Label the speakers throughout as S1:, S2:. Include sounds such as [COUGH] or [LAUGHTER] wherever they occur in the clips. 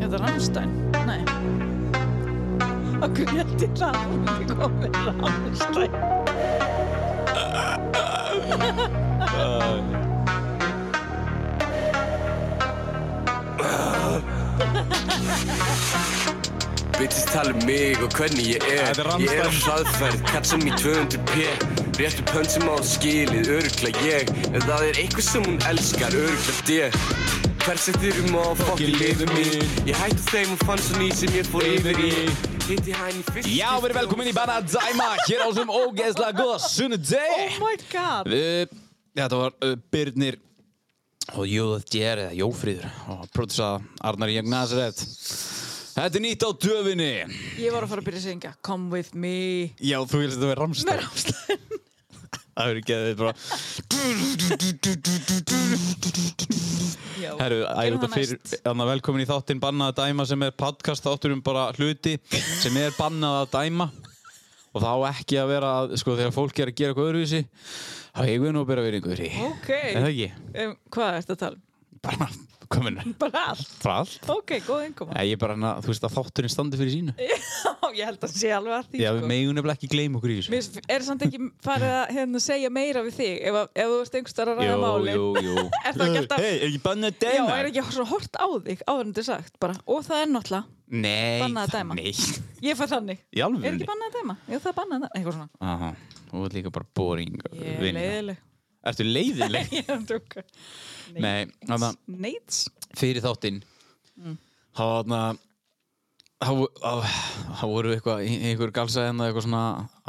S1: Er það Rammstein? Nei. Akkur hætti það að hún hefði komið Rammstein.
S2: Bitches tala um mig og hvernig ég er
S3: Þetta er
S2: Ég er á
S3: Rammstein.
S2: hraðferð, katsan í 200p Réttu pönn sem á það skilið, örugla ég En það er eitthvað sem hún elskar, örugla þér Persettir um að fokki liðu mín Ég hætti þeim og fann svo ný sem ég fór yfir í Hitti hann í fyrst
S3: Já, verið velkomin í Banadæma hér á þessum ógeðslega góða sunnudegi.
S1: Oh my god.
S3: Við, þetta var uh, Birnir og Jóðið Djer eða Jófríður og prótisa Arnar Jörg Nasaret. Þetta er nýtt á döfinni.
S1: Ég var að fara að byrja að syngja Come with me.
S3: Já, þú helst að þetta
S1: Með
S3: var Ramstein.
S1: Rammstein.
S3: Það verður geðið
S1: [LAUGHS]
S3: bara.
S1: Já.
S3: Herru,
S1: Gerum
S3: ægir þetta
S1: það
S3: fyrir,
S1: næst.
S3: þannig velkomin í þáttinn Bannað að dæma sem er podcast þáttur um bara hluti sem er bannað að dæma. Og það á ekki að vera, að, sko, þegar fólk er að gera eitthvað öðruvísi, þá eigum við nú að bera verið einhverju.
S1: Ok.
S3: Er það ekki?
S1: Um, hvað ertu að tala um?
S3: Bara, komin,
S1: Bara allt.
S3: frá allt.
S1: Ok, góð einkoma.
S3: Nei, ég bara hana, þú veist að þátturinn standi fyrir sínu.
S1: Já, ég held að sé alveg að því.
S3: Eh. Já, við
S1: sko.
S3: megum nefnilega ekki gleyma okkur í þessu.
S1: Mér finnst- er samt ekki farið að hérna, segja meira við þig ef, að- ef þú ert einhvers staðar að ræða máli
S3: jú.
S1: [LAUGHS] Er það ekki alltaf-
S3: Hei, er ekki bannað að
S1: Já,
S3: dæma?
S1: er ekki svona hort á þig áður en þetta er sagt bara, og það er náttúrulega,
S3: Nei,
S1: Bannað að dæma.
S3: Nei,
S1: [LAUGHS] ég fær þannig
S3: í alveg.
S1: Er ekki bannað að dæma? Já, það er bannað að dæma, eitthvað svona
S3: Aha, þú ert líka bara boring.
S1: Ég er
S3: vinna. [LAUGHS]
S1: leiðileg
S3: Ertu
S1: [LAUGHS]
S3: leiðileg?
S1: Ég er að tjóka
S3: Nei, þannig að
S1: Neits
S3: fyrir þáttinn,
S1: Mm.
S3: þá þarna, þá þá- þá voru eitthvað, einhver galsaði hennar hérna eitthvað svona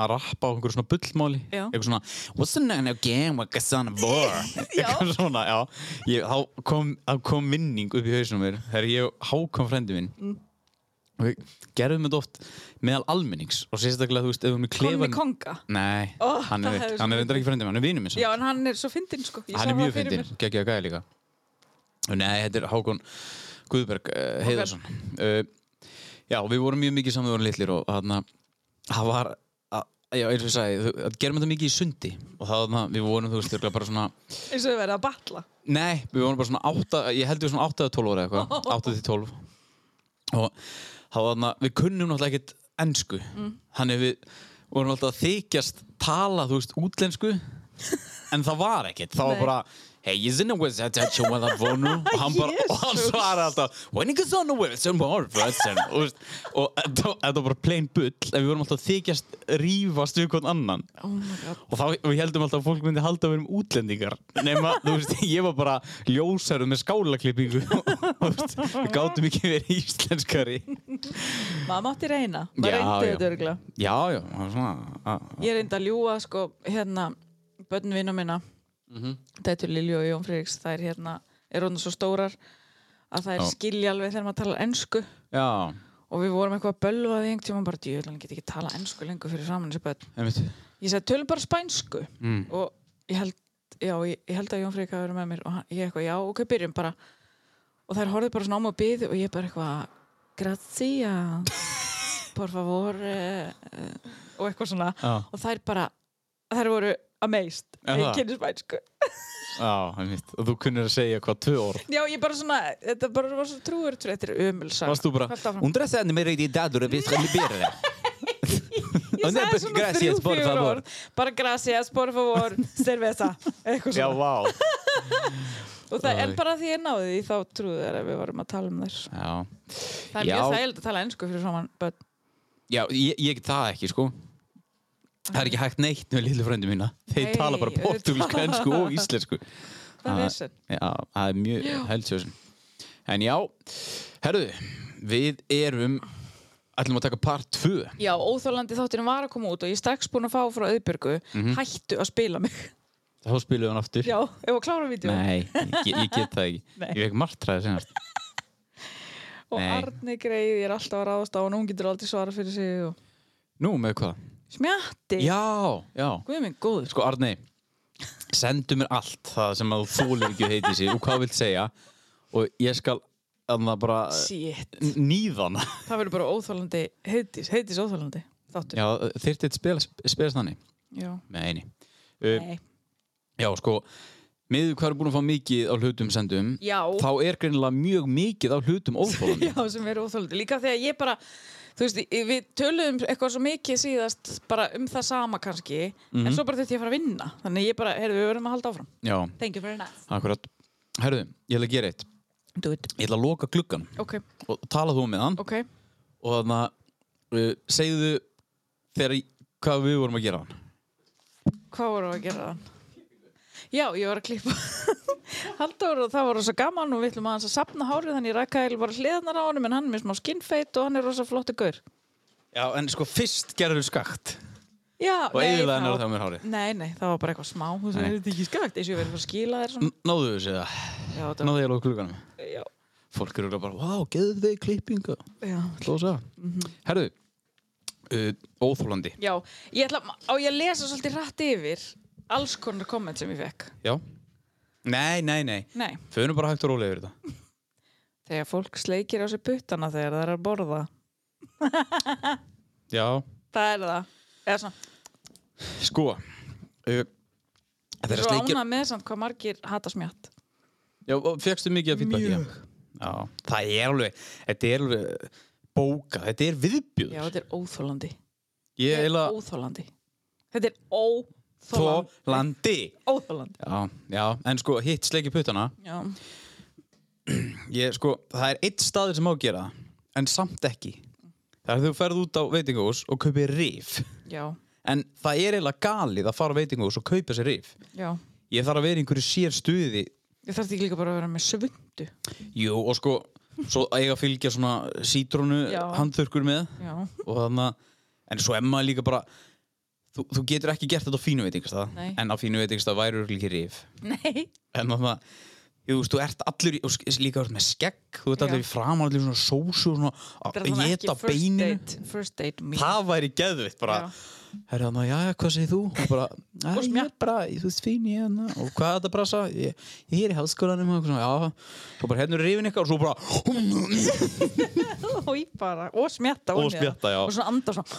S3: að rappa á einhver svona bullmáli.
S1: Já.
S3: Eitthvað svona, what's the name of the game, what gets on a bar?
S1: [LAUGHS] Já.
S3: Eitthvað svona, já. Ég, þá, kom, þá kom minning upp í hausnum mér, þegar ég og hákom frendi minn. Mm. Og við gerðum þetta oft meðal almennings og sérstaklega, þú veist, ef við erum í klefan...
S1: Konni Konga
S3: Nei,
S1: Ó,
S3: hann
S1: það
S3: er veit,
S1: hefði
S3: hann
S1: svo
S3: er reyndar ekki frendi minn, hann er vinur minn samt
S1: Já, en hann er svo fyndinn, sko Ég
S3: hann
S1: sá
S3: er
S1: það
S3: mjög
S1: fyrir
S3: fyndinn,
S1: mér.
S3: geggjaði gæði líka Nei, þetta er Hákon Guðberg uh, Heiðarsson uh, Já, við vorum mjög mikið saman við vorum litlir og þarna það var, að, já, eins og ég sagði þú- að gerum þetta mikið í sundi og þarna við vorum, þú veist, örugglega bara svona
S1: Eins og við verið að batla
S3: Nei, við vorum bara svona 8, ég held við svona 8 eða 12 ára eða
S1: [LAUGHS]
S3: eitthvað, 8 til 12 og þá var þarna, við kunnum náttúrulega ekkert ennsku,
S1: Mm.
S3: þannig við vorum alltaf að þykjast tala, þú veist,
S1: [LAUGHS]
S3: útlensku en það var ekkert, það var
S1: Nei.
S3: bara Hey, is in a way that you want to vonu og hann bara, og hann
S1: Jesus.
S3: svarar alltaf When it goes on the way, it's in more person og þú veist, og þetta þetta var bara plain bull en við vorum alltaf að þykjast rífast við hvern annan
S1: Oh my god
S3: og þá og við heldum alltaf að fólk myndi halda að við erum útlendingar nema, þú veist, [LAUGHS] ég var bara ljósarð með skálaklippingu [LAUGHS] og þú veist, við gátum ekki verið íslenskari
S1: Maður mátti reyna
S3: Já,
S1: Maður reyndi
S3: já.
S1: þetta örgulega
S3: Já, já, það var svona að- að-
S1: Ég reyndi að ljúa, sko, hérna Bönnvina minna
S3: Mhm.
S1: Dætur Lilju og Jón Friðriks Það er hérna, er hún svo stórar að það er
S3: Já.
S1: skilja alveg þegar maður talar ensku
S3: Já,
S1: og við vorum eitthvað að bölva því einhvern tíma bara djöðlega, hann get ekki tala ensku lengur fyrir saman þessi börn.
S3: einmitt
S1: Ég sagði, tölum bara spænsku
S3: mm.
S1: og ég held, já, ég, ég held að Jón Freyka verið með mér og hann, ég eitthvað, já, ok, byrjum bara og þær horfðu bara svona á mig og byði og ég bara eitthvað, grazia por favor eh, eh, og eitthvað svona
S3: Já,
S1: og þær bara, þær voru amazed, að
S3: Er það?
S1: ég kynni spænsku
S3: já, einmitt og þú kunnir að segja hvað tvö orð
S1: Já, ég bara svona, þetta bara var svo trúur þetta er umulsa
S3: Varst þú bara, undra að segja mér eitthvað í dadur að við skallum byrja það
S1: Ég
S3: Og nei,
S1: sagði
S3: bara
S1: svona
S3: gracias,
S1: þrjú,
S3: por
S1: fjögur
S3: favor.
S1: orð Bara gracias, por favor,
S3: [LAUGHS]
S1: cerveza Eitthvað
S3: [LAUGHS] Já,
S1: svona
S3: vá
S1: Og það er
S3: Æ.
S1: bara því ég náði því þá trúðu þær að við varum að tala um þær
S3: Já,
S1: Það er
S3: Já.
S1: mjög þægilegt að tala ennsku fyrir saman But
S3: já ég, ég get það ekki, sko Það er ekki hægt neitt með litlu frændi mína Þeir
S1: Nei,
S3: tala bara
S1: auðvitað.
S3: portugalsku, ennsku og íslensku
S1: það
S3: Það-
S1: er þessin
S3: Já, það er mjög heldsjóðsinn. En já, herruðu, við erum, ætlum að taka part 2.
S1: Já, óþólandi þátturinn var að koma út og ég er strax búin að fá frá auðbyrgu
S3: Mhm.
S1: Hættu að spila mig [LAUGHS]
S3: Þá spilum við hann aftur.
S1: Já, ef að klára vídeo
S3: Nei, ég, ge- ég get það ekki.
S1: Nei.
S3: Ég fekk martræði senast.
S1: Og
S3: nei.
S1: Arni greið, ég er alltaf að ráðast á hann Hún getur aldrei svara fyrir sig og...
S3: Nú, með hvað?
S1: Smjatti
S3: Já, já.
S1: Guð minn góður
S3: Sko, Arnei, sendu mér allt það sem að þú þólir ekki heiti sig og hvað þú vilt segja og ég skal að það bara
S1: Shit,
S3: n- níða hana.
S1: það verður bara óþólandi Heitis, heitis óþólandi Þáttur
S3: Já, þyrfti þetta spilast þannig
S1: Já.
S3: með eini. Uh,
S1: Nei.
S3: Já, sko, með hvað er búin að fá mikið á hlutum sendum
S1: Já.
S3: þá er greinilega mjög mikið á hlutum óþólandi
S1: [LAUGHS] Já, sem eru óþólandi. Líka þegar ég bara, þú veist, ég- við töluðum eitthvað svo mikið síðast bara um það sama kannski,
S3: Mhm.
S1: en svo bara þetta ég að fara að vinna. Þannig ég bara, heyrðu, við verðum að halda áfram.
S3: Já,
S1: Thank you very much.
S3: akkurat Herðu, ég ætla að gera eitt
S1: Do it.
S3: Ég ætla að loka gluggan
S1: Ok,
S3: og tala þú með hann
S1: ok.
S3: og þannig að uh, segðu þegar í- hvað við vorum að gera hann
S1: Hvað vorum við að gera þann? Já, ég var að klippa. [LAUGHS] Halldór og það var rosa gaman og við ætlum aðeins að sapna hárið þannig ég rakkaði bara hliðnar á honum en hann er með smá skinnfeit og hann er rosa flottu gaur.
S3: Já, en sko fyrst gerðu skakt
S1: Já,
S3: og
S1: nei,
S3: eiginlega
S1: það
S3: hennar
S1: var-
S3: það mér hárið
S1: Nei, nei, það var bara eitthvað smá. Þú veist,
S3: Nei.
S1: er þetta ekki skakt? Eins og ég verið að fara að skila þér svona.
S3: N- Náðu þessu það,
S1: Já, þetta
S3: náðu ég að loka glugganum
S1: var... Já,
S3: Fólk eru örugglega bara, vá, geðu þig klippinga
S1: já.
S3: Lósa
S1: Mhm.
S3: Herðu, uh, óþólandi
S1: Já, ég ætla, á ég að lesa svolítið rætt yfir alls konar komment sem ég fekk.
S3: Já Nei, nei, nei
S1: Nei,
S3: Föðum bara hægt og rólega yfir þetta
S1: þegar fólk sleikir á sig puttana þegar það er að borða.
S3: Já
S1: Það er það. Eða svona,
S3: Sko uh, Þeirra
S1: svo
S3: sleikir
S1: ánað með samt hvað margir hata smjátt.
S3: Já, fegstu mikið að feedbacki
S1: Mjög.
S3: Já, það er alveg Þetta er alveg uh, bóka Þetta er viðbjöður
S1: Já, þetta er óþólandi.
S3: Ég
S1: Þetta
S3: eila
S1: er óþólandi. Þetta er óþólandi.
S3: Þólandi
S1: Óþólandi.
S3: Já, já, en sko hitt sleiki puttana
S1: Já,
S3: Ég sko, það er eitt staður sem á að gera það, En samt ekki Það er þegar þú ferð út á veitingahús og kaupir rif
S1: já,
S3: En það er eiginlega galið að fara á veitingahús og kaupa sér rif.
S1: já.
S3: Ég þarf að vera í einhverju sér stuði.
S1: Ég þarf ekki líka bara að vera með svundu.
S3: Jú, og sko, svo eiga að fylgja svona sítrónu
S1: Já.
S3: handþurkur með.
S1: Já, [LAUGHS]
S3: Og þannig að, en svo emma líka bara, þú, þú getur ekki gert þetta á fínu veitingastað.
S1: Nei.
S3: En á fínu veitingastað væri örugglega ekki rif.
S1: nei.
S3: En þannig að, þú veist, þú ert allur, í- og sk- líka þú ert með skegg, þú ert
S1: Já.
S3: allur í framan, allur í svona sósu og
S1: Þetta er
S3: svona að
S1: þannig
S3: geta
S1: ekki first
S3: beininu.
S1: date, first date meal.
S3: Það væri geðvitt bara
S1: Já. [LAUGHS]
S3: Herra hann að, já, hvað segir þú? Og bara, að ég er bara, þú veist, fín ég hann Og hvað er þetta brasa? Ég, ég er í háskólanum og eitthvað svona, já Svo bara hennur rifin ykkar og svo bara
S1: Og í bara, og smjatta.
S3: Og
S1: ofan í það.
S3: smjatta, já.
S1: Og svona anda svona.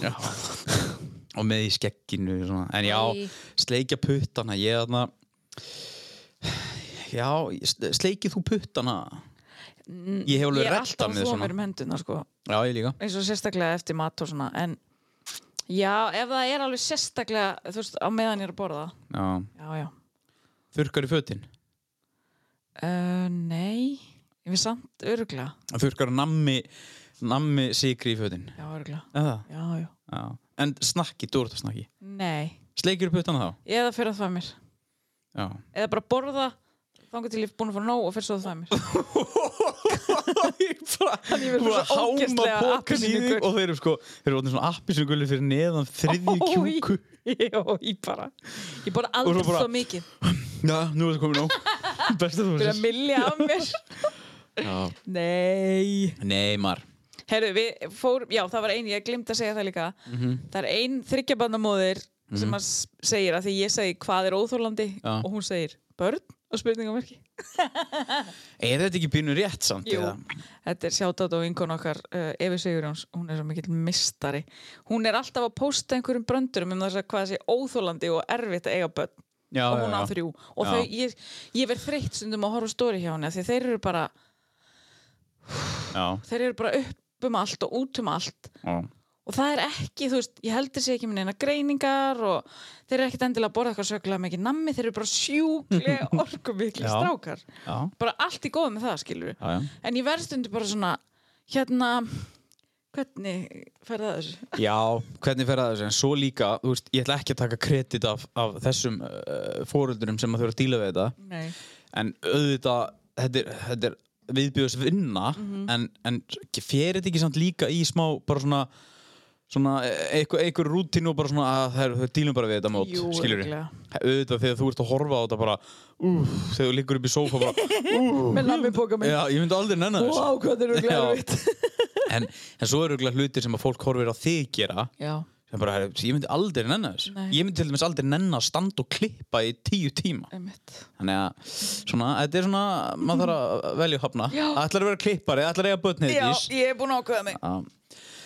S3: já. Og með í skegginu svona. En já,
S1: Æ.
S3: sleikja puttana Ég er þarna Já, sle- sleikið þú puttana Ég hef
S1: Mm, Ég
S3: alveg
S1: er
S3: relta
S1: alltaf
S3: með
S1: svo
S3: svona
S1: mér um hendina sko
S3: Já, ég líka
S1: eins og sérstaklega eftir mat og svona en já, ef það er alveg sérstaklega þú veist, á meðan ég er að borða
S3: já.
S1: já, já,
S3: Þurkar í fötin
S1: uh, nei ég við samt öruglega
S3: Þurkar nammi, nammi sigri í fötin
S1: já, öruglega,
S3: Eða?
S1: já, já,
S3: Já. En snakki, þú ert að snakki
S1: nei
S3: Sleikir puttana þá?
S1: eða fyrir að það mér,
S3: Já
S1: eða bara borða þangar til ég er búin að fara nóg og fyrir svo það [LAUGHS] mér [LAUGHS]
S3: Þannig
S1: ég verð bara svo ógeðslega appelsínugul.
S3: Og þeir eru sko, þeir eru orðin svona appisugulli fyrir neðan þriðju
S1: Ó, [LAUGHS] í-
S3: kjúku
S1: já, ég bara ég borða
S3: svo
S1: aldrei
S3: bara-
S1: svo mikið
S3: Já, nú er það
S1: [LAUGHS]
S3: komið nóg Besta þú
S1: fyrir að millja af mér
S3: veist
S1: [LAUGHS] nei
S3: Nei, mar
S1: Herru, við fórum, já það var ein, ég glimt að segja það líka
S3: Mhm.
S1: Það er ein þryggjabandamóðir sem að s- segir að því ég segi hvað er óþólandi
S3: Já.
S1: og hún segir börn og spurningamarki
S3: Er þetta ekki pínu rétt samt?
S1: Jú.
S3: eða?
S1: Þetta er sjátat á vinkon okkar uh, Efi Sigurjóns, hún er svo mikill mistari Hún er alltaf að posta einhverjum bröndurum um þess að hvað sé óþólandi og erfitt að eiga börn
S3: Já,
S1: og hún
S3: já,
S1: á
S3: já.
S1: þrjú og
S3: Já.
S1: þau, ég, ég verð þreytt stundum að horfa á stóri hjá henni af því þeir eru bara,
S3: Já,
S1: þeir eru bara upp um allt og út um allt
S3: já
S1: og það er ekki, þú veist, ég heldur sér ekki með neina greiningar og þeir eru ekkit endilega að borða eitthvað sögulega mikið nammi, þeir eru bara [LAUGHS] sjúklega orkumikli
S3: Já.
S1: strákar
S3: Já,
S1: bara allt í góð með það, skilur
S3: já, já.
S1: en ég verð stundu bara svona, hérna hvernig fer það þessu?
S3: Já, hvernig fer það þessu? En svo líka, þú veist, ég ætla ekki að taka kredit af, af þessum uh, fóröldurum sem að þau eru að díla við þetta
S1: Nei,
S3: en auðvitað þetta er, þetta er viðbjöðs vinna
S1: Mhm.
S3: en, en fyrir þetta ekki samt líka í smá bara svona svona e- einhver, einhver rútínu og bara svona að það er, þau dílum bara við þetta mót
S1: Jú,
S3: skilur
S1: örugglega.
S3: auðvitað þegar þú ert að horfa á þetta bara úf, þegar þú liggur upp í sófa bara
S1: [LAUGHS] með nammi bóka mig
S3: já, ég myndi aldrei nenna
S1: Vá,
S3: þessu
S1: hvað þeir eru
S3: Já.
S1: glæður veit
S3: en, en svo eru örugglega hlutir sem að fólk horfir á þig gera
S1: Já,
S3: sem bara, herru, ég myndi aldrei nenna þessu
S1: Nei.
S3: ég myndi til dæmis aldrei nenna að standa og klippa í tíu tíma
S1: einmitt
S3: Þannig að svona, þetta er svona, maður þarf að velja og hafna.
S1: Já.
S3: Ætlar að vera klippari, ætlar að eiga bötnið
S1: Já,
S3: ís.
S1: ég er búin að ákveða mig
S3: Já.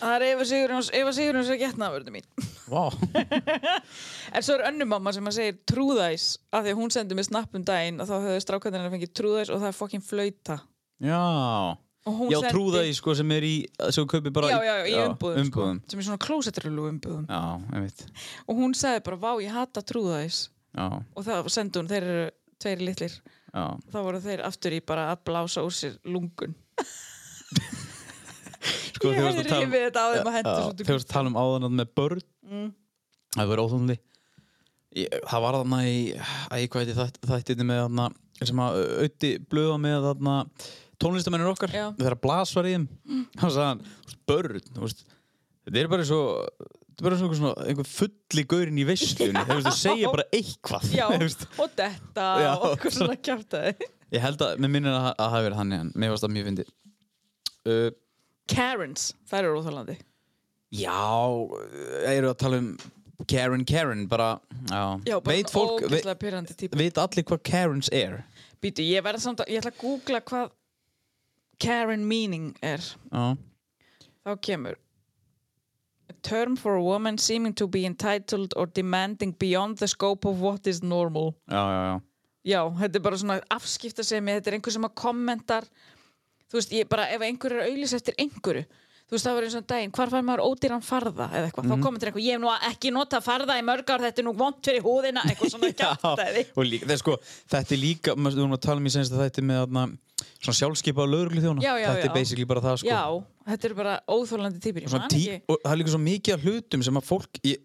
S1: Það er Eva Sigurjóns, Eva Sigurjóns er getnaðvörðu mín.
S3: Vá.
S1: En svo er önnum mamma sem að segir trúðæs af því að hún sendi mér snapp um daginn og þá höfðu strákæðinir að fengið trúðæs og það er fokkin flauta.
S3: Já.
S1: Og hún
S3: Já,
S1: sendi-
S3: trúða í sko sem er í, sem kaupi bara
S1: Já, já, já, í umbúðum,
S3: umbúðum.
S1: Sko, sem er svona klósetrölu umbúðum.
S3: Já, einmitt.
S1: Og hún sagði bara, vá, ég hata trúðæs.
S3: Já,
S1: Og það sendi hún, þeir eru tveir litlir.
S3: já.
S1: Þá voru þeir aftur í bara að blása úr sér lungun.
S3: Sko,
S1: ég
S3: þegar
S1: hefði
S3: varstu að tala um-
S1: rifið þetta á þeim að henda
S3: Já,
S1: svo
S3: þegar við talum áðan þarna með börn
S1: Mm.
S3: það verður óþólandi það var þarna í æ, hvað heiti þætt- þættirni með þarna sem að auði blöða með þarna tónlistamennir okkar
S1: Já. Mm.
S3: þegar Blas var í þeim þá sagði hann, þú veist, börn þú veist, þetta er bara svo þetta er bara svona, svona einhver fulli gaurinn í veistlunni þú veist, þau segja bara eitthvað
S1: Já,
S3: [LAUGHS] þú veist.
S1: og detta
S3: Já.
S1: og eitthvað svona kjartaði.
S3: ég held að, mér minnir að að það hafi verið hann en mér varst það mjög fyndi uh,
S1: Karens, þær eru óþálandi.
S3: já, eru að tala um Karen Karen, bara, já,
S1: Já, bara
S3: veit fólk veit-
S1: ógeðslega pyrrandi típa.
S3: veit allir hvað Karens er
S1: Býtu, ég verða samt að, ég ætla að googla hvað Karen meaning er.
S3: já,
S1: Þá kemur A term for a woman seeming to be entitled or demanding beyond the scope of what is normal.
S3: já, já, já.
S1: Já, þetta er bara svona afskipta sem þetta er einhver sem að kommentar þú veist, ég bara, ef einhver er auðlis eftir einhverju þú veist, það var eins og um daginn, hvar fær maður ódýran farða eða eitthvað,
S3: Mhm.
S1: þá kommentar einhver, ég hef nú ekki notað farða í mörg ár, þetta er nú vont fyrir húðina eitthvað svona
S3: [LAUGHS]
S1: kjátaði
S3: og líka, það er sko, þetta er líka maður- við vorum að tala um í senst að þetta er með þarna, svona sjálfskipa og lögreglu þjóna
S1: Já, já,
S3: þetta
S1: já.
S3: er basically bara það sko
S1: Já, þetta eru bara óþólandi týpir,
S3: Og
S1: ég
S3: svona
S1: man
S3: tí,
S1: ekki
S3: og það er líka svo mikið af hlutum sem að fólk ég,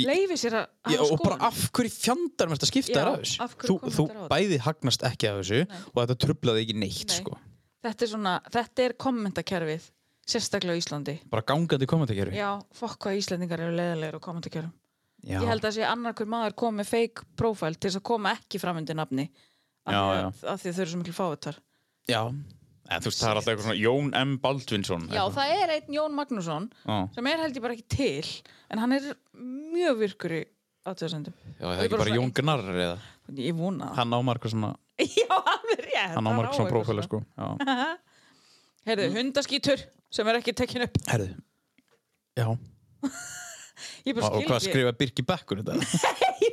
S3: ég,
S1: leifi sér að
S3: ég,
S1: hafa
S3: og bara
S1: skoðun.
S3: af hverju fjandar mest að skipta
S1: Já,
S3: þér af þessu
S1: af hverju
S3: þú,
S1: kom
S3: þú
S1: þetta á þetta?
S3: bæði hagnast ekki af þessu og þetta trublaði ekki neitt
S1: Nei.
S3: sko
S1: þetta er svona, þetta er kommentakerfið sérstaklega á Íslandi
S3: bara gangandi komandakerfi
S1: já, fokk hvað Íslandingar eru leiðilegur á kommentarkerfum
S3: já,
S1: ég held að sé annar hver maður kom með fake profile til þess að koma ekki fram undir nafni af
S3: Já,
S1: því
S3: já.
S1: að- af því að þau eru svo miklu fávitar
S3: já. En, þú veist, það er alltaf eitthvað svona Jón M. Baldvinsson
S1: já, það er einn Jón Magnússon
S3: Já.
S1: sem er held ég bara ekki til en hann er mjög virkur í aðtöðasendum
S3: Já, það er ekki
S1: bara
S3: bara
S1: svona-
S3: Jón Gnarr eða
S1: ég vona það
S3: hann á margur svona
S1: [LAUGHS] já, alveg rétt
S3: hann á
S1: hann á
S3: margur svona
S1: eitthvað
S3: prófæla
S1: svona. [LAUGHS]
S3: sko Hm? já.
S1: heyrðu, hundaskítur sem er ekki tekin upp
S3: Herðu Já, og
S1: ég bara skil
S3: hvað
S1: ekki,
S3: skrifa Birki Bekkur þetta?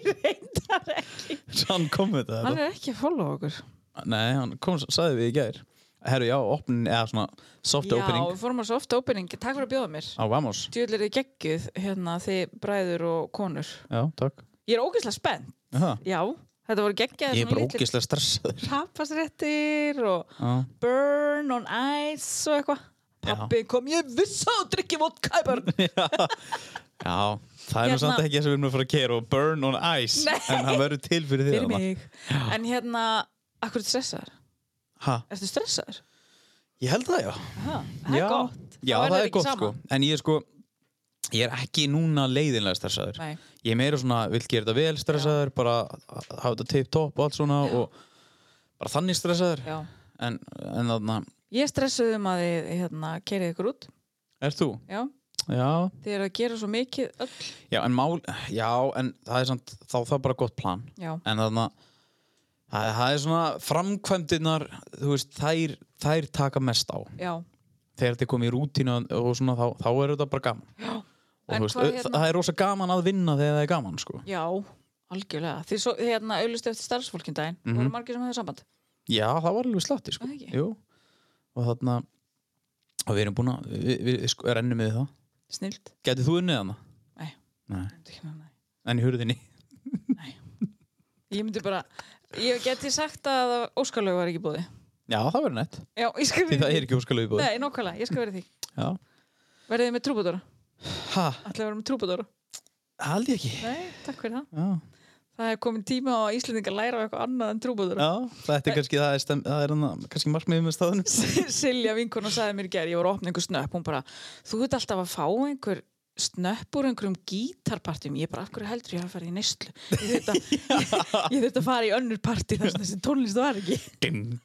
S1: reyndar ekki
S3: hann kom með þetta
S1: hann er ekki að follow okkur
S3: Nei, hann kom, sagði við í gær Herru, já, opnin, eða svona soft
S1: Já,
S3: opening
S1: við fórum á soft opening, takk fyrir að bjóða mér
S3: á Vamos
S1: Djúll er þið geggjuð hérna þið bræður og konur
S3: Já, takk
S1: Ég er ógeðslega spennt,
S3: Aha.
S1: já Þetta voru geggjaði
S3: Ég er bara ógeðslega stressaður
S1: Rappasréttir og
S3: Já.
S1: burn on ice og eitthvað
S3: Já.
S1: Pappi kom ég vissa og drikki vodka í börn
S3: Já, það er nú
S1: Hérna-
S3: samt ekki það sem við erum að fara að gera og burn on ice
S1: Nei.
S3: En hann verður til [LAUGHS] fyrir þig
S1: Fyrir
S3: þarna.
S1: mig En hérna, akkur er stressaður?
S3: ha,
S1: Ertu stressaður?
S3: Ég held það, já
S1: Ha, það
S3: já.
S1: er gott
S3: Já,
S1: Þá
S3: það,
S1: þetta
S3: er
S1: ekki
S3: gott
S1: sama.
S3: sko En ég er sko Ég er ekki núna leiðinlega stressaður
S1: Nei.
S3: ég er meira svona, vil gera þetta vel stressaður bara hafa þetta tip top og allt svona og bara þannig stressaður
S1: Já.
S3: en, en þarna,
S1: Ég stressuð um að þið hérna, kerið ykkur út
S3: er þú?
S1: Já,
S3: Já,
S1: þið eru að gera svo mikið öll
S3: já, en mál já, en það er samt, þá það er bara gott plan
S1: Já,
S3: en þarna það, það er svona framkvæmdirnar þú veist, þær, þær taka mest á
S1: já
S3: þegar þetta er komið í rútínu og svona þá, þá er þetta bara gaman já. og
S1: En
S3: þú veist,
S1: hvað
S3: hérna?
S1: hérna-
S3: það er rosa gaman að vinna þegar það er gaman sko.
S1: Já, algjörlega. Þið svo, hérna, auðlustu eftir starfsfólkin daginn.
S3: Mhm.
S1: Mm voru margir sem hefur samband.
S3: Já, það var alveg slatti sko.
S1: Það ekki?
S3: Jú. og þarna og við erum búin að, við, við, við sko, rennum við það
S1: Snilt.
S3: Gætið þú unnið hana?
S1: Nei.
S3: Nei.
S1: Nei.
S3: En í hurðinni?
S1: Ég myndi bara, ég geti sagt að Óskarlaug var ekki búið.
S3: Já, það verður nett
S1: Já, ég skal
S3: Því
S1: verið
S3: það er ekki óskalegu búið
S1: Nei, nokkvæmlega, ég skal verið því.
S3: Já.
S1: Verðið þið með trúbadóra?
S3: Ha,
S1: Ætlaði að vera með trúbadóra?
S3: held ég ekki
S1: Nei, takk fyrir það.
S3: Já,
S1: Það er komin tíma á að Íslendingar læra af eitthvað annað en trúbadóra.
S3: Já þetta er kannski það er, stem, það er hana, kannski markmiðið með staðunum
S1: [LAUGHS] Silja vinkona sagði mér í gær, ég var að opna einhver snöpp, hún bara, þú veit alltaf að fá einhver snöpp úr einhverjum gítarpartum ég bara, af hverju heldur ég hafi farið í neyslu ég þurft að, [LAUGHS] ég- ég þurfti að fara í önnur parti þar sem þessi tónlist var ekki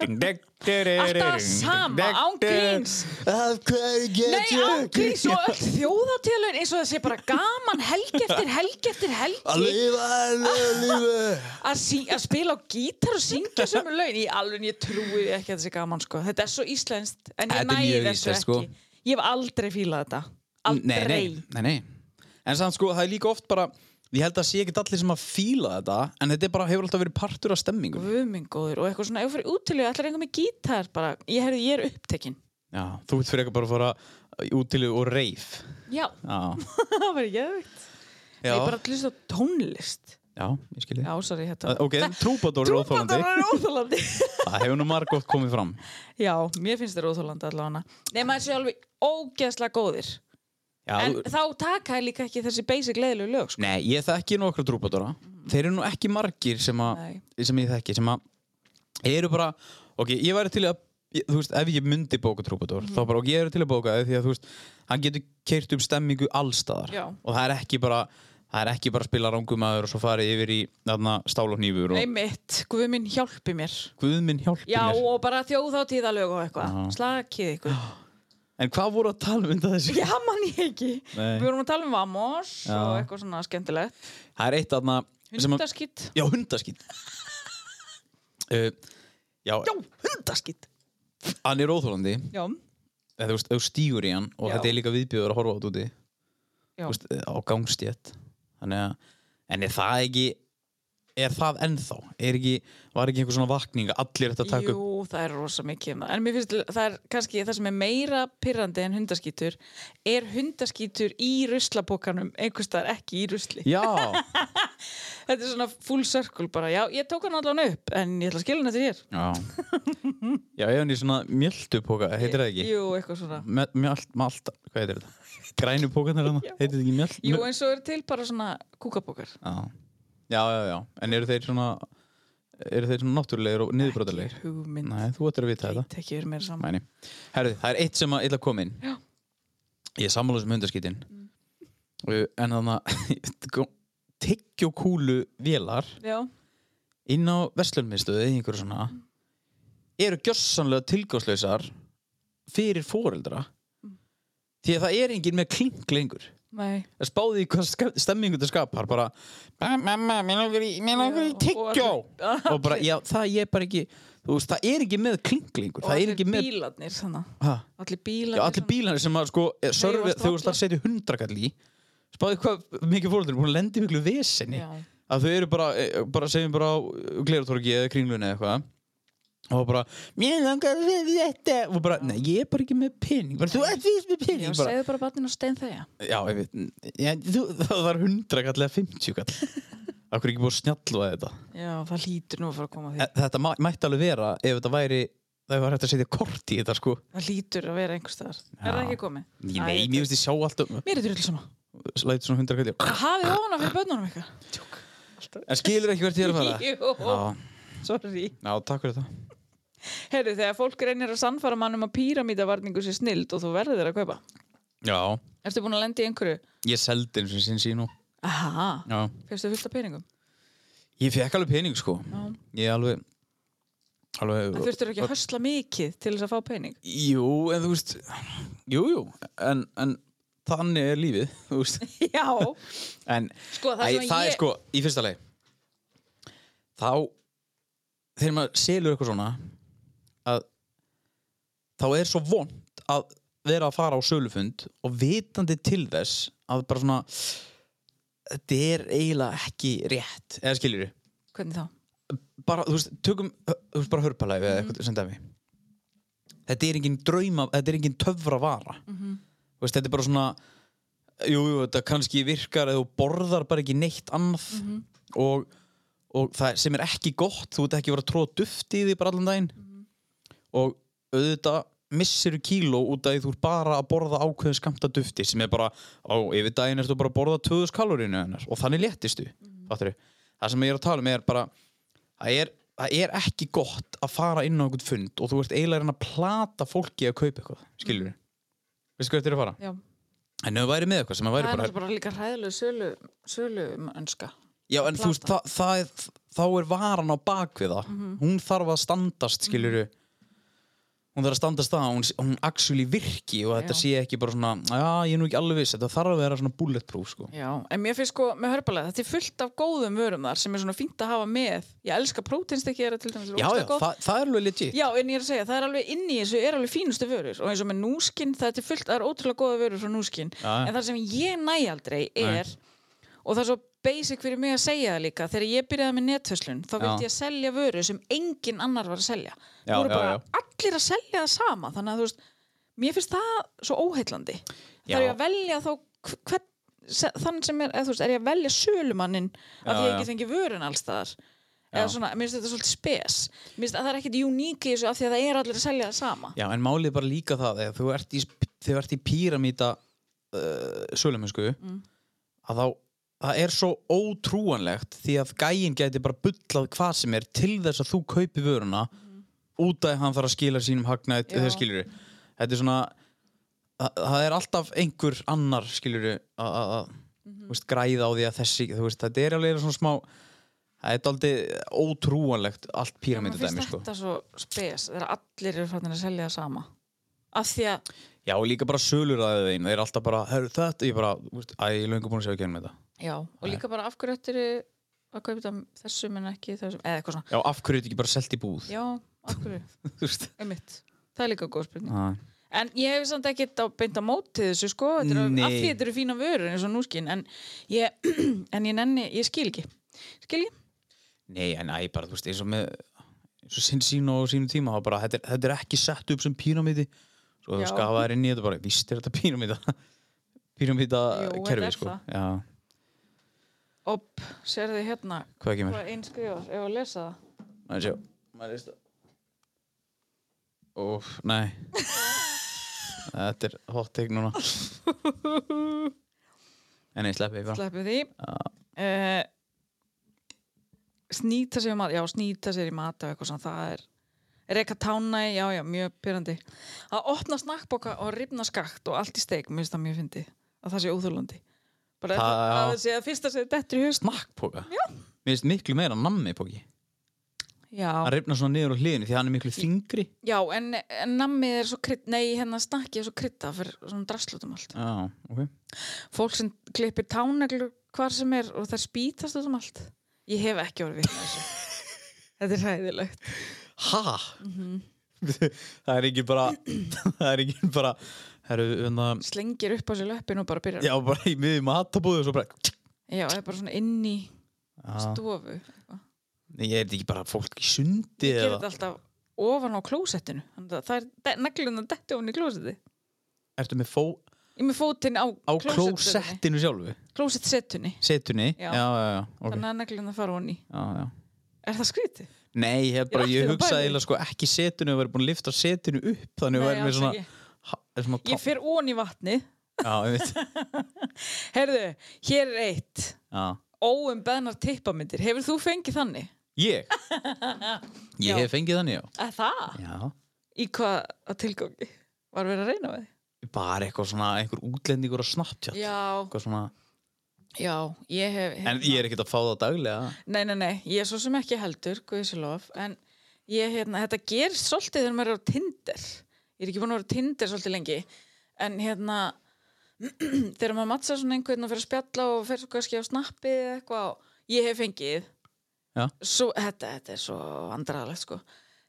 S1: Alltaf
S3: Alltaf
S1: sama, án gríns.
S3: Af hverju getur
S1: Nei, ágrís og öll þjóðatélun eins og það sé bara gaman helgi eftir helgi eftir
S3: Að
S1: helgi
S3: lifa, að [LAUGHS] lifa, að lifa
S1: að, sí, að spila á gítar og syngja sömu lögin í alveg ég trúi því ekki að það sé gaman sko. þetta er svo íslenskt en ég
S3: Þetta er
S1: næði
S3: mjög
S1: þessu
S3: íslenskt, sko.
S1: ekki ég hef aldrei fílað þetta aldrei
S3: nei, nei, nei, nei. En samt sko, það er líka oft bara Ég held að sé ekki allir sem að fíla þetta En þetta er bara, hefur alltaf verið partur af stemmingum
S1: Guðmingóður og eitthvað svona, ef ég fyrir útilega ætlar einhver með gítar bara, ég, heyrðu, ég er upptekinn
S3: Já, þú ert fyrir eitthvað bara að fara út til og reif
S1: Já,
S3: Já,
S1: [LAUGHS] það var geðvikt
S3: já,
S1: Ég bara hlusta á tónlist
S3: já, ég skil
S1: Já,
S3: þið
S1: sorry, þetta
S3: Uh, Ok,
S1: [LAUGHS]
S3: trúbadór er óþólandi
S1: Trúbandar er óþólandi
S3: Það hefur nú margótt komið fram
S1: [LAUGHS] Já, mér finnst þér óþólandi allavega Nei, maður séu alveg ógeðslega góðir
S3: já,
S1: En
S3: þú-
S1: þá taka ég líka ekki þessi basic leðilegu lög sko.
S3: Nei, ég þekki nokkra trúbadóra Þeir eru nú ekki margir sem, a,
S1: Mhm. Nei.
S3: sem ég þekki sem að eru bara ok, ég væri til að ég- þú veist, ef ég myndi bóka trúbadór
S1: Mhm.
S3: þá bara, ok, ég eru til að bóka þau því að þú veist hann getur keirt upp stemmingu allstaðar
S1: Já.
S3: og það er ekki bara það er ekki bara að spila rangumæður og svo farið yfir í þarna, stál og hnífur og
S1: Nei mitt, Guðminn hjálpi mér
S3: guð minn hjálpi
S1: Já,
S3: mér
S1: og bara þjóðáttíðalög og eitthvað
S3: Já.
S1: Slakið ykkur
S3: en hvað voru að tala um þetta þessu?
S1: Já, mann ég ekki
S3: Nei.
S1: Við vorum að tala um Vamos
S3: Já.
S1: og eitthvað svona skemmtilegt
S3: það er eitt aðna
S1: Hundaskitt
S3: já,
S1: [LAUGHS]
S3: hundaskýt uh, já,
S1: Já, hundaskitt
S3: hann er óþólandi
S1: Já,
S3: eða þú veist, ef þú stígur í hann og
S1: Já.
S3: þetta er líka viðbjöður að horfa á þetta úti
S1: Já.
S3: Þú veist, á gangstétt þannig að, en er það ekki er það ennþá er ekki, var ekki einhver svona vakning að allir þetta taka upp
S1: jú, það er rosa mikið um það. En mér finnst það er kannski það sem er meira pirrandi en hundaskítur er hundaskítur í ruslapokanum einhvers staðar ekki í rusli [LAUGHS]
S3: já,
S1: Þetta er svona full circle bara Já, ég tók hann allan upp en ég ætla að skilja hann eftir hér
S3: já já, ég hann í svona mjöldupoka, heitir það ekki
S1: Jú, eitthvað svona
S3: Me- mjöld, malt, hvað heitir þetta grænu pókarnir hann, heitir þetta ekki mjöld
S1: Jú, eins og eru til bara svona kúkapokar
S3: já. já, já, já, en eru þeir svona eru þeir svona náttúrulegir og niðurbrotalegir
S1: Ekki hugmynd
S3: nei, þú ættir að vita þetta
S1: Þetta ekki verið meira saman
S3: Mæni. Herðu, það er eitt sem að illa komin
S1: Já.
S3: Ég er sammála sem hundaskítin mm. En þannig að [LAUGHS] Tyggjókúlu vélar
S1: Já,
S3: Inn á verslunmiðstöðu eða einhverju svona Eru gjörsanlega tilgáslausar Fyrir foreldra Því að það er enginn með klink lengur
S1: nei
S3: Það spáði í hvað ska- stemmingu þetta skapar Bara, "Ba, mamma, mér langar í, mér langar í
S1: Já, og
S3: tyggjó
S1: allir- [LAUGHS]
S3: Og bara, já, það ég bara ekki Þú veist, það er ekki með klink lengur
S1: Og
S3: Það er
S1: allir
S3: ekki með,
S1: bílarnir svona
S3: hæ?
S1: Allir bílarnir
S3: Já, allir
S1: svona.
S3: bílarnir sem að sko eh, sörfi,
S1: varst
S3: þau varst að
S1: varla.
S3: setja hundrakall í spáði hvað mikið fórhaldur búin að lendi miklu vesenni
S1: Já.
S3: að þau eru bara, eh, bara segjum bara á gleratorgi eða kringlunni eða eitthvað og bara, mér langar við þetta og bara, nei, ég er bara ekki með pening bara, þú ert víst með
S1: Já,
S3: pening bara,
S1: segðu bara barninu að stein þegar
S3: já, ég veit, ja, þú, það var hundrakall eða fimmtjúkall
S1: [LAUGHS]
S3: akkur ekki búið að snjallva þetta
S1: Já, það hlýtur nú að fara að koma að því
S3: Eh, þetta mæ- mætti alveg vera ef þetta væri, það var hægt að setja kort í þetta sko,
S1: Það hlýtur að vera einhver staðar Er það ekki komið?
S3: ég
S1: Æ,
S3: nei, ég veist ég sjá alltaf
S1: Mér er drull sama
S3: lætur svona hundrakall í-
S1: Hafið ofan af fyrir börnunum ykkar
S3: En skilur ekki hvert ég er að fara?
S1: Jú,
S3: Já,
S1: sorry
S3: já, takk fyrir það.
S1: Herru, þegar fólk reynir að sannfara mann um að píramítavarningu sé snild og þú verður þeir að kaupa
S3: Já,
S1: Ertu búin að lenda í einhverju?
S3: ég seldi eins og sinn sín og...
S1: Aha,
S3: Já.
S1: fyrstu fullt af peningum
S3: Ég fekk alveg pening, sko.
S1: Já.
S3: Ég alveg... Alveg...
S1: Það þurftur ekki að hösla mikið til þess að fá pening
S3: Jú, en þú veist... Jú, jú, en, en þannig er lífið, þú veist.
S1: [LAUGHS] Já,
S3: En
S1: sko það
S3: Æ,
S1: sem
S3: það
S1: ég
S3: er sko, í fyrsta leið þá þegar maður selur eitthvað svona að þá er svo vond að vera að fara á sölufund og vitandi til þess að bara svona þetta er eiginlega ekki rétt eða skiljur
S1: Hvernig þá?
S3: bara, þú veist, tökum ö, þú veist, bara hörpalæfi eða
S1: Mhm.
S3: eitthvað sem dæmi þetta er engin drauma, þetta er engin töfra vara
S1: Mhm.
S3: þú veist, þetta er bara svona jú, jú, þetta kannski virkar eða þú borðar bara ekki neitt annað
S1: Mhm.
S3: og, og það sem er ekki gott þú ert ekki að vera að tróða duft í því bara allan daginn
S1: Mhm.
S3: og auðvitað missiru kíló út af því þú ert bara að borða ákveðin skamta dufti sem er bara, á, yfir daginn ertu bara að borða 2000 kalorínu hennar og þannig léttistu
S1: Mhm.
S3: mm það sem ég er að tala um er bara það er, það er ekki gott að fara inn á einhvern fund og þú ert eiginlega að reyna að plata fólki að kaupa eitthvað,
S1: Mhm.
S3: skilur við veistu hvað þetta er að fara?
S1: Já,
S3: En ef það væri með eitthvað sem það
S1: það er
S3: væri bara
S1: náttúrulega bara líka hræðileg sölu, sölu önska
S3: Já, en þú veist, það, það er, Mhm. þá er varan á bakvið það hún þarf að standast, skilur við hún þarf að standa stað hún, hún actually virki og þetta
S1: Já.
S3: sé ekki bara svona já, ég er nú ekki alveg viss, þetta þarf að vera svona bulletproof sko.
S1: Já, en mér finnst sko með hörpalega, þetta er fullt af góðum vörum þar sem er svona fínt að hafa með. Ég elska próteinstykki, er til dæmis
S3: já, já,
S1: rosalega gott.
S3: það, það er alveg legit
S1: Já, en ég er að segja, það er alveg inni í þessu, er alveg fínustu vörur og eins og með núskinn, það er fullt, það er ótrúlega góða vörur frá núskinn,
S3: Já, já.
S1: en það sem ég næ aldrei er, og það er svo basic fyrir mig að segja það líka, þegar ég byrjaði með netföslun, þá
S3: Já.
S1: vildi ég selja vöru sem engin annar var að selja.
S3: Já,
S1: Nú eru
S3: já,
S1: bara
S3: já.
S1: allir að selja það sama, þannig að þú veist, mér finnst það svo óheillandi.
S3: Já.
S1: Það er ég að velja þá hv- hvern, se- þann sem er, eða þú veist, er ég að velja sölumanninn af
S3: Já,
S1: því ég
S3: já.
S1: ekki fengi vörun alls staðar
S3: Já.
S1: eða svona, mér finnst þetta svolítið spes mér finnst að það er ekkit uník í þessu af því að það er allir að selja það sama
S3: Já, en málið er bara líka það þegar þú ert í, þegar þú ert í píramíta uh, sölumösku
S1: Mm.
S3: að þá, það er svo ótrúanlegt því að gæinn gæti bara bullað hvað sem er til þess að þú kaupi vöruna út af að hann þarf að skila sínum hagnaði
S1: Mm. Já.
S3: þegar skilur þetta er svona það, það er alltaf einhver annar skilur að að-
S1: Mhm.
S3: þú veist, græða á því að þessi þú veist, þetta er alveg svona smá það er aldrei ótrúanlegt allt
S1: mér
S3: píramíta
S1: finnst
S3: dæmi sko.
S1: þetta svo spes þegar allir eru fannin að selja það sama af því að,
S3: Já, og líka bara sölur að þeim, þeir eru alltaf bara, hörru þetta, ég bara, þú veist, æ, ég er löngu búin að sjá ekki henni með þetta.
S1: já, og líka bara af hverju þetta eru að kaupa þetta þessum en ekki þessum, eða eitthvað svona,
S3: Já, af hverju er þetta ekki bara selt í búð?
S1: já, af hverju
S3: [LAUGHS] Þú veist,
S1: [LAUGHS] einmitt, það er líka góð spurning
S3: Æ.
S1: En ég hef samt ekkert á beint á móti þessu sko, þetta eru,
S3: Nei.
S1: af því þetta eru fína vörur eins og núskinn, en ég, [CLEARS THROAT] en ég nenni, ég skil ekki, skil ekki?
S3: Nei, en æ, bara, þú veist, eins og með, eins og sinn sín og sínum tíma, þá bara, þetta er, þetta er ekki sett upp sem píramíti, svo þú
S1: Já.
S3: skafaðir inn í þetta bara, víst er þetta [LAUGHS] píramíta, píramíta
S1: Jú, þetta
S3: kerfi,
S1: er
S3: sko.
S1: það.
S3: Já,
S1: Opp, sérðu hérna,
S3: hvað kemur?
S1: hvað einn skrifar, ef að lesa það?
S3: Næ, sjá, maður veist það. Óf,
S1: [LAUGHS]
S3: nei. þetta er hot take núna. en ég sleppi bara.
S1: sleppu því uh, snýta sér í mat já, snýta sér í mat og eitthvað svona það er reka tánæ, já, já, mjög pyrrandi að opna snakkboka og rifna skakt og allt í steik, mér finnst það mjög fyndi að það sé óþúlandi bara
S3: Það-
S1: það,
S3: já.
S1: að það sé að fyrsta sér dettur í hust
S3: snakkpoka mér finnst miklu meira nammipóki hann
S1: já,
S3: rifnar svona niður á hliðinu því hann er miklu þingri
S1: já en, en nammið er svo krydd nei, hérna snakkið er svo krydda fyrir svona draslutum allt
S3: já, ok
S1: fólk sem klippir táneglur hvar sem er og það spýtast út um allt ég hef ekki orðið vitni að þessu
S3: [LAUGHS]
S1: þetta er hæðilegt
S3: ha? [LAUGHS] það er ekki bara [CLEARS THROAT] það er ekki bara herru, unna,
S1: slengir upp á sér löppin og bara byrjar
S3: já, bara í miðjum matabúðu og svo bara
S1: já það er bara svona inn í
S3: Já.
S1: stofu
S3: Nei, ég er þetta ekki bara fólk í sundi
S1: gerir
S3: eða,
S1: þetta alltaf ofan á klósettinu þannig að það er neglun að detti ofan í klósetti
S3: ertu með fó
S1: ég með fótinn á,
S3: á
S1: klósettsetunni.
S3: klósettinu sjálfu
S1: klósettsetunni
S3: setunni, já,
S1: Já.
S3: já, já, ok
S1: þannig að neglun að fara ofan í
S3: já, já.
S1: er það skrítið?
S3: nei, ég, hef bara,
S1: allt í
S3: ég
S1: einu
S3: hugsaði
S1: bæði.
S3: eiginlega sko ekki setinu og verið búin að lifta setinu upp þannig að verið með
S1: alls
S3: svona,
S1: ekki.
S3: ha- er svona
S1: ég fer ofan í vatni
S3: já, ég veit [LAUGHS]
S1: herðu, hér er eitt
S3: já.
S1: óum beðnar tippamindir hefur þú fengið þannig?
S3: [LAUGHS] Ég? Ég
S1: Já.
S3: hef fengið þannig, já.
S1: að það?
S3: Já.
S1: í hvað að tilgangi? var verið að reyna við?
S3: Bara eitthvað svona, einhver útlendingur að snapptjátt.
S1: já,
S3: Eitthvað svona,
S1: já ég hef,
S3: en ég er ekkert að fá það daglega.
S1: Nei, nei, nei, ég er svo sem ekki heldur, guðsilof, en ég, hérna, þetta gerist svolítið þegar maður er á Tinder. Ég er ekki búin að vera á Tinder svolítið lengi, en hérna, [CLEARS THROAT] þegar maður mattsar svona einhvern og fyrir að spjalla og fyrir svo kannski á snappið eða eitthvað, og ég hef fengið,
S3: Já.
S1: svo, þetta, þetta er svo andraðalegt, sko.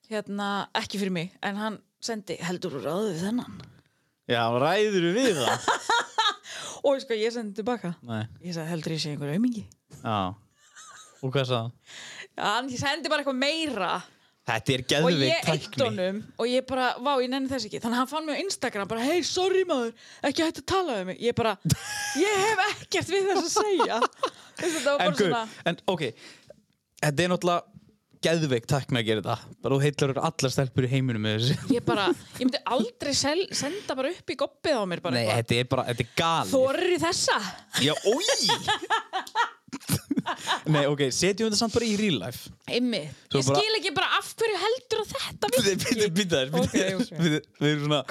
S1: Hérna, ekki fyrir mig, en hann sendi, heldur úr ráðu við þennan.
S3: Já, ræður við [LAUGHS] það?
S1: Og sko, ég sendi tilbaka.
S3: Nei,
S1: Ég sagði, heldur ég sé einhver aumingi.
S3: já. Og hvað sagði hann?
S1: Já, hann sendi bara eitthvað meira.
S3: Þetta er
S1: og ég
S3: geðveikt
S1: eitt
S3: tækni.
S1: honum og ég bara, vá, ég nenni þess ekki þannig að hann fann mig á Instagram, bara, hei, sorry maður ekki hætti að tala um mig, ég
S3: [LAUGHS]
S1: bara ég hef ekkert við þess að segja Þú veist, þetta var
S3: En,
S1: bara
S3: guð,
S1: svona
S3: en ok, þetta er náttúrulega geðveikt tækni að gera þetta. Bara þú heillar eru allar stelpur í heiminum með þessu. [LAUGHS]
S1: ég bara, ég myndi aldrei sel, senda bara upp í goppið á mér bara
S3: Nei, þetta er bara, þetta er galið.
S1: Þorir í þessa?
S3: Já, [LAUGHS] ói! Nei, ok, setjum þetta samt bara í real life.
S1: Ymmi,
S3: Svo
S1: ég
S3: bara-
S1: skil ekki bara af hverju heldur þú þetta
S3: Bíddu, bíddu,
S1: virki?
S3: bíddu aðeins,
S1: Ok,
S3: bíddu
S1: ok.
S3: aðeins, bíddu. Við erum svona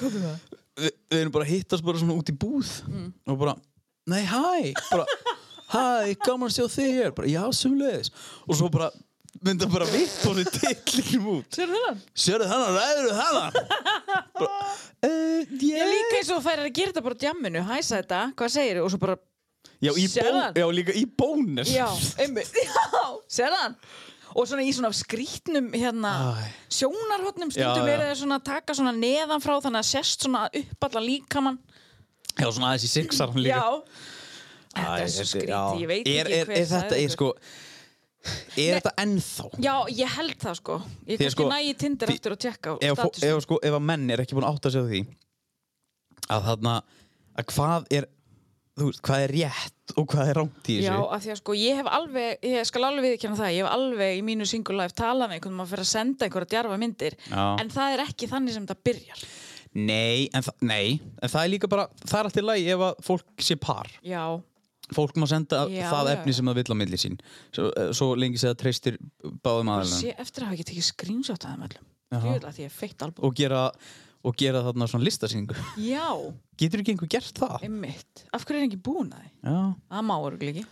S3: við, við erum bara að hittast bara svona út í búð
S1: Mm.
S3: og bara, nei hæ bara, hæ, gaman að sjá þig hér bara, já, sumleðis og svo bara mynda bara vitt og þið titlinum út
S1: Sér þennan?
S3: Sérðu þannig, ræður þannig uh,
S1: Ég líka eins og færir að gera þetta bara á djamminu, hæsa þetta, hvað segir Og svo bara,
S3: Já, í
S1: Sérðu
S3: bón-
S1: hann?
S3: já, líka í bónus
S1: [LAUGHS] já, einmitt, já, sér þennan? Og svona í svona skrítnum hérna,
S3: Æ.
S1: sjónarhotnum stundum
S3: Já, já.
S1: er það svona að taka svona neðan frá þannig að sérst svona upp allan líkamann.
S3: Já, svona aðeins í sixar hann líka
S1: Já, þetta
S3: Æ,
S1: er svo
S3: þetta- já.
S1: skrítið, ég veit
S3: er,
S1: ekki
S3: er,
S1: hver
S3: er þetta,
S1: sagði
S3: er sko Er þetta ennþá?
S1: Já, ég held það sko. Ég
S3: Því
S1: kannski
S3: sko,
S1: næ í Tinder
S3: því-
S1: aftur að tjekka á
S3: ef, fó-
S1: statusnum.
S3: ef, sko, ef að menn er ekki búin að átta sig á því að þarna að hvað er þú veist, hvað er rétt og hvað er rámt í
S1: Já,
S3: þessu
S1: af því að sko, ég hef alveg, ég skal alveg viðkjanna það, ég hef alveg í mínu single life talað með einhvern um að fyrir að senda einhverja djarfa myndir,
S3: Já.
S1: en það er ekki þannig sem það byrjar.
S3: nei, en það, nei, en það er líka bara það er allt í lagi ef að fólk sé par
S1: Já,
S3: fólk má senda
S1: Já,
S3: það
S1: já,
S3: efni
S1: já.
S3: sem það vill á milli sín svo, eh, svo lengi sem það treystir báðum
S1: og
S3: aðeins
S1: sé eftir að hafa ekki tekið screenshot af þeim öllum.
S3: Jaha.
S1: Ég vil að því ég er feitt albúm.
S3: og gera, og gera þarna svona listasýningu
S1: Já,
S3: getur ekki einhver gert það?
S1: einmitt. Af hverju er ekki búin að því?
S3: já,
S1: Það má örgulega ekki.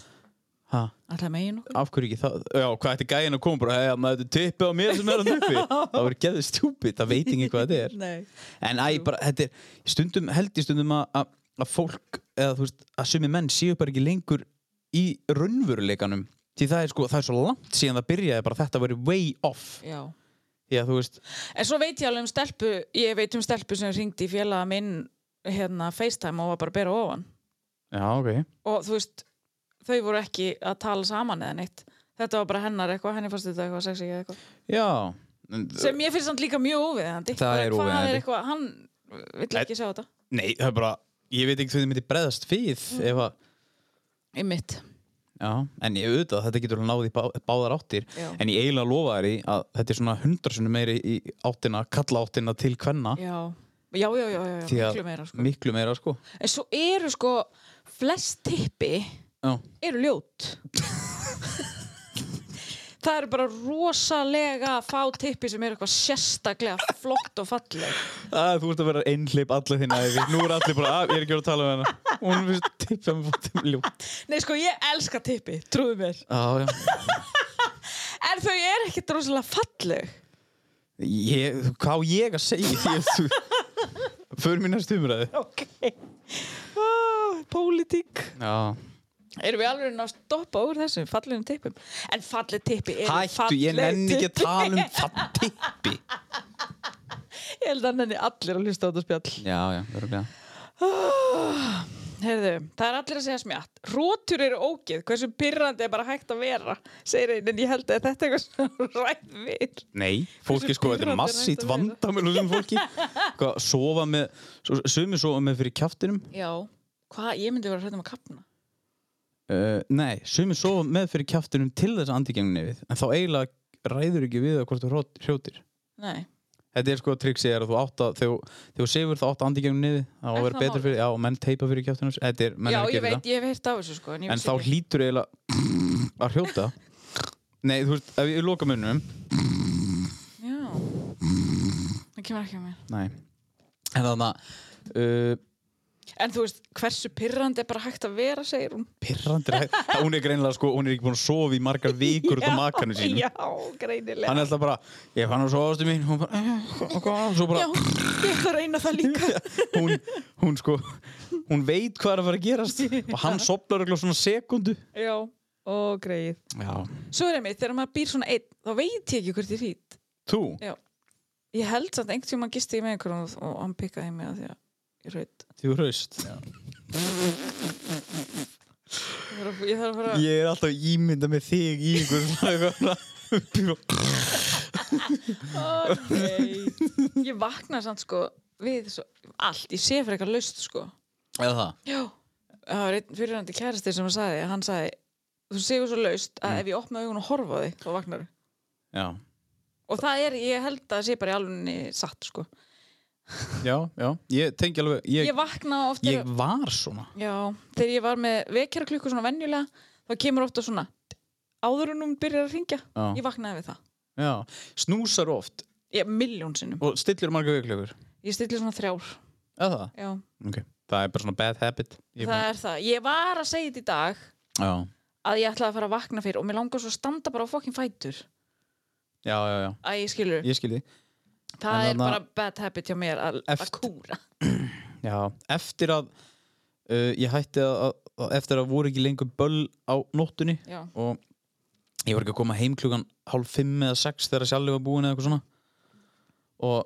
S3: ha,
S1: Alltaf megin okkur.
S3: af hverju ekki það? já, hvað ætti gæin að koma bara, hei, maður þetta er tippi á mér sem er hann uppi það verður geðið stjúpit, það veit ekki hvað þetta er
S1: Nei.
S3: En æ, bara, þetta er, stundum, held ég stundum að- að að fólk, eða þú veist, að sumi menn séu bara ekki lengur í raunveruleikanum. Því það er sko, það er svo langt síðan það byrjaði bara þetta verið way off.
S1: Já.
S3: Því að þú veist,
S1: En svo veit ég alveg um stelpu, ég veit um stelpu sem ringdi í félaga minn hérna FaceTime og var bara að bera ofan.
S3: já, ok.
S1: og þú veist þau voru ekki að tala saman eða neitt þetta var bara hennar eitthvað, henni fannst þetta eitthvað sexy eða eitthvað,
S3: Já, en-
S1: sem ég finnst samt líka mjög óviðandi
S3: Það er
S1: hvað
S3: óviðeigandi.
S1: er eitthvað, hann vill ekki sjá þetta
S3: nei, það er bara, ég veit ekki hvernig myndi breðast við ef að,
S1: í mitt,
S3: já, en ég auðvitað, þetta getur alveg náði bá, báðar áttir.
S1: Já.
S3: En ég eiginlega lofa þér í að þetta er svona hundarsunum meiri í áttina, kalla áttina til hvenna.
S1: já já, já, já, já, já.
S3: Því að-
S1: miklu meira sko.
S3: Miklu meira, sko.
S1: en svo eru sko flest tippi
S3: Já,
S1: eru ljót það eru bara rosalega fá tippi sem eru eitthvað sérstaklega flott og falleg
S3: að þú ert að vera einhleip allir þín æfi nú er allir bara að ég er ekki verið að tala um hana hún finnst tippja með fótum um ljótt
S1: nei sko, ég elska tippi, trúðu mér
S3: já, já.
S1: en þau eru ekkert rosalega falleg
S3: Ég, hvað á ég að segja því að þú fyrir mín næstu umræði
S1: Ok. Oh, pólitík.
S3: já.
S1: Erum við alveg að stoppa úr þessum fallegum tippum? En falleg tippi er
S3: hættu, ég nenni ekki að tala um það tippi
S1: [LAUGHS] Ég held að nenni allir að hlusta á þetta spjall.
S3: já, já, örgulega
S1: Ah, Heyrðu, það er allir að segja smjátt. Rótur eru ógeð, hversu pyrrandi er bara hægt að vera, segir einn, en ég held að þetta er eitthvað svona ræð við.
S3: nei, fólki
S1: Hversu
S3: sko, þetta
S1: pirrandi er
S3: er massít
S1: hægt að vera?
S3: vandamölu sem fólki hvað, sofa með svo- sumir sofa með fyrir kjaftinum
S1: Já, hvað, ég myndi vera hrætt um að kapna.
S3: uh, nei, sumir sofa með fyrir kjaftinum til þess að andigengni við en þá eiginlega ræður ekki við það hvort þú hró- hrjótir
S1: Nei,
S3: Þetta er sko að triksi er að þú átt að þegar þegar þú sefur þá átt að andi gegnum niður þá
S1: Er
S3: að vera
S1: það
S3: betur
S1: málið?
S3: fyrir, já, og menn teipa fyrir kjáttunum Þetta er, menn
S1: já,
S3: er að
S1: ég
S3: gera
S1: veit, ég hef heyrt á þessu sko, en ég
S3: það En
S1: vissi
S3: þá
S1: ekki.
S3: hlýtur eiginlega að hrjóta Nei, þú veist, ef ég loka munum
S1: Já, það kemur ekki að mér.
S3: Nei En þannig að uh,
S1: En þú veist, hversu pyrrandi er bara hægt að vera, segir hún.
S3: Pirrandir Hún er greinilega sko, hún er ekki búin að sofa í margar vikur út af makanum sínum
S1: [LAUGHS] Já, greinilega.
S3: Hann er alltaf bara, ég fann að sofa ástu mín Hún bara, "Eh, ok," svo bara
S1: Já, ég ætla að reyna það líka.
S3: hún, hún sko Hún veit hvað er að fara að gerast Og hann sopnar eitthvað svona sekundu
S1: [LAUGHS] Já, og greið.
S3: Já
S1: Svo er einmitt, þegar maður býr svona einn, þá veit ég ekki hvert ég hrýt.
S3: Þú?
S1: Ég held samt einhvern tíma gisti ég með einhverjum og- og hann pikkaði mig að því að ég raut.
S3: Þú hraust
S1: Ég þarf að- ég þarf að fara
S3: Ég er alltaf ímynda með þig í einhver [LAUGHS] svona eitthvað svona-
S1: Ó, nei. Ég vakna samt sko við svo, allt, ég sé fyrir eitthvað laust sko.
S3: Eða það?
S1: Já. Það var einn fyrirhandi kærasti sem að sagði, hann sagði, þú séu svo laust
S3: Mm.
S1: að ef ég opna augun og horfa á þig, þá vaknar
S3: Já
S1: Og það er, ég held að það sé bara í alveg satt sko.
S3: Já, já Ég tengi alveg Ég,
S1: Ég vakna ofta
S3: ég var svona
S1: Já, þegar ég var með vekjara klukku svona venjulega, þá kemur ofta svona áður en hún byrjar að ringja
S3: Já.
S1: ég vaknaði við það,
S3: Já Snúsar oft
S1: ég miljón sinnum
S3: Og stillir marga viklögur
S1: ég stilli svona þrjár
S3: Eða það?
S1: Já,
S3: Ok Það er bara svona bad habit Ég
S1: það er það, ég var að segja þetta í dag
S3: Já
S1: að ég ætlaði að fara að vakna fyrir og mér langar svo að standa bara á fokkin fætur
S3: já, já, já,
S1: Æ, skilur,
S3: ég skilji
S1: það
S3: en
S1: er
S3: þarna-
S1: bara bad habit hjá mér að að
S3: Eft-
S1: kúra
S3: Já, eftir að uh, ég hætti að, að, að eftir að voru ekki lengur böll á nóttunni
S1: Já,
S3: og ég var ekki að koma heim klukkan hálf fimm eða sex þegar sjálf var búin eða eitthvað svona og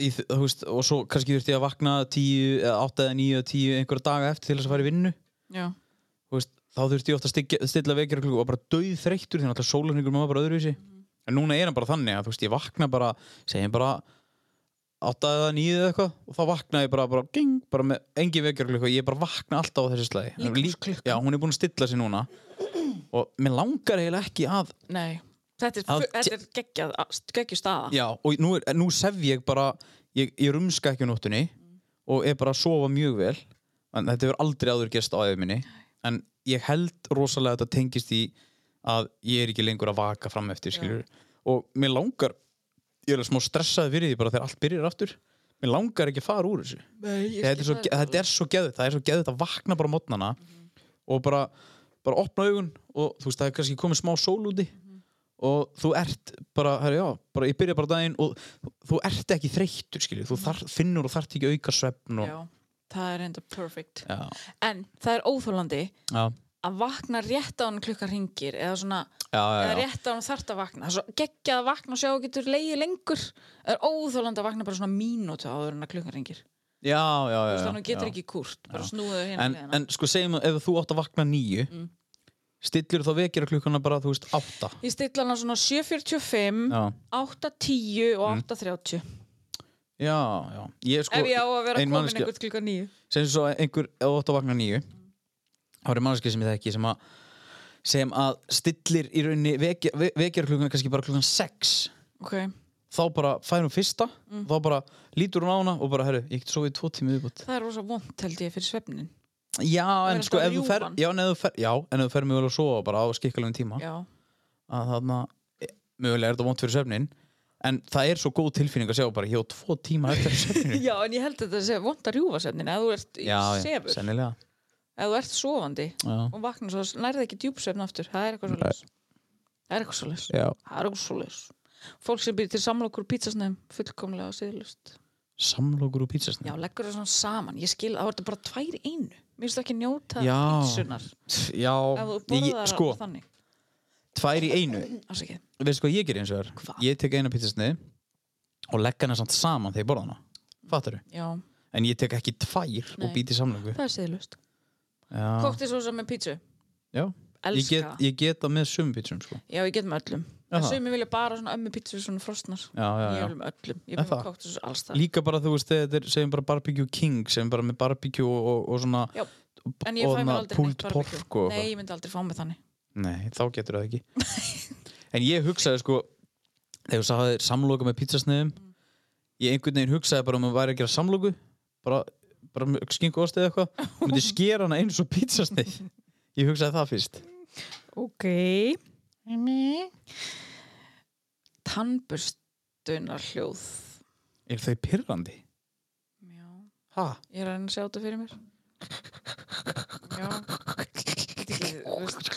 S3: í, þ- þú veist, og svo kannski þurfti ég að vakna tíu eða átta eða níu eða tíu einhverja daga eftir til þess að fara í vinnu
S1: já,
S3: Þú veist, þá þurfti ég ofta að styggja- stilla vekjara klukku og var bara döð þreyttur þannig að alltaf sólarningur maður bara öðruvísi en núna er hann bara þannig að þú veist, ég vakna bara segjum bara átta eða níu eða eitthvað og þá vakna ég bara, bara, ging, bara með engin vekjara klukku ég bara vakna alltaf á þessu slagi Hún er lík-
S1: Líkamsklukkan.
S3: já, hún er búin að stilla sig núna og mér langar eiginlega ekki að
S1: nei Þetta er,
S3: Að-
S1: fu- þetta er geggjað, geggjað staða
S3: já, og nú, er, nú sef ég bara ég, ég rumska ekki á nóttunni og er bara að sofa mjög vel en þetta hefur aldrei áður gerst á aðeins minni en ég held rosalega að þetta tengist í að ég er ekki lengur að vaka fram eftir skilur og mér langar ég er alveg smá stressaði fyrir því bara þegar allt byrjar aftur mér langar ekki að fara úr þessu
S1: Nei, ég
S3: þetta er,
S1: skil
S3: svo,
S1: það alveg. Mhm.
S3: þetta er svo geðið það er svo geðið að vakna bara á mótnana og bara, bara opna augun og þú veist það er kannski komið smá sól úti
S1: Mhm.
S3: og þú ert bara, herri, já, bara ég byrja bara daginn og þú ert ekki þreyttur skilju
S1: Mhm.
S3: þú þar, finnur og þarft ekki auka svefn og,
S1: Já, það er enda perfect
S3: já.
S1: En það er óþólandi
S3: Já.
S1: að vakna rétt á hann klukkan ringir eða svona,
S3: Já, já,
S1: eða
S3: já.
S1: rétt á hann þarft að vakna svo geggjað að vakna og sjá að þú getur leiði lengur Það er óþólandi að vakna bara svona mínútu áður en að klukkan ringir
S3: já, já, já,
S1: þannig að þú
S3: já.
S1: getur ekki kúrt, bara
S3: Já.
S1: snúðu hérna
S3: en,
S1: hliðina.
S3: en sko segjum að ef þú átt að vakna nýju
S1: Mm.
S3: stillur þá vekjara klukkana bara þú veist átta
S1: Ég stilla hana svona 7.45
S3: já, Mm.
S1: 8.10 og 8.30
S3: já, já. Ég, sko,
S1: ef ég á að vera
S3: ein
S1: komin
S3: manneskja-
S1: einhvern klukka 9
S3: sem svo að einhver ef þú átt að vakna nýju þá er mannskið sem ég þekki sem að sem að stillir í rauninni vekja, ve- vekjar klukkuna kannski bara klukkan 6
S1: ok,
S3: þá bara fær hún fyrsta
S1: Mm.
S3: þá bara lítur hún á hana og bara herru, ég get sofið tvo tími viðbútt
S1: það er rosa vond held ég fyrir svefnin
S3: já, en
S1: er
S3: sko
S1: alltaf
S3: ef þú fer
S1: ljúfan.
S3: já, en ef þú fer, já, en ef þú fer mjögulega að sofa bara á skikkulegum tíma
S1: já,
S3: að þarna, e, mjögulega er þetta vont fyrir svefnin en það er svo góð tilfinning að sjá bara, ég á tvo tíma
S1: [LAUGHS]
S3: eftir af svefninu
S1: já en ég held að þetta sé vond að rjúfa svefnin eða þú ert í
S3: já, já,
S1: sefur
S3: sennilega
S1: eða þú ert sofandi
S3: já,
S1: og vaknar svo nærði ekki djúpsvefn aftur það er eitthvað svo það er eitthvað svo
S3: já.
S1: það er eitthvað svo fólk sem býr til samlokur og pítsasnefn fullkomlega síðlust
S3: samlokur og pítsasnum
S1: já, leggur það svona saman, ég skil þá er þetta bara tvær í einu, mér finnst það ekki njóta
S3: Já.
S1: pítsunar,
S3: Já,
S1: ef þú
S3: ég,
S1: borðar
S3: sko,
S1: þannig
S3: tvær í einu
S1: Ásakið.
S3: Veistu hvað ég ger eins og er?
S1: Hvað?
S3: Ég tek eina pítsasnið og legg hana samt saman þegar ég borða hana Fattar
S1: já,
S3: En ég tek ekki tvær og
S1: Nei.
S3: býti samlöku
S1: það er síðlust
S3: Já,
S1: Koktisósa með pítsu
S3: já. Ég,
S1: Elska.
S3: get, ég get það með sumum pítsum sko.
S1: Já, ég get með öllum.
S3: Já,
S1: En
S3: það.
S1: sumi vilja bara svona ömmu pítsu svona frostnar.
S3: já, já,
S1: Ég
S3: já.
S1: vil með öllum. Ég
S3: Er
S1: vil með
S3: það?
S1: koktisósa alls það.
S3: Líka bara þú veist þegar þeir segjum bara barbecue king sem bara með barbecue og, og, og svona
S1: Já,
S3: og-
S1: En ég fæ mér
S3: og þarna
S1: aldrei
S3: pulled
S1: barbecue.
S3: pork og
S1: Nei,
S3: eitthvað.
S1: ég myndi aldrei fá mig þannig.
S3: Nei, þá getur það ekki En ég hugsaði sko þegar þú sagði samloka með pítsasniðum ég einhvern veginn hugsaði bara um að væri að gera samloku bara, bara með skinku osti eða eitthvað og myndi skera hana eins og pítsasnið Ég hugsaði það fyrst
S1: Ok. Tannburstunar hljóð.
S3: Er þau pirrandi?
S1: Já.
S3: Ha?
S1: Ég er að reyna að sjá þetta fyrir mér. Já. Þetta er ekki- þú veist.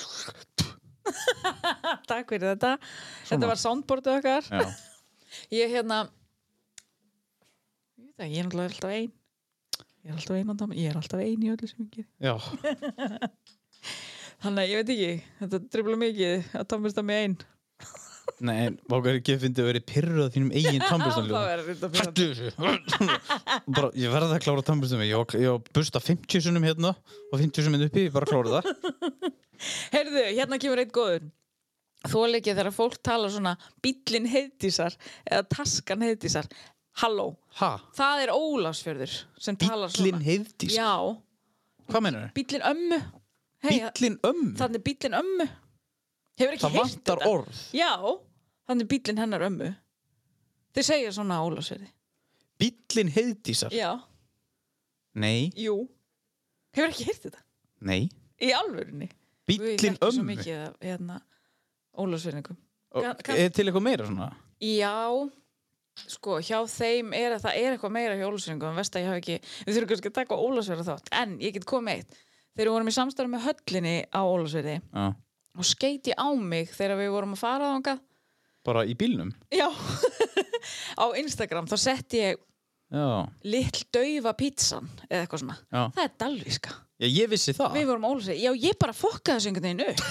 S1: [LAUGHS] Takk fyrir þetta.
S3: Svona.
S1: Þetta var soundboardið okkar.
S3: Já,
S1: Ég hérna Ég veit ekki, ég er náttúrulega alltaf ein Ég er alltaf ein á dama- Ég er alltaf ein í öllu sem ég gerir
S3: já,
S1: Þannig að ég veit ekki, þetta drifla mikið að tamast að mig ein
S3: nei, en vákar ekki að fyndi að vera pirrað þínum eigin
S1: Það [LAUGHS]
S3: tannbjörnstanljóð
S1: Ah, er þetta fyrir
S3: Hættu þessu bara, Ég verði að klára tannbjörnstum Ég var- ég var að busta 50 sunnum hérna og 50 sunnum uppi, ég bara klára það
S1: Heyrðu, hérna kemur eitt góður Þóla ekki þegar fólk talar svona bíllinn heiðdísar eða taskan heiðdísar Halló,
S3: Ha?
S1: það er Ólafsfjörður sem talar svona
S3: Bíllinn heiðdís?
S1: Já,
S3: Hvað meinar þau?
S1: bíllinn ömmu hey,
S3: Bíllinn ömmu? Það,
S1: Þannig er bíllinn ömmu Hefur ekki heyrt
S3: vantar
S1: þetta?
S3: orð.
S1: Já, þannig bílinn hennar ömmu Þeir segja svona á Ólafsverði
S3: Bíllinn heiðdísar?
S1: Já,
S3: Nei,
S1: jú Hefur ekki heyrt þetta?
S3: nei.
S1: Í alvörinni
S3: Bíllinn
S1: Svo
S3: ömmu?
S1: mikið af hérna, Ólafsverðingum
S3: Og
S1: Ka- ka-
S3: Er til eitthvað meira svona?
S1: Já, sko, hjá þeim er að það er eitthvað meira hjá Ólafsverðingum en vest að ég hafi ekki, við þurfum kannski að taka Ólafsverða þátt en ég get komið með eitt Þegar við vorum í samstarf með höllinni á Ólafsverði
S3: Já.
S1: og skeiti á mig þegar við vorum að fara þangað
S3: bara í bílnum
S1: Já, [LAUGHS] á Instagram þá sett ég
S3: já,
S1: lill daufa pítsan eða eitthvað svona.
S3: já,
S1: Það er dalvíska.
S3: já ég vissi það
S1: Við vorum ólusið. Já, ég bara fokkaði þessu einhvern veginn upp.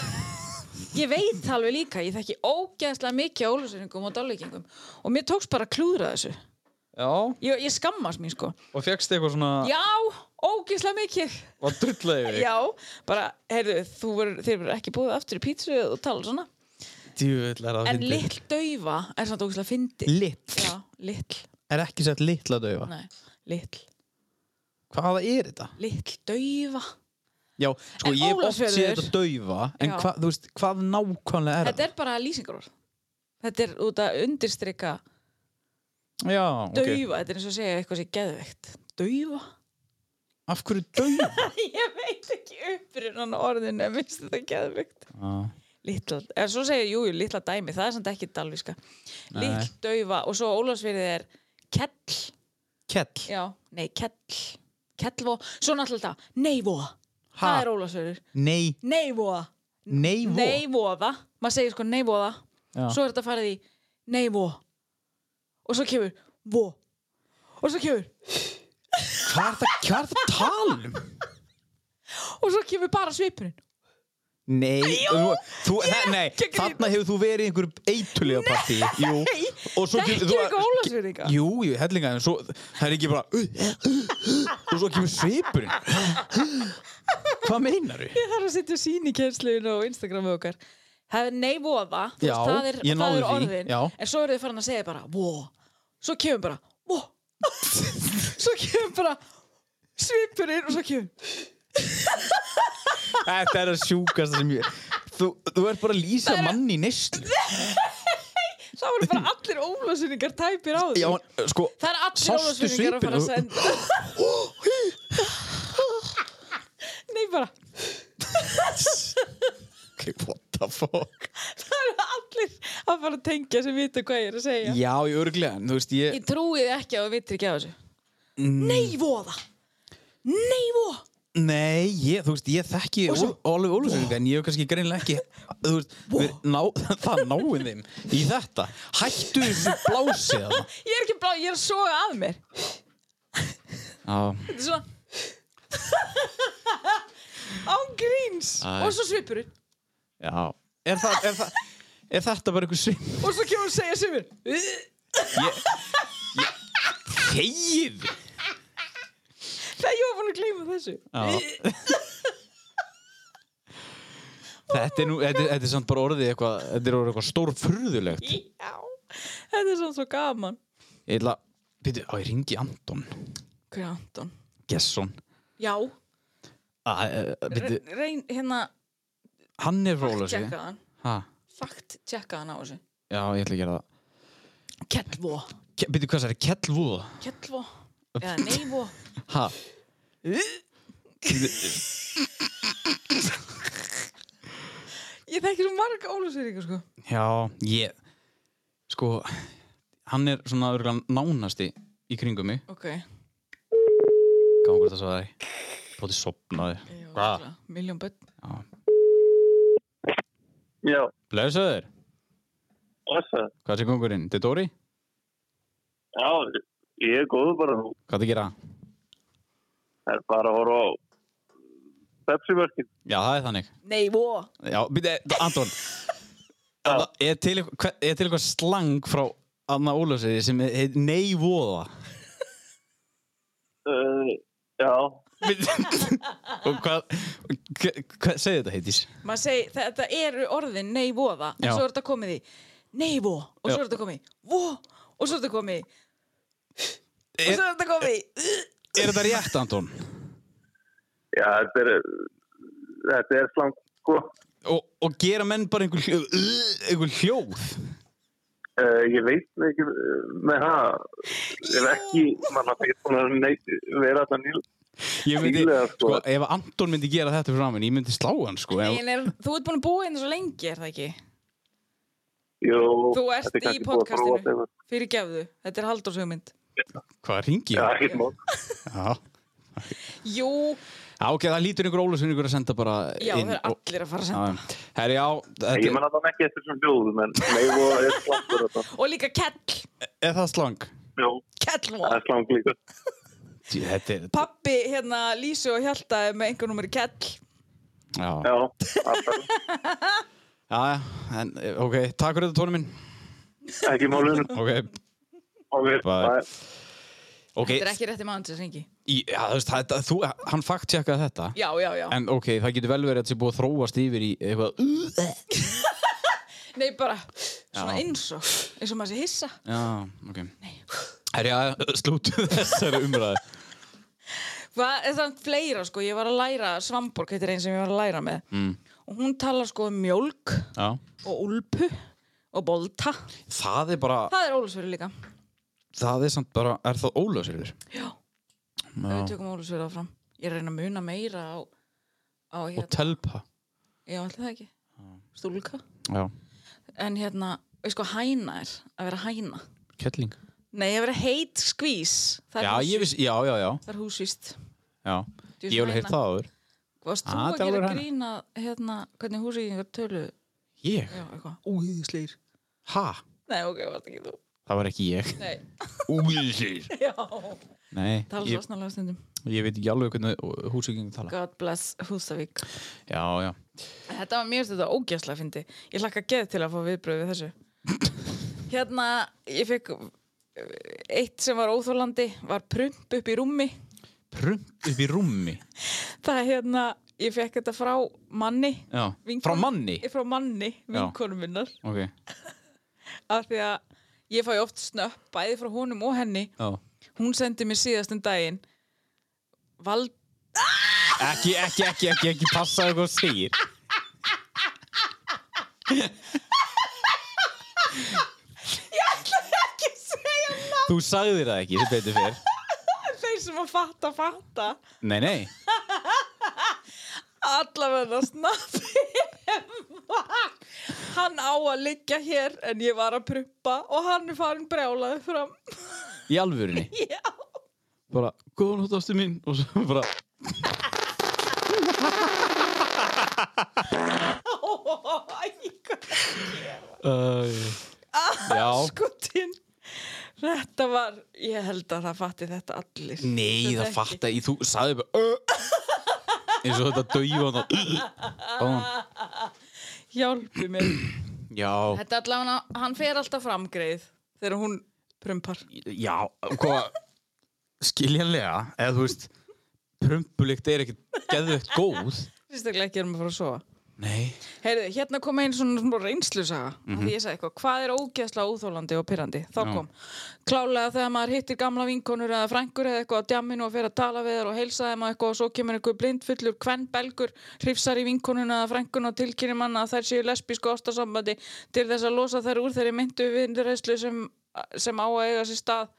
S1: Ég veit það alveg líka, ég þekki ógeðslega mikið ólusefningum og dalvíkingum og mér tókst bara að klúðra þessu.
S3: já,
S1: Ég, ég skammast mín sko.
S3: og fegst eitthvað svona
S1: Já, ógeðslega mikið.
S3: og drullaði við
S1: Já, bara, heyrðu, þú verður, þeir verður ekki búið aftur í pítsu og tala svona.
S3: djúvill er það
S1: En
S3: fyndið.
S1: lill daufa er samt ógeðslega fyndið.
S3: lill,
S1: Já, lill,
S3: er ekki sett lill að daufa
S1: nei, lill.
S3: hvaða er þetta?
S1: Lill daufa
S3: já, sko
S1: En
S3: ég hef oft
S1: Ólafsfjörður-
S3: séð þetta daufa en
S1: Já.
S3: hva, þú veist, hvað nákvæmlega er
S1: Þetta er bara lýsingarorð Þetta er út að undirstrika
S3: það? já,
S1: daufa
S3: ok,
S1: Þetta er eins og að segja eitthvað sem geðveikt Daufa? [LAUGHS]
S3: af hverju daufa?
S1: Ég veit ekki upprunan orðin en minnst þetta geðveikt
S3: Já.
S1: Litla, eða svo segja, jú, jú, litla dæmi Það er samt ekki dalvíska
S3: Nei.
S1: Lill daufa og svo Ólafsverið er kell
S3: kell,
S1: Já, nei, kell Kellvo, svo náttúrulega þetta Neivoa,
S3: Ha?
S1: það er Ólafsverið
S3: nei,
S1: Neivoa,
S3: nei, vo
S1: neivoða Maður segir sko neivoða
S3: Já.
S1: svo er þetta farið í nei vo og svo kemur vo og svo kemur
S3: hvað er það, hvað er það að tala um?
S1: og svo kemur bara svipurinn
S3: Nei, þú, þú, yeah, nei
S1: ekki grín.
S3: þarna hefur þú verið í einhverju eitulega partí Jú, og svo
S1: Þekkir
S3: þú-
S1: ekki Ólafsfirðinga?
S3: Jú, jú, hellinga, en svo, það er ekki bara uh, uh, uh, og svo kemur svipurinn Hvað meinar þú?
S1: ég þarf að setja sín í kemsluðinu og Instagramu okkar það er nei voða þú
S3: Já,
S1: veist, það er,
S3: ég
S1: það
S3: náði
S1: er
S3: því,
S1: orðin
S3: já.
S1: en svo eru þið farin að segja bara vo svo kemur bara vo svo kemur bara svipurinn og svo kemur
S3: Þetta er að sjúkast sem ég Þú, þú ert bara að lýsa manni í neyslu
S1: þá eru bara allir ólásunningar tæpir á því
S3: Já, en, sko,
S1: það er allir
S3: sástu
S1: ólásunningar að fara að
S3: svipinn?
S1: senda [GASPS] nei bara
S3: okay, what the fuck
S1: Það eru allir að fara að tengja sem vita hvað ég er að segja.
S3: Já, ég örglega, en þú veist, ég
S1: Ég trúi þið ekki að þú vitir ekki af þessu. Nei, voða! Nei, voða!
S3: Nei, ég, þú veist, ég þekki
S1: Og svo-
S3: Óli Ólusvík en ég hef kannski greinilega ekki þú veist, við, ná, [LAUGHS] það náin þeim í þetta, hættu þessu blásið þarna.
S1: Ég er ekki blá, ég er að soga að mér.
S3: Já,
S1: Þetta er svona... [LAUGHS] Án gríns!
S3: Æ.
S1: Og svo svipurinn.
S3: já er, það, er, það, er þetta bara einhver svim
S1: Og svo kemur að segja svipurinn. [LAUGHS]
S3: Þegið
S1: Það ég var búin að gleyma þessu.
S3: Já. Þetta er nú, þetta, er- þetta er samt bara orðið eitthvað, þetta er orðið eitthvað stór furðulegt
S1: [LAUGHS] Já. Þetta er svona svo gaman.
S3: Ég ætla, býttu, á ég ringi Anton
S1: Hver er Anton?
S3: Gesson
S1: Já.
S3: Býttu,
S1: Re- Reyn, hérna,
S3: hann er frá Ólusvík
S1: tjekka hann.
S3: Já,
S1: Fakt tjekka hann á þessu.
S3: ég ætla að gera það
S1: Kellvo.
S3: Býttu, hvað það er, Kellvúða?
S1: Kellvo. Eða neyvo.
S3: Ha?
S1: Ég þekki svo marga ólusýringar sko
S3: Já, ég Sko, hann er svona örugglega nánasti í kringum mig
S1: Ok
S3: Gangur þetta svo það Bóti sopnaði Hvað?
S1: Miljón börn
S4: Já,
S3: Blesaður,
S4: blessa.
S3: hvað sé gangurinn? Þetta er Dóri?
S4: Já, ég er góður bara nú.
S3: Hvað það gera?
S4: Það er bara að horfa á Pepsi-mörkin.
S3: Já, það er þannig
S1: Nei, vó
S3: Já, byrja, Anton Það Er til, eitthvað- hve- er til eitthvað slang frá Anna Ólafsriði sem heit neyvoða
S4: Uh, já,
S3: Og hvað, hve- hvað segir þetta heitís?
S1: Maður segi, þetta eru orðin nei, voða En
S3: Já.
S1: svo er þetta komið í Nei, vó Og svo
S3: Já.
S1: er þetta komið í Vó Og svo er þetta komið í Og
S3: Er-
S1: svo er þetta komið í
S3: Er þetta rétt, Anton?
S4: já, þetta er, þetta er slangt, sko.
S3: Og, og gera menn bara einhver hljóð, uh, einhver hljóð?
S4: Uh, ég veit það ekki uh, með það. Ég er ekki, mann að veit hún að neitt, vera alltaf nýl.
S3: ég myndi,
S4: Fílega,
S3: sko,
S4: sko.
S3: ef Anton myndi gera þetta fyrir framann, ég myndi slá hann, sko ef,
S1: En er, þú ert búin að búa hérna svo lengi, er það ekki?
S4: Jú,
S1: Þú
S4: þetta er
S1: ert í
S4: kannski búið að prófa
S1: podcastinu
S4: þetta.
S1: Fyrir gefðu Þetta er Halldórshugmynd
S3: hvað ringi
S4: Já,
S3: ég?
S4: ekkert mál.
S3: Já.
S1: Jú,
S3: Já, ok, það lítur einhver ólusinningur að senda bara
S1: já,
S3: inn.
S1: það er allir að fara að senda.
S3: Herri, já,
S4: Nei, Ég
S3: þetta,
S4: man að það ekki eftir þessum hljóðum en nei, og það er slangur þetta.
S1: Og líka kell,
S3: er það slang?
S4: Já, það
S1: kellvók.
S4: er slang líka.
S3: Djú, Þetta er,
S1: Pappi, hérna, Lísu og Hjalta er með einhver nummer kell.
S3: já, já,
S4: Já, alltaf.
S3: já, en, ok, takk fyrir þetta tónu minn.
S4: Ekki málun.
S3: Ok,
S4: Ok,
S3: Bye.
S4: bye.
S3: ok,
S1: Þetta er ekki rétti maður til þess ringi.
S3: í, já, þú veist, þetta, þú, hann fakt tjekkaði þetta.
S1: Já, já, já.
S3: En ok, það getur vel verið að þetta sé búið að þróast yfir í eitthvað,
S1: Nei, bara svona
S3: Já.
S1: eins og, eins og maður sé hissa.
S3: já, ok. Nei. Herri, já, slútu [LAUGHS] þessari umræði.
S1: Hvað er það fleira sko, ég var að læra Svamborg, þetta er einn sem ég var að læra með mm. og hún talar sko um mjólk
S3: Já.
S1: og úlpu og bolta,
S3: Það er bara,
S1: það er ólusverið líka
S3: það er samt bara, er það ólösirður?
S1: við
S3: Já.
S1: tökum ólusverið áfram ég er að reyna að muna meira á, á
S3: Og
S1: hérna,
S3: telpa.
S1: já ætli það ekki stúlka,
S3: Já.
S1: en hérna veist sko hæna er, að vera hæna
S3: Kettling.
S1: nei, að vera heit skvís það
S3: Já,
S1: er
S3: ég
S1: húsvíst,
S3: veist, já, já, já.
S1: það er húsvíst
S3: já.
S1: Djú,
S3: Ég hef alveg heyrt
S1: hæna.
S3: það áður.
S1: varst þú
S3: Ah,
S1: að
S3: þetta er
S1: gera
S3: alveg hæna.
S1: grína hérna, hvernig húsvíkingar tölu
S3: Ég?
S1: já, eitthvað, úðisleir
S3: Ha?
S1: nei, ok, varst ekki þú
S3: Það var ekki ég.
S1: nei,
S3: Úlýsir.
S1: [LAUGHS] já
S3: Nei,
S1: tala svo
S3: ég,
S1: snarlega stundum
S3: ég veit ekki alveg hvernig húsvíkingar tala.
S1: God bless Húsavík
S3: Já, já.
S1: Þetta var mjög þetta ógjæslega fyndi Ég hlakka geð til að fá viðbröð
S3: [LAUGHS]
S1: við þessu Hérna, ég fekk eh, eitt sem var óþólandi var prump upp í rúmi
S3: Prump upp í rúmi.
S1: Það er hérna, ég fekk þetta frá manni
S3: Já.
S1: vinkonu-
S3: Frá manni.
S1: Eh, Frá manni, vinkonum minnar
S3: Ok.
S1: af því að ég fæ oft snöpp bæði frá honum og henni
S3: Já.
S1: Hún sendi mér síðast um daginn Vald
S3: Ekki, ekki, ekki, ekki, ekki passa eitthvað þú segir.
S1: ekki segja nafn
S3: Þú sagðir það ekki, þið betur fyrr.
S1: þeir sem að fatta, fatta
S3: Nei, nei.
S1: allavega snappi [LAUGHS] hann á að liggja hér en ég var að pruppa og hann er farin brjálaði fram
S3: Í alvörunni.
S1: [LAUGHS] já,
S3: Bara, góðan hótt ástu mín. Og svo bara, uh,
S1: Ah,
S3: já.
S1: sko, skutin þetta var, ég held að það fatti þetta allir
S3: Nei,
S1: Þetta
S3: það
S1: ekki.
S3: fatta ég, þú sagði bara uh, eins og þetta döifa
S1: [LAUGHS]
S3: uh, uh,
S1: hjálpi mér
S3: Já,
S1: þetta allavega, hann fer alltaf framgreið þegar hún prumpar
S3: já, hvað skiljanlega, eða þú veist prumpulikt er ekkert geðvegt góð
S1: sérstaklega ekki erum að fara að sofa
S3: Nei,
S1: Heyrðu, hérna kom einn svona, svona reynslusaga mm því ég sagði eitthvað, hvað er ógeðslega óþólandi og pyrrandi, þá
S3: Já.
S1: kom klálega þegar maður hittir gamla vinkonur eða frængur eða eitthvað á djamminu og fer að tala við þar og heilsa þeim og eitthvað og svo kemur einhver blindfullur kvennbelgur, hrifsar í vinkonuna eða frængun og tilkynir manna að þær séu lesbísku ástasambandi til þess að losa þær úr þeirri myndu viðreyslu sem, sem á að eiga sér stað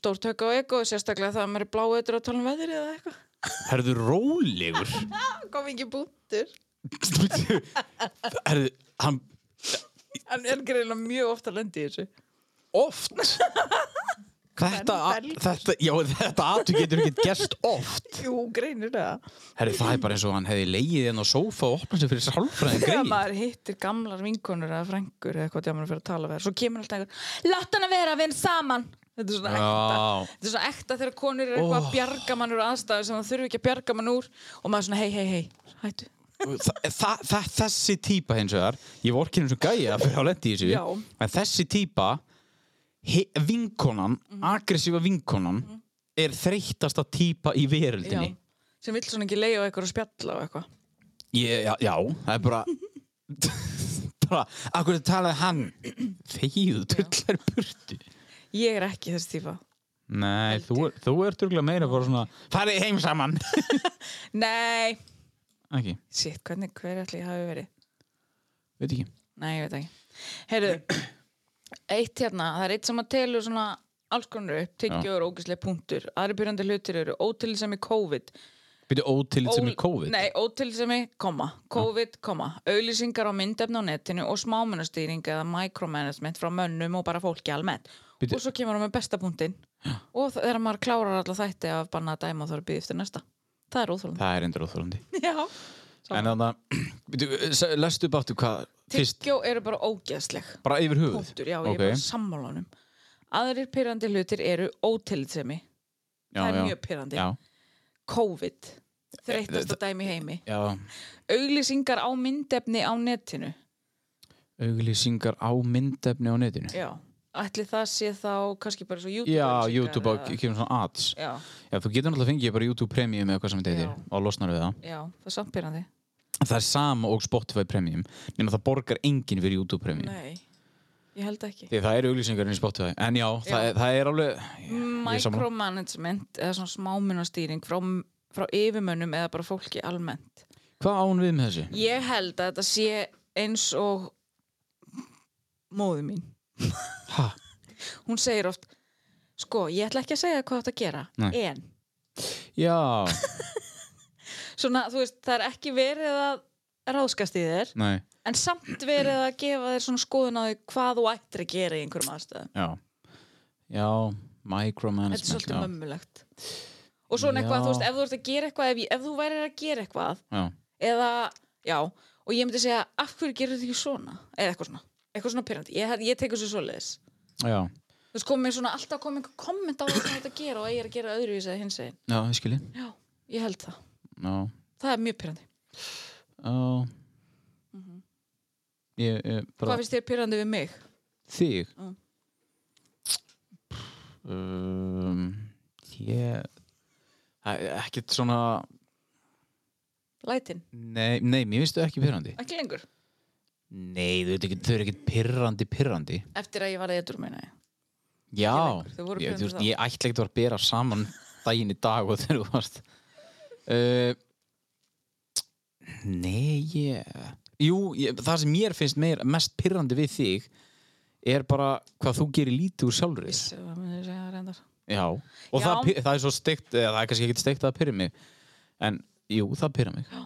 S1: stórtöka og eitthvað, sérstaklega það að maður er blá eitthvað að tala um veðrið eða eitthvað
S3: herðu rólegur
S1: kom ekki búttur,
S3: Bíddu, Herðu, hann
S1: hann er greinilega mjög oft að lendi í þessu
S3: oft Þetta,
S1: Kvennbelgur.
S3: þetta, já, þetta atvik getur ekkert gerst oft
S1: Jú, greinilega
S3: Herðu, það er bara eins og hann hefði legið enn á sófa og opnað sér fyrir sálfræðin
S1: þegar
S3: greið
S1: maður hittir gamlar vinkonur eða frængur eða hvað djámanur fyrir að tala við þær, svo kemur alltaf einhver látt hann að vera að vinna saman þetta er svona ekta
S3: Já.
S1: þetta er svona ekta þegar konur eru eitthvað
S3: Oh.
S1: að bjarga mann úr aðstæðu sem það þurfi ekki að bjarga mann úr og maður er svona hei hei hei hættu
S3: Þa, þa, þa, þessi típa hins vegar ég vor ekki eins og gæja fyrir að lendi í þessu
S1: Já.
S3: en þessi típa he, vinkonan,
S1: Mhm.
S3: aggressífa vinkonan er þreyttasta típa í veröldinni
S1: sem vill svona ekki leiða eitthvað að spjalla og eitthvað
S3: ég, já, já, það er bara [LAUGHS] bara, akkur talaði hann þegið, tullar burtu
S1: ég er ekki þessi tífa
S3: nei, þú, er- þú ert örgulega meira bara svona, farið heim saman
S1: nei,
S3: ekki,
S1: sitt, hvernig, hver ætli ég hafi verið
S3: veit ekki
S1: nei, ég veit ekki heyrðu, [CLEARS THROAT] eitt hérna, það er eitt sem að telur svona alls konar upp, tyggjóður, ógislega punktur aðri byrjandi hlutir eru ótilisemi COVID
S3: byrju ótillit sem
S1: Ól-
S3: er COVID
S1: Nei, ótilsemi, koma, COVID, koma auðlýsingar á myndefni á netinu og smámunastýring eða micromanagement frá mönnum og bara fólki almennt
S3: Bíddu.
S1: og svo kemur hann með besta punktinn og þ- þegar maður klárar alla þætti af banna að dæma þá er að býða eftir næsta það er óþólandi
S3: Það er endur óþólandi.
S1: Já,
S3: En [CLEARS THROAT] þannig að, lestu upp áttu hvað fyrst,
S1: tyggjó eru bara ógeðsleg
S3: bara yfir höfuð.
S1: Punktur, já, ég
S3: Ok.
S1: er bara sammálanum Aðrir pyrrandi hlutir eru ótilitsemi
S3: já,
S1: Það er
S3: já.
S1: mjög pyrrandi
S3: Já, Eh,
S1: COVID, þreytast að dæmi í heimi
S3: já. eh.
S1: Auglýsingar á myndefni á netinu
S3: Auglýsingar á myndefni á netinu.
S1: Já, ætli það sé þá kannski bara svo YouTube
S3: Já,
S1: auglýsingar
S3: YouTube á,
S1: eða-
S3: kemur svona ads.
S1: Já,
S3: Já, þú getur náttúrulega fengið bara YouTube Premium eða hvað sem þetta heitir
S1: Já.
S3: og losnar við það.
S1: já, það er samt pyrrandi
S3: Það er sama og Spotify Premium nema það borgar enginn fyrir YouTube Premium.
S1: Nei, ég held ekki
S3: Því það eru auglýsingar inn í Spotify. En já, Það,
S1: Já.
S3: er, það er alveg... ég- ég er sammála.
S1: Micromanagement eða svona smámunastýring frá, frá yfirmönnum eða bara fólki almennt
S3: Hvað án við með þessu?
S1: Ég held að þetta sé eins og móðu mín
S3: Hæ?
S1: Hún segir oft Sko, ég ætla ekki að segja hvað þetta gera
S3: Nei.
S1: En,
S3: Já,
S1: svona, þú veist, það er ekki verið að ráðskast í þér
S3: nei,
S1: En samt verið að gefa þér svona skoðun á því hvað þú ættir að gera í einhverjum aðstöðum.
S3: já. Já,
S1: Þetta er
S3: micromanagement.
S1: svolítið
S3: já.
S1: mömmulegt. Og svona eitthvað,
S3: Já.
S1: þú veist, ef þú ert að gera eitthvað, ef, ég, ef þú værir að gera eitthvað,
S3: Já,
S1: eða, já, og ég myndi segja, af hverju gerir þetta ekki svona? Eða eitthvað svona, eitthvað svona pyrrandi. Ég, ég tekur þessu svoleiðis.
S3: já,
S1: Þú veist, komið svona, alltaf komið einhver komment á það sem þetta gera og að ég er að gera öðru í þess að hins einn.
S3: já, ég skilji.
S1: Já, ég held það.
S3: Já,
S1: Það er mjög pyrrandi.
S3: já. Ég, ég, bara...
S1: Mhm. Hvað finnst þér pyrrandi við mig?
S3: Þig?
S1: Mm.
S3: Um, ég... Það er Ekkert svona...
S1: Lætin,
S3: Nei, nei mér finnst þau ekki pyrrandi.
S1: ekki lengur.
S3: Nei, þau, eru ekki, þau eru ekkert pyrrandi, pyrrandi.
S1: Eftir að ég var að edru meina ég.
S3: Já,
S1: lengur, þau voru
S3: ég,
S1: pirrandi
S3: þú veist,
S1: þá.
S3: ég ætla ekkert að vera að bera saman daginn í dag og þegar þú varst. Uh, nei, ég... Jú, ég, það sem mér finnst meir, mest pyrrandi við þig er bara hvað þú gerir lítið úr sjálfur.
S1: Vissi, hvað myndir segja það reyndar?
S3: Já, og
S1: Já.
S3: Það, pi- það er svo steikt eða það er kannski ekkert steikt að það pyrra mig en jú, það pyrra mig
S1: Já.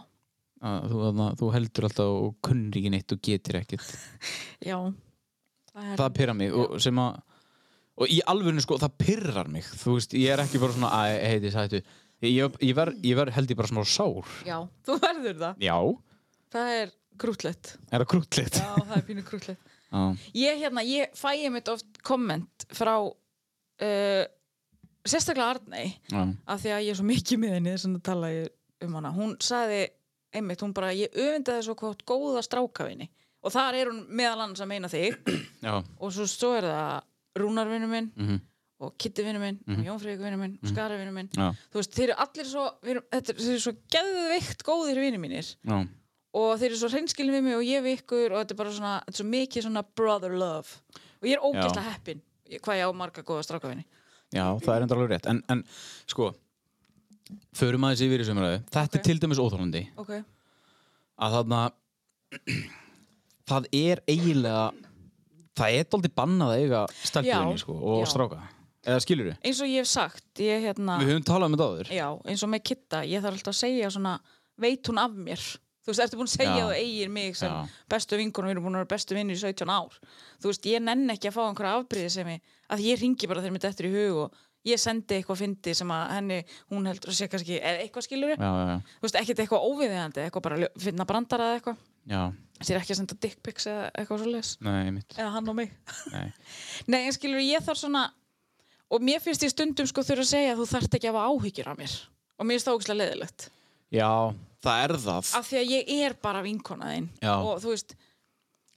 S3: að þú, að, þú heldur alltaf og kunnir ekki neitt og getur ekkert
S1: Já. Það er,
S3: það pyrra mig og sem að og í alvörinu sko, það pyrrar mig þú veist, ég er ekki bara svona að heiti sættu ég, ég verð ég ver, held ég bara smá sár
S1: Já, [LAUGHS] þú verður það.
S3: Já, er
S1: Það er krútlegt.
S3: það krútlegt
S1: Já, það er pínu krútlegt.
S3: Já,
S1: Ég hérna, ég fæ ég mitt oft komment frá uh, sérstaklega Arnei
S3: já,
S1: af því að ég er svo mikið með henni sem það tala ég um hana. Hún sagði einmitt, hún bara, ég öfndi þess og hvort góða strákafinni og þar er hún meðal annars að meina þig
S3: já,
S1: og svo, svo er það Rúnarvinnu minn
S3: mhm,
S1: og Kittivinnu minn og Jónfríkvinnu minn og Skaravinnu minn
S3: já,
S1: þú veist, þeir eru allir svo, við erum, þetta, er- þeir eru svo geðveikt góðir vinni mínir
S3: já,
S1: og þeir eru svo hreinskilin við mig og ég við ykkur og þetta er bara svona, þetta er svo mikið svona brother love og ég er ógeðslega heppin hvað ég á marga góða strákafinni
S3: já, það er enda alveg rétt en, en sko förum aðeins yfir í sömuröðu þetta
S1: Ok.
S3: er til dæmis óþólandi
S1: ok,
S3: að þarna það er eiginlega það er dálítið bannað að eiga stelpunni
S1: Já,
S3: sko, og
S1: já.
S3: stráka eða skilur við,
S1: eins og ég hef sagt ég hérna,
S3: við höfum talað um þetta áður
S1: já, eins og með Kitta ég þarf alltaf að segja svona, veit hún af mér þú veist, ertu búin að segja
S3: Já.
S1: að þú eigir mig sem
S3: Já.
S1: bestu vinkunum, við erum búin að vera bestu vinni í 17 ár þú veist, ég nenn ekki að fá einhverja afbríði sem ég, að ég ringi bara þegar mér dettur í hug og ég sendi eitthvað fyndi sem að henni, hún heldur að sé kannski eða eitthvað skilur,
S3: já, já, já,
S1: þú veist, ekkert eitthvað óviðiðandi eitthvað bara ljó- finna brandara eða eitthvað
S3: já,
S1: þér ekki að senda dick pics eða eitthvað svo
S3: nei, mitt
S1: eða hann og mig
S3: nei.
S1: nei, en skilur ég þarf svona og mér finnst ég stundum sko þurfa að segja að þú þarft ekki að hafa áhyggjur af mér og mér finnst það ógæslega leðilegt
S3: já, það er það
S1: af því að ég er bara vinkona þinn
S3: Já.
S1: og þú veist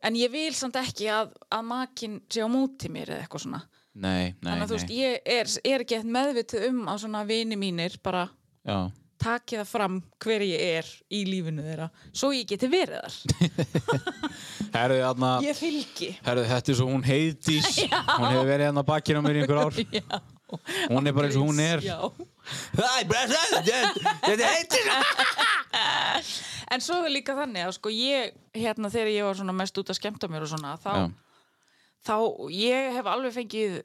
S1: en ég vil samt ekki að, að makin sé á móti mér eða eitthvað svona
S3: nei, nei,
S1: þannig að þú veist,
S3: nei,
S1: ég er, er ekki eftir meðvitið um að svona vini mínir bara
S3: já
S1: taki það fram hver ég er í lífinu þeirra svo ég geti verið þar
S3: herðu, þarna,
S1: Ég fylgi.
S3: herðu, þetta er svo hún heiðdís
S1: [LAUGHS]
S3: hún hefur verið hérna bakkinn á mér í einhver ár
S1: Já.
S3: hún er bara eins og hún er
S1: Já.
S3: Æ, blessa, þetta þetta heitir
S1: En svo er líka þannig að sko ég, hérna þegar ég var svona mest út að skemmta mér og svona, þá,
S3: já,
S1: þá ég hef alveg fengið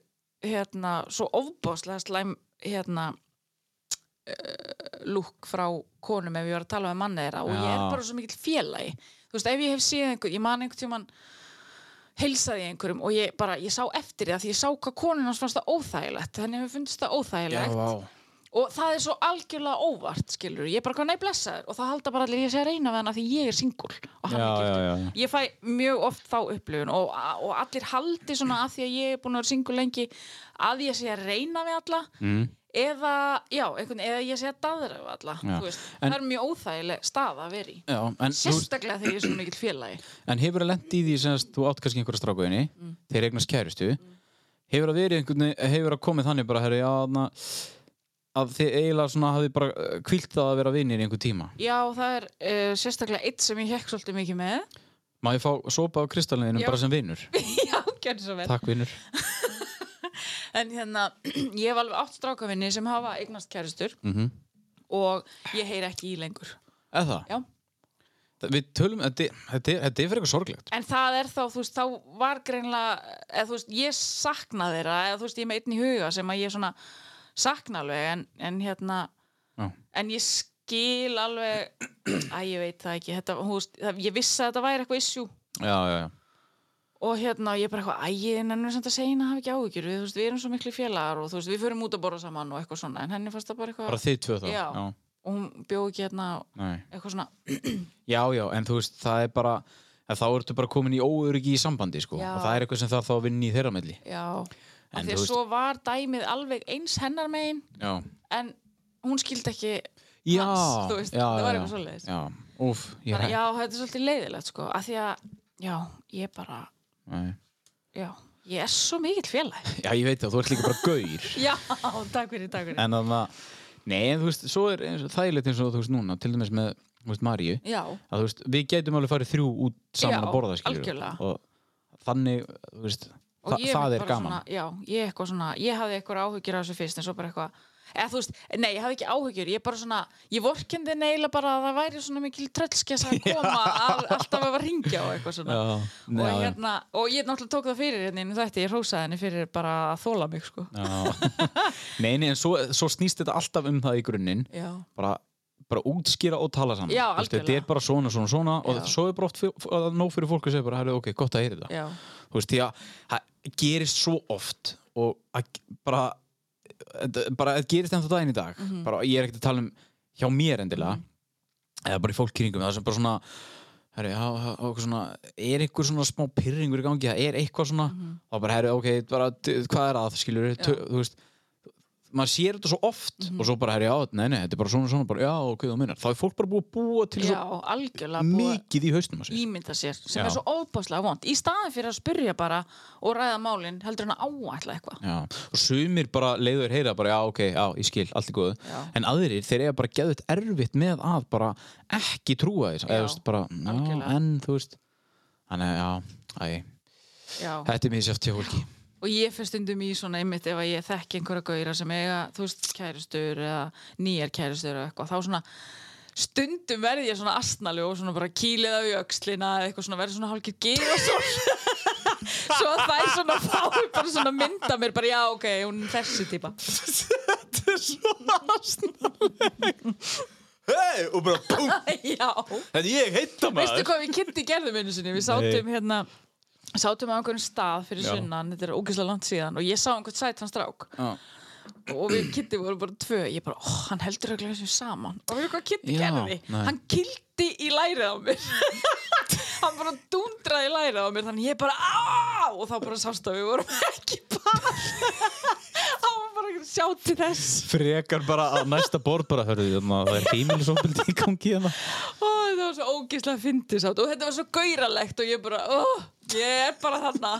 S1: hérna svo ofbáslega slæm hérna uh, lúk frá konum ef ég var að tala með manni þeirra og ég er
S3: Já.
S1: bara svo mikill félagi. Þú veist, ef ég hef séð einhver, ég man einhvern tímann heilsaði ég einhverjum og ég bara, ég sá eftir því að því ég sá hvað konun hans fannst það óþægilegt, þannig hefur fundist það
S3: já,
S1: óþægilegt
S3: vá
S1: og það er svo algjörlega óvart skilur, ég er bara hvað nei blessaður og það halda bara allir ég sé að reyna við hana því ég er singul og hann er
S3: Já, já,
S1: giftur
S3: já, já.
S1: ég fæ mjög oft þá upplifun og, og allir haldi svona að því að ég er búin að vera singul lengi að ég sé að reyna við alla mm. eða, já, einhvern, eða ég sé að daðra við alla
S3: Já.
S1: þú veist,
S3: En-
S1: það er mjög óþægileg stað að vera í
S3: Já, en, þú,
S1: sérstaklega þegar ég er svo mikill félagi
S3: en hefur það lent í því sem að þú átt kannski einhverja strákuðinni mm. þeir eignast kærustu
S1: Mm.
S3: hefur það verið einhvern veginn, hefur það komið þannig bara herri, já, na, að þið eiginlega svona hafið bara uh, hvílt það að vera vinnir í einhver tíma
S1: já, það er uh, sérstaklega eitt sem ég hekk svolítið mikið með [LAUGHS]
S3: Má ég fá sopa á kristallinum
S1: Já.
S3: bara sem
S1: [LAUGHS]
S3: vinnur?
S1: já, gerðu svo vel
S3: Takk vinnur.
S1: En hérna, [CLEARS THROAT] ég hef alveg átt strákavinni sem hafa eignast kærustur
S3: Mhm.
S1: og ég heyri ekki í lengur.
S3: Eða það?
S1: Já.
S3: Það- Við tölum, þetta þetta er þetta er fyrir eitthvað sorglegt.
S1: En það er þá, þú veist, þá var greinlega, eða þú veist, ég sakna þeirra, eða þú veist, ég er með einn í huga sem að ég svona sakna alveg, en, en hérna,
S3: Já.
S1: en ég skil alveg, að ég veit það ekki, þetta, þú veist, það, ég vissi að þetta væri eitthvað issue
S3: Já, já, já.
S1: og hérna, ég er bara eitthvað, æ, en ennum samt að segja henni að hafa ekki áhyggjur, við, þú veist, við erum svo miklu félagar og þú veist, við förum út að borða saman og eitthvað svona, en henni fannst það bara eitthvað,
S3: Bara þið tvö þá.
S1: Já.
S3: Já,
S1: og hún bjóð ekki hérna
S3: Nei.
S1: eitthvað svona
S3: já, já, en þú veist, það er bara, en þá ertu bara komin í óöryggi í sambandi, sko.
S1: Já.
S3: Og það er eitthvað sem þarf þá að vinna í þeirra milli.
S1: já, af
S3: En
S1: því
S3: þú
S1: að
S3: veist-
S1: svo var dæmið alveg eins hennar megin
S3: Já.
S1: en hún skildi ekki
S3: Já.
S1: Hans, þú veist,
S3: já,
S1: það
S3: já,
S1: var
S3: já.
S1: eitthvað svoleiðis.
S3: Já, úf, ég
S1: þannig, já, þetta er svolítið leiðilegt sko, af því að, já, ég bara
S3: Nei.
S1: já, ég er svo mikill félag
S3: Já, ég veit það, þú ert líka bara gaur.
S1: [LAUGHS] já, takk fyrir, takk fyrir
S3: en þannig að, nei, en þú veist, svo er eins, þægilegt eins og þú veist núna, til dæmis með, þú veist, Maríu.
S1: já,
S3: að þú veist, við getum alveg farið þrjú út saman
S1: Já,
S3: að borða skilur
S1: algjörlega.
S3: og þannig, þú veist
S1: og
S3: þa
S1: ég
S3: það er
S1: bara
S3: gaman
S1: svona, já, ég eitthvað svona, ég hafði eitthvað áhyggjur af þessu fyrst en svo bara eitthvað eða þú veist, nei, ég hafði ekki áhyggjur ég bara svona, ég vorkendi neila bara að það væri svona mikil tröllskess
S3: [LAUGHS]
S1: að koma að, alltaf að ringja og eitthvað svona
S3: já,
S1: og,
S3: já,
S1: hérna, og ég náttúrulega tók það fyrir hérna inn þetta, ég hrósaði henni fyrir bara að þóla mig sko.
S3: já. [LAUGHS] nei, nei, en svo, svo snýst þetta alltaf um það í grunninn
S1: já.
S3: bara, bara útskýra og tala saman
S1: Já,
S3: Þú veist, þetta
S1: algjörlega.
S3: er bara svona, svona, svona og
S1: Já.
S3: svo er bara oft fyr- að nóg fyrir fólk að segja bara, "Herru, ok, gott að heyra þetta
S1: Já.
S3: þú veist, því að það gerist svo oft og að, bara þetta- bara það gerist ennþá daginn í dag bara, ég er ekkert að tala um hjá mér endilega eða bara í fólk kringum það sem bara svona, herri, já, já, ok, svona er einhver svona smá pyrringur í gangi það er eitthvað svona, þá bara herri, ok bara, d- hvað er að, skilur við, tö- þú veist maður sér þetta svo oft og svo bara, herri, já, nei, nei, þetta er bara svona, svona bara, já, ok, þú minnar, þá er fólk bara búið að búa til
S1: já,
S3: svo
S1: algjörlega búið að
S3: mikið í hausnum að sér
S1: ímynda sér sem
S3: Já.
S1: er svo óbáslega vond í staðin fyrir að spyrja bara og ræða málin heldur hann að áætla eitthvað
S3: Já, og sumir bara leiður heyra bara já, ok, já, ég skil, allt er góð
S1: Já.
S3: en aðrir, þeir eiga bara geðut erfitt með að bara ekki trúa þess eða,
S1: Já,
S3: þú veist, bara, já,
S1: algjörlega.
S3: en þú veist þannig, já, æ,
S1: já.
S3: þetta er mér sjátt hjá fólki
S1: og ég fyrir stundum í svona einmitt ef að ég þekki einhverja gauðra sem eiga þú veist kærustur eða nýjar kærustur eða eitthvað, þá svona stundum verði ég svona astnaljú og svona bara kýlið á jöxlina eða eitthvað svona verði svona hálkið gýr og svona svo að það er svona fáið bara svona mynda mér bara já ok, hún er þessi típa [LAUGHS]
S3: Þetta er svo aðsnaleg Hei, og bara búm,
S1: já,
S3: þetta ég heita
S1: veistu hvað við kynnti gerðum einu sinni, við sátum hérna sátum á einhverjum stað fyrir
S3: Já.
S1: sunnan þetta er ógeðslega langt síðan og ég sá einhvern sætan strák
S3: Já.
S1: og við kynnti vorum bara tvö ég bara, oh, hann heldur auðvitað þessu saman og við hvað kynnti
S3: Já,
S1: gerði,
S3: nei.
S1: hann kildi í lærið á
S3: [LAUGHS]
S1: mér hann bara dundraði í lærið á mér þannig ég bara, aaaah og þá bara sást að við vorum ekki [LAUGHS] bara hann var bara að sjá til þess
S3: frekar bara að næsta borð bara hörðu, þannig að það er heimilisofbildi í gangi hérna
S1: Ó, þetta var svo ógeðslega fyndisátt og þetta var svo gauralegt og ég bara, ó, ég er bara þarna.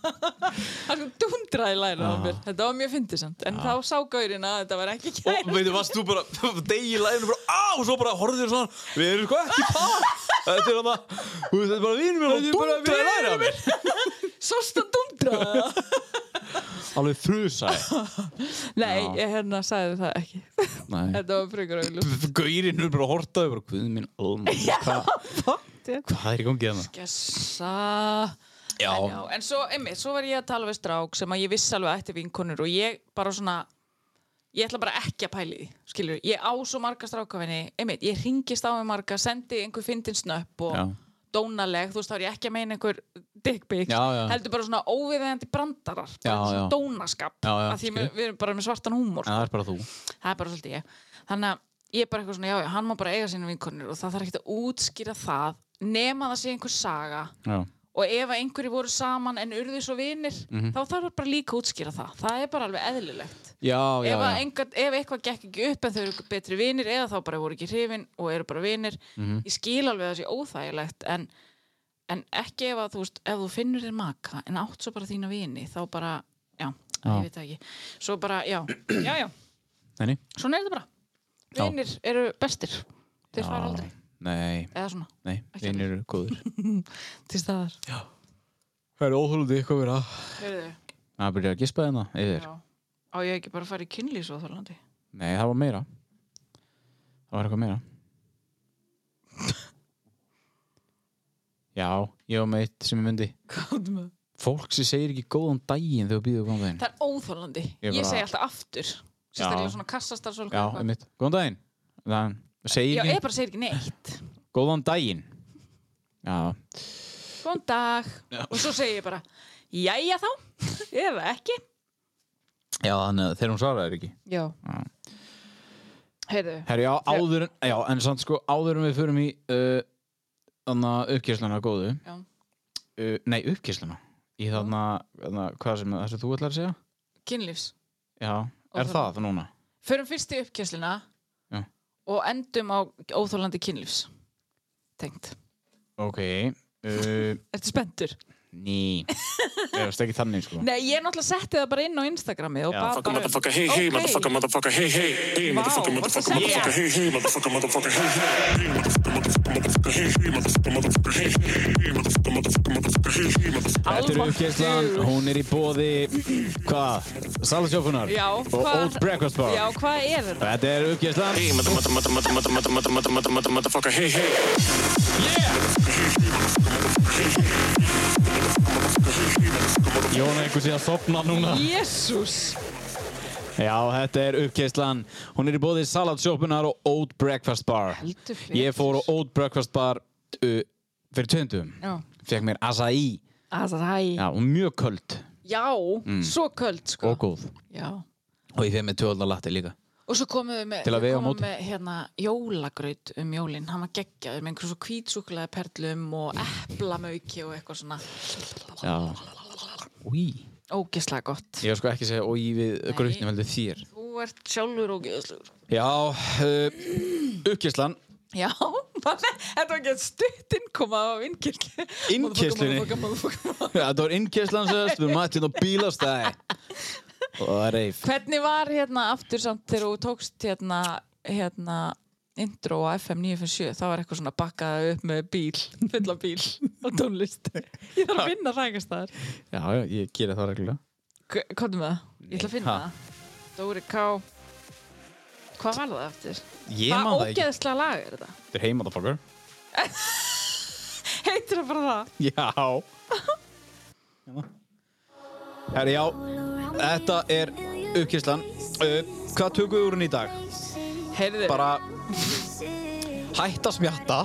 S1: Það er svo dundraði læra á mér. Þetta var mjög fyndisamt. En þá sá gaurinn að þetta var ekki
S3: og
S1: kæra.
S3: veitu, varst þú bara degi í læðinu bara á og svo bara horfðu þér svona við erum sko ekki par þetta er hann að þetta er bara vinur mér og dundraði læra mér
S1: Sást að dundraði það?
S3: alveg frusaði
S1: Nei, ég hérna sagði það ekki.
S3: [LAUGHS] nei
S1: Þetta var frekar auðvitað.
S3: gaurinn er bara að hortaði bara guð minn almann hvað hvað er í gangi hérna
S1: Gessa.
S3: já
S1: En, já, en svo, einmitt, svo var ég að tala við strák sem að ég vissi alveg að ætti vinkonur og ég bara svona ég ætla bara ekki að pæli því, skilur ég á svo marga strákafinni, einmitt, ég ringist á með marga, sendi einhver fyndin snöpp og
S3: Já.
S1: dónaleg, þú veist, þá er ég ekki að meina einhver dick pic
S3: Já, já.
S1: heldur bara svona óviðeigandi brandarar
S3: Já,
S1: bara
S3: já.
S1: svona dónaskap
S3: Já, já,
S1: að því
S3: skil.
S1: við, við erum bara með svartan húmor
S3: En það er bara þú
S1: það er bara svolítið ég þannig að ég er bara eitthvað svona, já, já, hann má bara eiga sína vinkonir og það þarf ekki að útskýra það nema það sé einhver saga
S3: Já,
S1: og ef að einhverju voru saman en urðu svo vinir
S3: Mhm.
S1: þá þarf það bara líka að útskýra það það er bara alveg eðlilegt
S3: já, já,
S1: ef, að
S3: já.
S1: einhver, ef eitthvað gekk ekki upp en þau eru betri vinir eða þá bara voru ekki hrifin og eru bara vinir
S3: Mhm.
S1: ég skil alveg að það sé óþægilegt en, en ekki ef að þú veist ef þú finnur þér maka en átt svo bara þína vini þá bara, já,
S3: Já.
S1: ég veit það ekki svo bara,
S3: [CLEARS THROAT]
S1: já, já, já
S3: Nei, nei.
S1: svona er þetta bara
S3: Já.
S1: vinir eru bestir þeir fara
S3: Já,
S1: aldrei,
S3: Nei,
S1: eða svona,
S3: nei,
S1: Ekki
S3: vinir eru góður
S1: til staðar
S3: [LAUGHS] Það er óþjóðandi eitthvað vera
S1: Heyrðu,
S3: Það byrjar að gispa þeirna yfir
S1: já. á ég ekki bara að fara í kynlýs og þálandi
S3: Nei, það var meira Það var eitthvað meira Já, ég var með eitt sem ég myndi
S1: það
S3: Fólk sem segir ekki góðan daginn þegar býður góðan daginn
S1: er óþálandi
S3: Ég
S1: ég,
S3: bara-
S1: segi alltaf aftur sérstaklega svona kassastarfsfólk
S3: Já,
S1: og eitthvað.
S3: einmitt, góðan daginn Það
S1: já,
S3: segir
S1: ég
S3: ekki
S1: bara segir ekki neitt
S3: góðan daginn Já,
S1: góðan dag og svo segi ég bara jæja þá, [LAUGHS] eða ekki
S3: já þannig að þegar hún svaraði ekki
S1: já heyrðu,
S3: Herri, já, áður en, já, en samt sko áður en við förum í uh, þannig að uppkýrsluna góðu
S1: Já.
S3: uh, Nei, uppkýrsluna Í þarna, þarna, hvað sem þessu þú ætlar að segja?
S1: kynlýfs
S3: Já, er
S1: Óþolandi.
S3: það það núna?
S1: förum fyrst í uppkjæslina
S3: Já.
S1: og endum á óþálandi kynlýfs tengt
S3: Ok, uh,
S1: Ertu spenntur? [LAUGHS]
S3: ný Það varst ekki þannig sko
S1: Nei, ég náttúrulega setti það bara inn á Instagrami og
S3: Já.
S1: bara bara...
S5: Motherfucker, hey, hey,
S1: Ok.
S5: motherfucker, motherfucker, hey, hey, hey,
S1: Wow,
S5: motherfucker,
S1: what's the
S5: motherfucker,
S1: sound?
S5: motherfucker, hey, hey, motherfucker, motherfucker, hey, hey, hey, motherfucker, motherfucker, motherfucker, hey, hey, motherfucker, motherfucker, hey, hey, hey, motherfucker, motherfucker, motherfucker, hey, hey, motherfucker.
S3: Þetta er uppkýrslan, hún er í bóði Hvað? Salasjófunar
S1: Já,
S3: Og
S1: hvað-
S3: Old Breakfast Bar
S1: Já, hvað er
S3: [LAUGHS]
S1: þetta?
S3: Þetta er uppkýrslan
S5: Hey, mother- mother- mother- mother- mother- mother- mother- mother- mother- mother- motherfucker, hey, hey.
S3: Jón er einhvers í að sopna núna
S1: Jésús!
S3: Já, þetta er uppkeislan. Hún er í bóði salatsjópunar og Oat Breakfast Bar.
S1: Heldur betur.
S3: Ég fór á Oat Breakfast Bar uh, fyrir tvöndum.
S1: Já.
S3: Fekk mér acai.
S1: Asaræ.
S3: Já, og mjög köld
S1: Já, svo köld, sko.
S3: og góð.
S1: Já.
S3: Og ég fekk mér tvöldna latte líka.
S1: Og svo komum við með,
S3: Til að
S1: við
S3: vega á
S1: komum
S3: móti.
S1: með hérna, jólagraut um jólin. Hann var geggjaður með einhverjum svo kvítsúkulega perlum og eplamauki og eitthvað svona.
S3: Já. Új.
S1: Ógislega gott.
S3: Ég var sko ekki að segja ój við grutnum heldur þér.
S1: Þú ert sjálfur ógislegur.
S3: Já, uh, uppkeislan.
S1: [LAUGHS] Já, mann, þetta var ekki að stuttinn koma á innkirkli.
S3: Innkirtlunni? þetta var innkeislan sérst, við mættum á bílastæði. Og það er reif.
S1: Hvernig var hérna aftur samt þegar þú tókst hérna, hérna intro á FM 957 þá var eitthvað svona bakkaða upp með bíl fulla bíl og tónlist [LAUGHS] ég þarf að finna rækastæðar
S3: Já, já, ég gera það reglulega.
S1: hvað er með það? Ég ætla að finna
S3: Ha.
S1: það Dóri K hvað var það eftir?
S3: Ég
S1: Hvað
S3: man það ekki.
S1: ógeðslega lag er þetta?
S3: Þetta er heimatafokkur.
S1: heitir það bara það?
S3: Já Herri, já Þetta er uppkýrslan uh, Hvað tökum við úr hún í dag?
S1: heyrðu
S3: Bara hætta að smjatta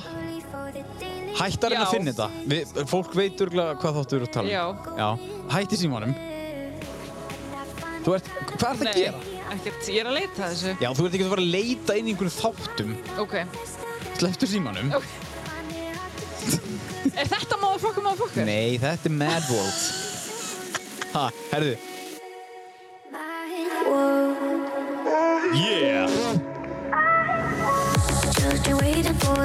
S3: Hætta að
S1: Já.
S3: reyna að finna þetta við, Fólk veit örgulega hvað þáttu eru að tala um. já. Hætti símanum Þú ert, hvað ert að gera?
S1: ekkert, ég er að leita að þessu
S3: Já, þú ert ekki að fara að leita inn í einhverjum þáttum
S1: ok,
S3: Slepptu símanum
S1: Ok. er þetta máður flokkur máður flokkur?
S3: Nei, þetta er Mad World Ha, herðu Yeah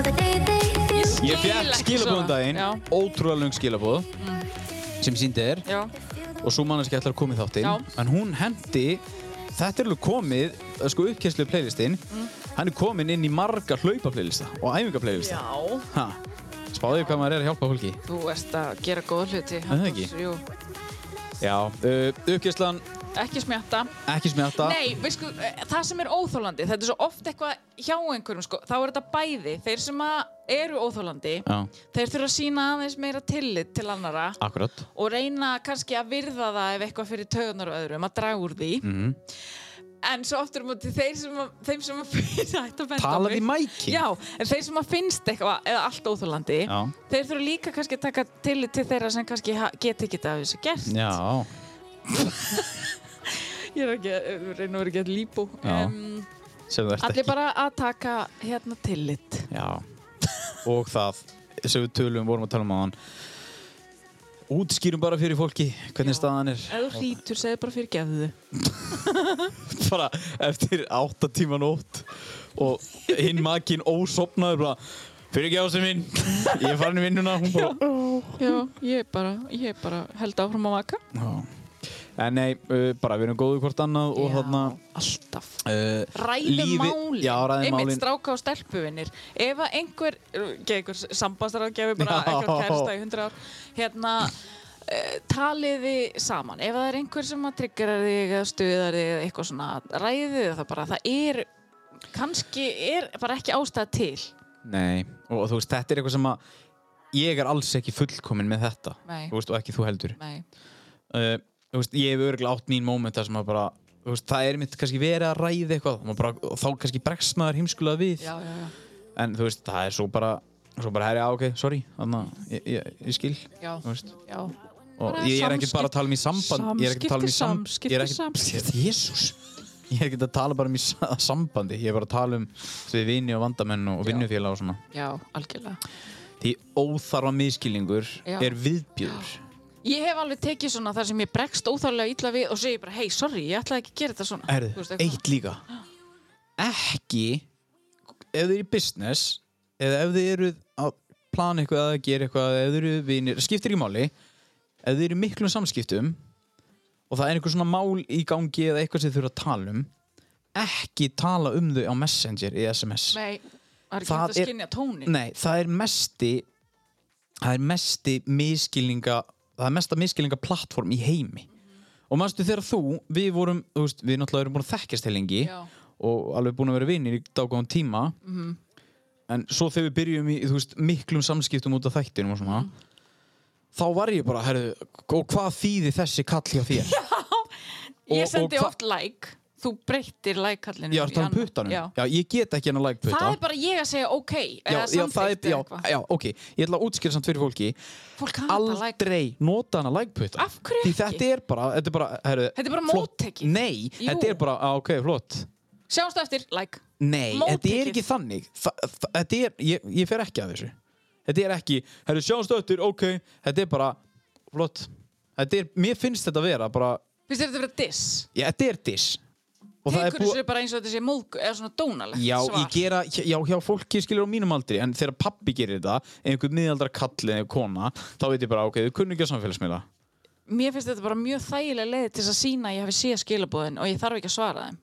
S3: Ég fekk
S1: ekki
S3: skilabóðum
S1: svona.
S3: daginn,
S1: Já. Mm.
S3: ótrúlega lung skilabóð sem síndi er
S1: já,
S3: og svo manneski ætlar að koma í þáttinn
S1: Já.
S3: en hún hendi, þetta er alveg komið eh, sko uppkesslu playlistinn
S1: Mm.
S3: hann er komin inn í marga hlaupa playlista og æfinga playlista
S1: já
S3: ha, spáðu hvað maður er að hjálpa fólki
S1: Þú ert að gera góð hluti
S3: það ekki?
S1: Halldórs, jú.
S3: já, uh, uppkesslan
S1: Ekki smjatta
S3: ekki smjatta
S1: Nei, við sko, eh, það sem er óþólandi Þetta er svo oft eitthvað hjá einhverjum sko. Þá er þetta bæði Þeir sem að eru óþólandi
S3: já,
S1: Þeir þurfa að sína aðeins meira tillit til annara
S3: akkurat Mhm.
S1: Og reyna kannski að virða það Ef eitthvað fyrir taugunar og öðrum Að draga úr því en svo aftur á móti þeir sem að, þeim sem að [LAUGHS] finna þetta benda á mig.
S3: Talaðu í mækinn.
S1: já, en þeir sem að finnst eitthvað eða allt óþólandi
S3: Já.
S1: þeir þurfa líka kannski að taka til til þeirra sem kannski ha- geta ekki þetta af þessu gert
S3: Já,
S1: ég er ekki, að- reyna að vera ekki að líbú
S3: Já.
S1: Em,
S3: sem þú ert
S1: allir
S3: ekki.
S1: bara að taka hérna tillit
S3: Já. Og það sem við tölum, vorum að tala um á hann. Útskýrum bara fyrir fólki hvernig
S1: Já.
S3: staðan er.
S1: ef þú hrítur, segðu bara fyrir gefðu
S3: bara eftir átta tíma nótt og hinn makinn ósopnaður bara fyrir ekki ásinn mín, [LAUGHS] ég er farin í vinnuna hún bara,
S1: já, ég bara, ég bara held áfram að maka
S3: já. en nei, uh, bara við erum góðu hvort annað og þarna
S1: alltaf
S3: uh,
S1: ræðum málin,
S3: já, ræðum
S1: einmitt
S3: málin
S1: stráka og stelpuvinnir ef að einhver, ekki einhver sambastarafgjafi bara
S3: Já.
S1: einhver kærasta í hundra ár hérna eh, talið þið saman, ef það er einhver sem að tryggra þig eða stuðar þig eða eitthvað svona, ræðið þið það bara það er, kannski er bara ekki ástæð til
S3: nei, og þú veist, þetta er eitthvað sem að ég er alls ekki fullkomin með þetta
S1: Nei.
S3: þú veist, og ekki þú heldur
S1: Nei.
S3: uh, þú veist, ég hef örgulega átt mín mómenta sem að bara, þú veist, það er mitt kannski verið að ræða eitthvað, og maður bara, og þá kannski bregst maður heimskulega við
S1: já, já, já,
S3: en þú veist, það er svo bara svo bara herri, á, ok, sorry, þannig að ég, ég, ég skil,
S1: Já.
S3: þú veist
S1: já.
S3: og
S1: Bara
S3: ég er ekki
S1: samskipti-
S3: bara að tala um í samband ég er ekki að tala um í sam-
S1: samskipti,
S3: ég er ekki-
S1: samskipti,
S3: Jesús ég er ekki að tala bara um í sa- sambandi ég er bara að tala um við vini og vandamenn og vinnufélag og svona
S1: já, algjörlega
S3: því óþarfa miskilningur
S1: Já.
S3: er viðbjör
S1: Ég hef alveg tekið svona þar sem ég bregst óþálega illa við og segi bara, hei, sorry, ég ætlaði ekki að gera þetta svona.
S3: Herðu,
S1: Þú veist, eitthvað.
S3: eitt líka ekki ef þið eru í business eða ef þið eru að plana eitthvað að gera eitthvað, ef þið eru vinir skiptir ekki máli, ef þið eru í miklum samskiptum og það er einhver svona mál í gangi eða eitthvað sem þið þurfa að tala um ekki tala um þau á Messenger í SMS
S1: Nei, það er ekki
S3: Það
S1: hægt að
S3: er-
S1: skynja tónin.
S3: Nei, það er mesti það er mesti miskilninga það er mesta miskilninga plattform í heimi og manstu þegar þú, við vorum þú veist, við náttúrulega erum búin að þekkjast til lengi
S1: Já.
S3: og alveg búin að vera vinir í dágóðan tíma -hmm.
S1: Mhm.
S3: en svo þegar við byrjum í þú veist, miklum samskiptum út af þættinum og svona
S1: Mhm.
S3: þá var ég bara, herðu og hvað þýðir þessi kall hjá
S1: [LAUGHS]
S3: þér?
S1: Ég
S3: og-
S1: sendi
S3: og hva-
S1: oft like, þú breyttir like-kallinu.
S3: ég var þannig um puttanum,
S1: Já.
S3: já. ég get ekki hennar lægt putta
S1: Það er bara ég að segja ok, eða
S3: það er,
S1: samþykkt
S3: já,
S1: eða eitthvað.
S3: já, ok, ég ætla að útskýra samt fyrir fólki
S1: Fólk hafa þetta like.
S3: aldrei nota hana lækputta
S1: Af hverju
S3: Því
S1: ekki?
S3: þetta er bara, þetta er bara, heru,
S1: Þetta er bara móttekið.
S3: Nei,
S1: Jú.
S3: þetta er bara, á, ok, flott
S1: Sjáumstu eftir, like.
S3: Nei, þetta er
S1: Móttekið.
S3: ekki þannig Þa, þa- Þetta er, ég, ég fer ekki að þessu Þetta er ekki, herru, sjáumst öttur, ok Þetta er bara, flott Þetta er, mér finnst þetta að vera bara
S1: Finnst þér þetta verið diss?
S3: Já, þetta er diss Og það er
S1: Tekur
S3: búið-
S1: þessu bara eins og þetta sé móðg, eða svona dónalegt
S3: Já,
S1: svar.
S3: ég gera, já, hjá fólki skilur á mínum aldri en þegar pappi gerir þetta, einhver miðaldra kall eða kona, þá veit ég bara, ok, þau kunnu ekki á samfélagsmiðla.
S1: Mér finnst þetta bara mjög þægilega leið til þess að sína að ég hafi séð skilabóðin og ég þarf ekki að svara þeim.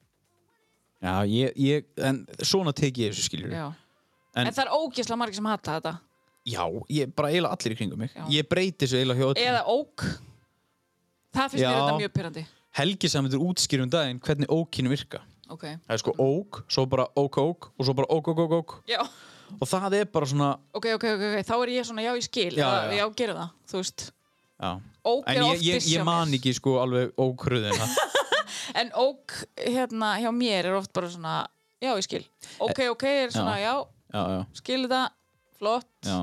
S3: Já, ég, ég, en svona tek ég þessu skilur.
S1: Já.
S3: En-
S1: En, það er ógeðslega margir sem hata þetta.
S3: Já, ég bara eiginlega allir í kringum mig.
S1: Já.
S3: Ég breyti þessu eiginlega hjá öllum.
S1: Eða ók. Það finnst
S3: Já.
S1: mér þetta mjög pyrrandi.
S3: Helgi samandur útskýrum daginn hvernig ókinu virka.
S1: Ok.
S3: Það er sko ók, svo bara ók, ók og svo bara ók, ók, ók, ók.
S1: Já.
S3: Og það er bara svona,
S1: ok, ok, ok, ok, þá er ég svona, já, ég skil, já,
S3: Já, já,
S1: já,
S3: já.
S1: já gera það, þú veist.
S3: já.
S1: Ók
S3: En
S1: er
S3: ég,
S1: oft
S3: ég,
S1: diss hjá
S3: ég man
S1: mér.
S3: ekki sko alveg
S1: [LAUGHS]
S3: ókröðina.
S1: En ók, hérna, hjá mér er oft bara svona, já, ég skil. Ok, ok, er svona, já,
S3: já, já,
S1: skil það, flott.
S3: já.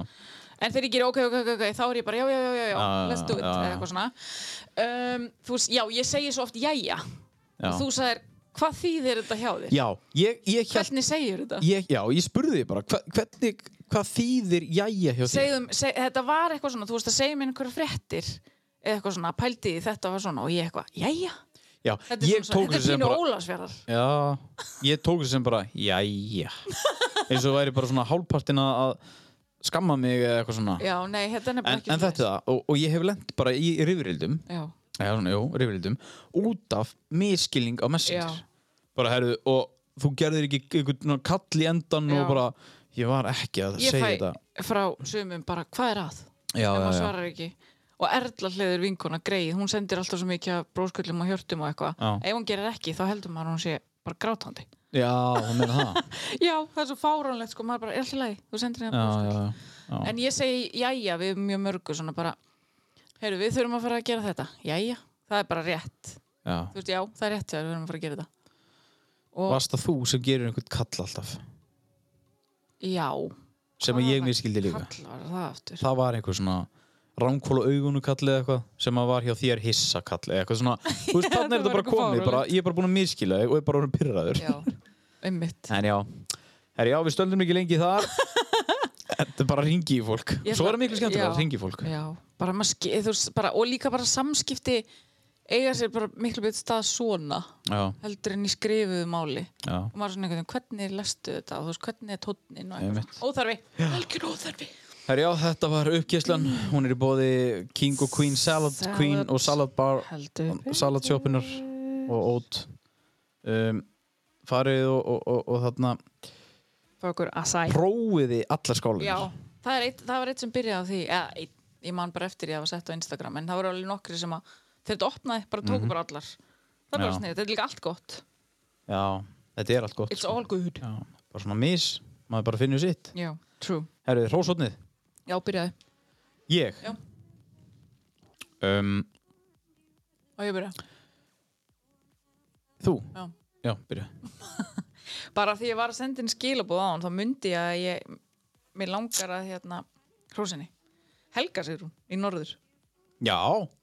S1: En þegar ég ger ok, ok, ok, ok, þá er ég bara, já, já, já, já, já,
S3: Já, já,
S1: let's do it,
S3: já, já.
S1: eða eitthvað svona. Um, þú veist, já, ég segi svo oft, jæja,
S3: já.
S1: og þú sagðir, hvað þýðir þetta hjá þér?
S3: Já, ég, ég hélt
S1: Hvernig segir þetta?
S3: ég, já, ég spurði þig bara hva, hvernig, hvað þýðir jæja hjá þér
S1: segðum, seg, þetta var eitthvað svona, þú veist að segja mér einhverja fréttir eða eitthvað svona, pældi í því þetta var svona og ég eitthvað, jæja,
S3: já,
S1: þetta er, svona,
S3: ég
S1: svona,
S3: tók
S1: þetta
S3: þessu
S1: er
S3: sem
S1: pínu
S3: bara
S1: ólagsverðar
S3: já, ég tók þessu sem bara
S1: [LAUGHS]
S3: jæja eins og væri bara svona hálfpartina að skamma mig eða eitthvað svona
S1: Já, nei, þetta er nefnilega
S3: en,
S1: ekki
S3: en þetta er það, og, og ég hef lent bara í rifrildum
S1: Já,
S3: já, svona, jú, rifrildum út af miskilning á messenger
S1: Já.
S3: bara herðu, og þú gerðir ekki einhvern kall í endan
S1: Já.
S3: og bara ég var ekki að
S1: ég
S3: segja
S1: fæ
S3: þetta
S1: frá sumum bara, hvað er að?
S3: já,
S1: Ef maður
S3: já, já,
S1: svarar ekki Og Erla hliður vinkona greið, hún sendir alltaf svo mikið af bróskullum og hjörtum og eitthvað
S3: Já.
S1: Ef hún gerir ekki, þá heldur maður að hún sé bara grátandi
S3: já, það meina
S1: [LAUGHS]
S3: það
S1: Já, það er svo fáránlegt, sko, maður bara, er alltaf lagi, þú sendir hérna
S3: já,
S1: bróskull
S3: já, já, já.
S1: En ég segi jæja við mjög mörgu svona bara Heyrðu, við þurfum að fara að gera þetta Jæja, það er bara rétt
S3: já.
S1: Þú veist, já, það er rétt hjá þér, við þurfum að fara að gera þetta og
S3: Varst það þú sem gerir einhvern kall alltaf
S1: já
S3: sem að ég miskildi líka
S1: kallar það aftur
S3: það var einhver svona ránkóla augunu kalli eða eitthvað sem að var hjá þér hissa kalli eða eitthvað
S1: [LAUGHS]
S3: svona þú veist þannig er
S1: það
S3: þetta
S1: var
S3: bara
S1: eitthvað
S3: komið bara, ég er bara búin að miskila þig og er bara orðin pyrraður
S1: já, einmitt
S3: [LAUGHS] en já, herri já við stöldum ekki lengi
S1: [LAUGHS]
S3: þar þetta er bara að ringi í fólk
S1: Ég
S3: svo
S1: ætla-
S3: er það miklu skemmtilega
S1: já.
S3: að ringi í fólk
S1: já, bara maður ski, þú veist, bara, og líka bara samskipti eiga sér bara miklu betur stað svona
S3: já,
S1: heldur en í skrifuðu máli
S3: já,
S1: og maður er svona einhvern veginn, hvernig lestu þetta og þú veist, hvernig er tónnin og
S3: Einmitt.
S1: eitthvað óþarfi, algjör óþarfi
S3: herri já þetta var uppgæslan hún er í bóði King og Queen Salad,
S1: Salad.
S3: Queen og Salad Bar
S1: heldur
S3: salatsjópinar og ót um, farið og, og, og, og þarna
S1: fyrir okkur asæ
S3: prófiði allar skálinir
S1: já, það, er eitt, það var eitt sem byrjaði á því eða, eitt, ég man bara eftir ég hafa sett á Instagram en það voru alveg nokkri sem að þegar þetta opnaði, bara tóku bara allar það er bara
S3: Já.
S1: sniðið, þetta er líka allt gott
S3: Já, þetta er allt gott
S1: it's
S3: sko.
S1: all good
S3: Já, bara svona mis, maður bara finnur sitt
S1: já, true,
S3: Herru, hrósotnið,
S1: já, byrjaði
S3: ég
S1: Já.
S3: um,
S1: og ég byrja
S3: Þú?
S1: Já.
S3: Já, byrja
S1: bara því ég var að senda inn skilabóð á hann þá myndi ég að ég mér langar að hérna hrósinni Helga sigur hún í norður
S3: Já,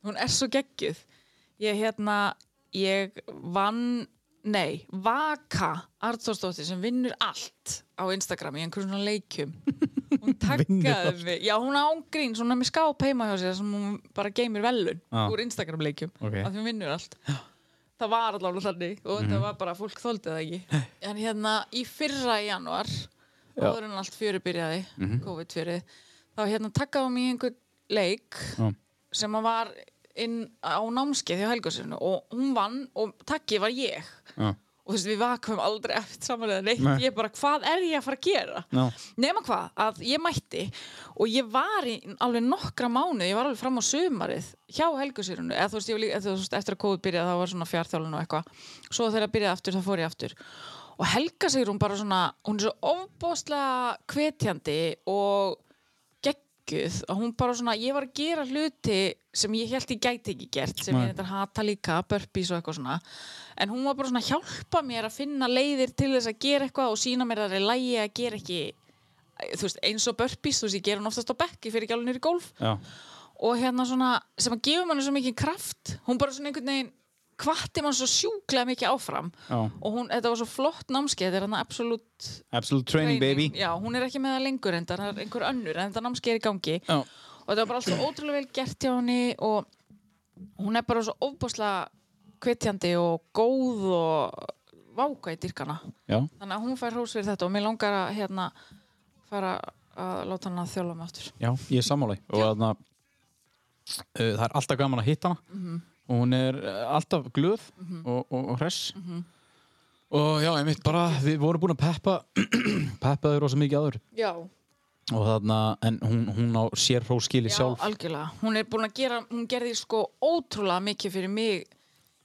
S1: hún er svo geggjuð ég hérna ég vann nei, Vaka Arnþórsdóttir sem vinnur allt á Instagram í einhverjum svona leikjum hún
S3: [LAUGHS] Vinnur
S1: takkaði mig já hún ángrín, svona með skáp heima hjá sér sem hún bara geymir velun
S3: Já.
S1: úr Instagram leikjum
S3: Ok.
S1: af því hún vinnur allt það var allavega þannig og
S3: Mhm.
S1: þetta var bara fólk þóldi það ekki en hérna í fyrra í januar áður en allt fjöri byrjaði
S3: Mhm.
S1: COVID fjöri þá hérna takkaði hún mig í einhver leik
S3: Já.
S1: sem að var inn á námskeið hjá Helgarsinu og hún vann og takki var ég
S3: já,
S1: og þú veist við vakum aldrei eftir saman eða neitt,
S3: Nei.
S1: ég bara hvað er ég að fara að gera
S3: já.
S1: nema hvað, að ég mætti og ég var í alveg nokkra mánuð ég var alveg fram á sumarið hjá helgusýrunu eða þú veist, ég var líka, eða, þú veist eftir að kóðu byrjaði þá var svona fjartjálun og eitthvað svo þegar það byrjaði aftur þá fór ég aftur og helgasýrun bara svona, hún er svo ofbóðslega hvetjandi og geggjuð og hún bara svona, ég var að gera hluti sem ég held ég gæti ekki gert sem
S3: Nei.
S1: ég reyndar hata líka, burpees og eitthvað svona en hún var bara svona að hjálpa mér að finna leiðir til þess að gera eitthvað og sína mér að það er lægi að gera ekki þú veist, eins og burpees, þú veist, ég ger hann oftast á bekk, ég fyrir ekki alveg niður í golf
S3: já.
S1: og hérna svona, sem að gefa manni svo mikið kraft, hún bara svona einhvern veginn hvatti mann svo sjúklega mikið áfram
S3: já.
S1: og hún, þetta var svo flott námskeið þetta er hann absolutt
S3: Absolute training, baby
S1: já, hún er ekki með það lengur en það er einhver önnur en þetta námskeið er í gangi
S3: Já,
S1: og þetta var bara allt svo ótrúlega vel gert hjá henni og hún er bara svo ofbáslega kvetjandi og góð og váka í dyrkana
S3: já,
S1: þannig að hún fær hrós fyrir þetta og mér langar að hérna fara að láta hann að þjóla mig aftur
S3: já, ég er sammála í. og þarna uh, það er alltaf gaman að hitta hana og hún er uh, alltaf glöð og, og, og hress og já, einmitt bara við vorum búin að peppa [CLEARS THROAT] peppa þau rosa mikið áður
S1: já,
S3: og þarna, en hún, hún á sér hróskili sjálf
S1: algjörlega hún er búin að gera, hún gerði sko ótrúlega mikið fyrir mig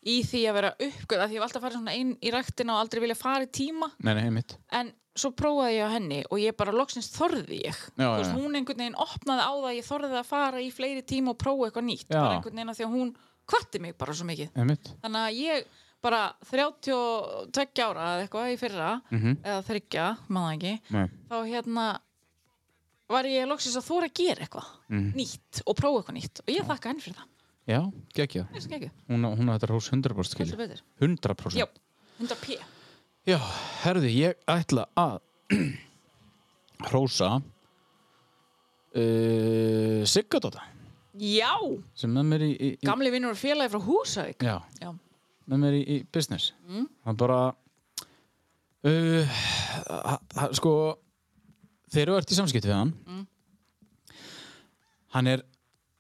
S1: í því að vera uppgöð að því ég hef alltaf farið svona inn í ræktina og aldrei vilja fara í tíma
S3: Nei, nei, einmitt
S1: en svo prófaði ég á henni og ég bara loksins þorði ég
S3: Já,
S1: Þú veist,
S3: já, já.
S1: hún einhvern veginn opnaði á það að ég þorði að fara í fleiri tíma og prófa eitthvað nýtt
S3: Já.
S1: bara einhvern veginn að því að hún kvatti mig bara svo mikið
S3: Einmitt
S1: þannig að ég bara 32 ára eða eitthvað í fyrra
S3: Mhm.
S1: eða þryggja, maður ekki
S3: Nei,
S1: þá hérna var ég loksins að þóra að gera eitthvað
S3: Mhm.
S1: nýtt og prófa eitthvað nýtt og ég þakka henni fyrir það,
S3: já, geggja
S1: það er sem ekki
S3: Hún, á- hún á þetta hrós 100%
S1: heldur
S3: skili
S1: betur,
S3: 100%
S1: já, 100 p
S3: Já, herði, ég ætla að [CLEARS THROAT] hrósa uh, Siggadóta
S1: já,
S3: sem með mér í, í, í
S1: gamli vinnur og félagi frá Húsavík
S3: Já,
S1: já,
S3: með mér í, í business
S1: Mm.
S3: Það bara uh, ha, ha, sko þegar þú ert í samskipti við hann
S1: Mm.
S3: hann er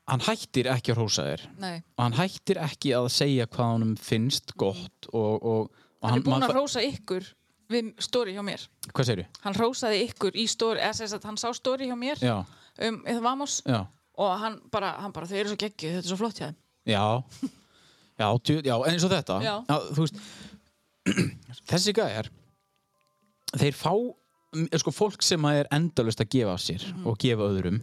S3: hann hættir ekki að hrósa þér
S1: nei,
S3: og hann hættir ekki að segja hvað honum finnst gott og, og, og
S1: hann er búinn að
S3: maður fæ-
S1: rósa ykkur við stóri hjá mér
S3: Hvað segir þú?
S1: hann rósaði ykkur í stóri eða sem sagt, hann sá stóri hjá mér
S3: Já,
S1: um eða Vamos
S3: já,
S1: og hann bara, hann bara, þau eru svo geggju þetta er svo flott hjá þeim
S3: já Já, djú, já en eins og þetta
S1: Já.
S3: þú veist, [CLEARS THROAT] Þessi gæjar þeir fá m- sko, fólk sem að er endalust að gefa af sér og gefa öðrum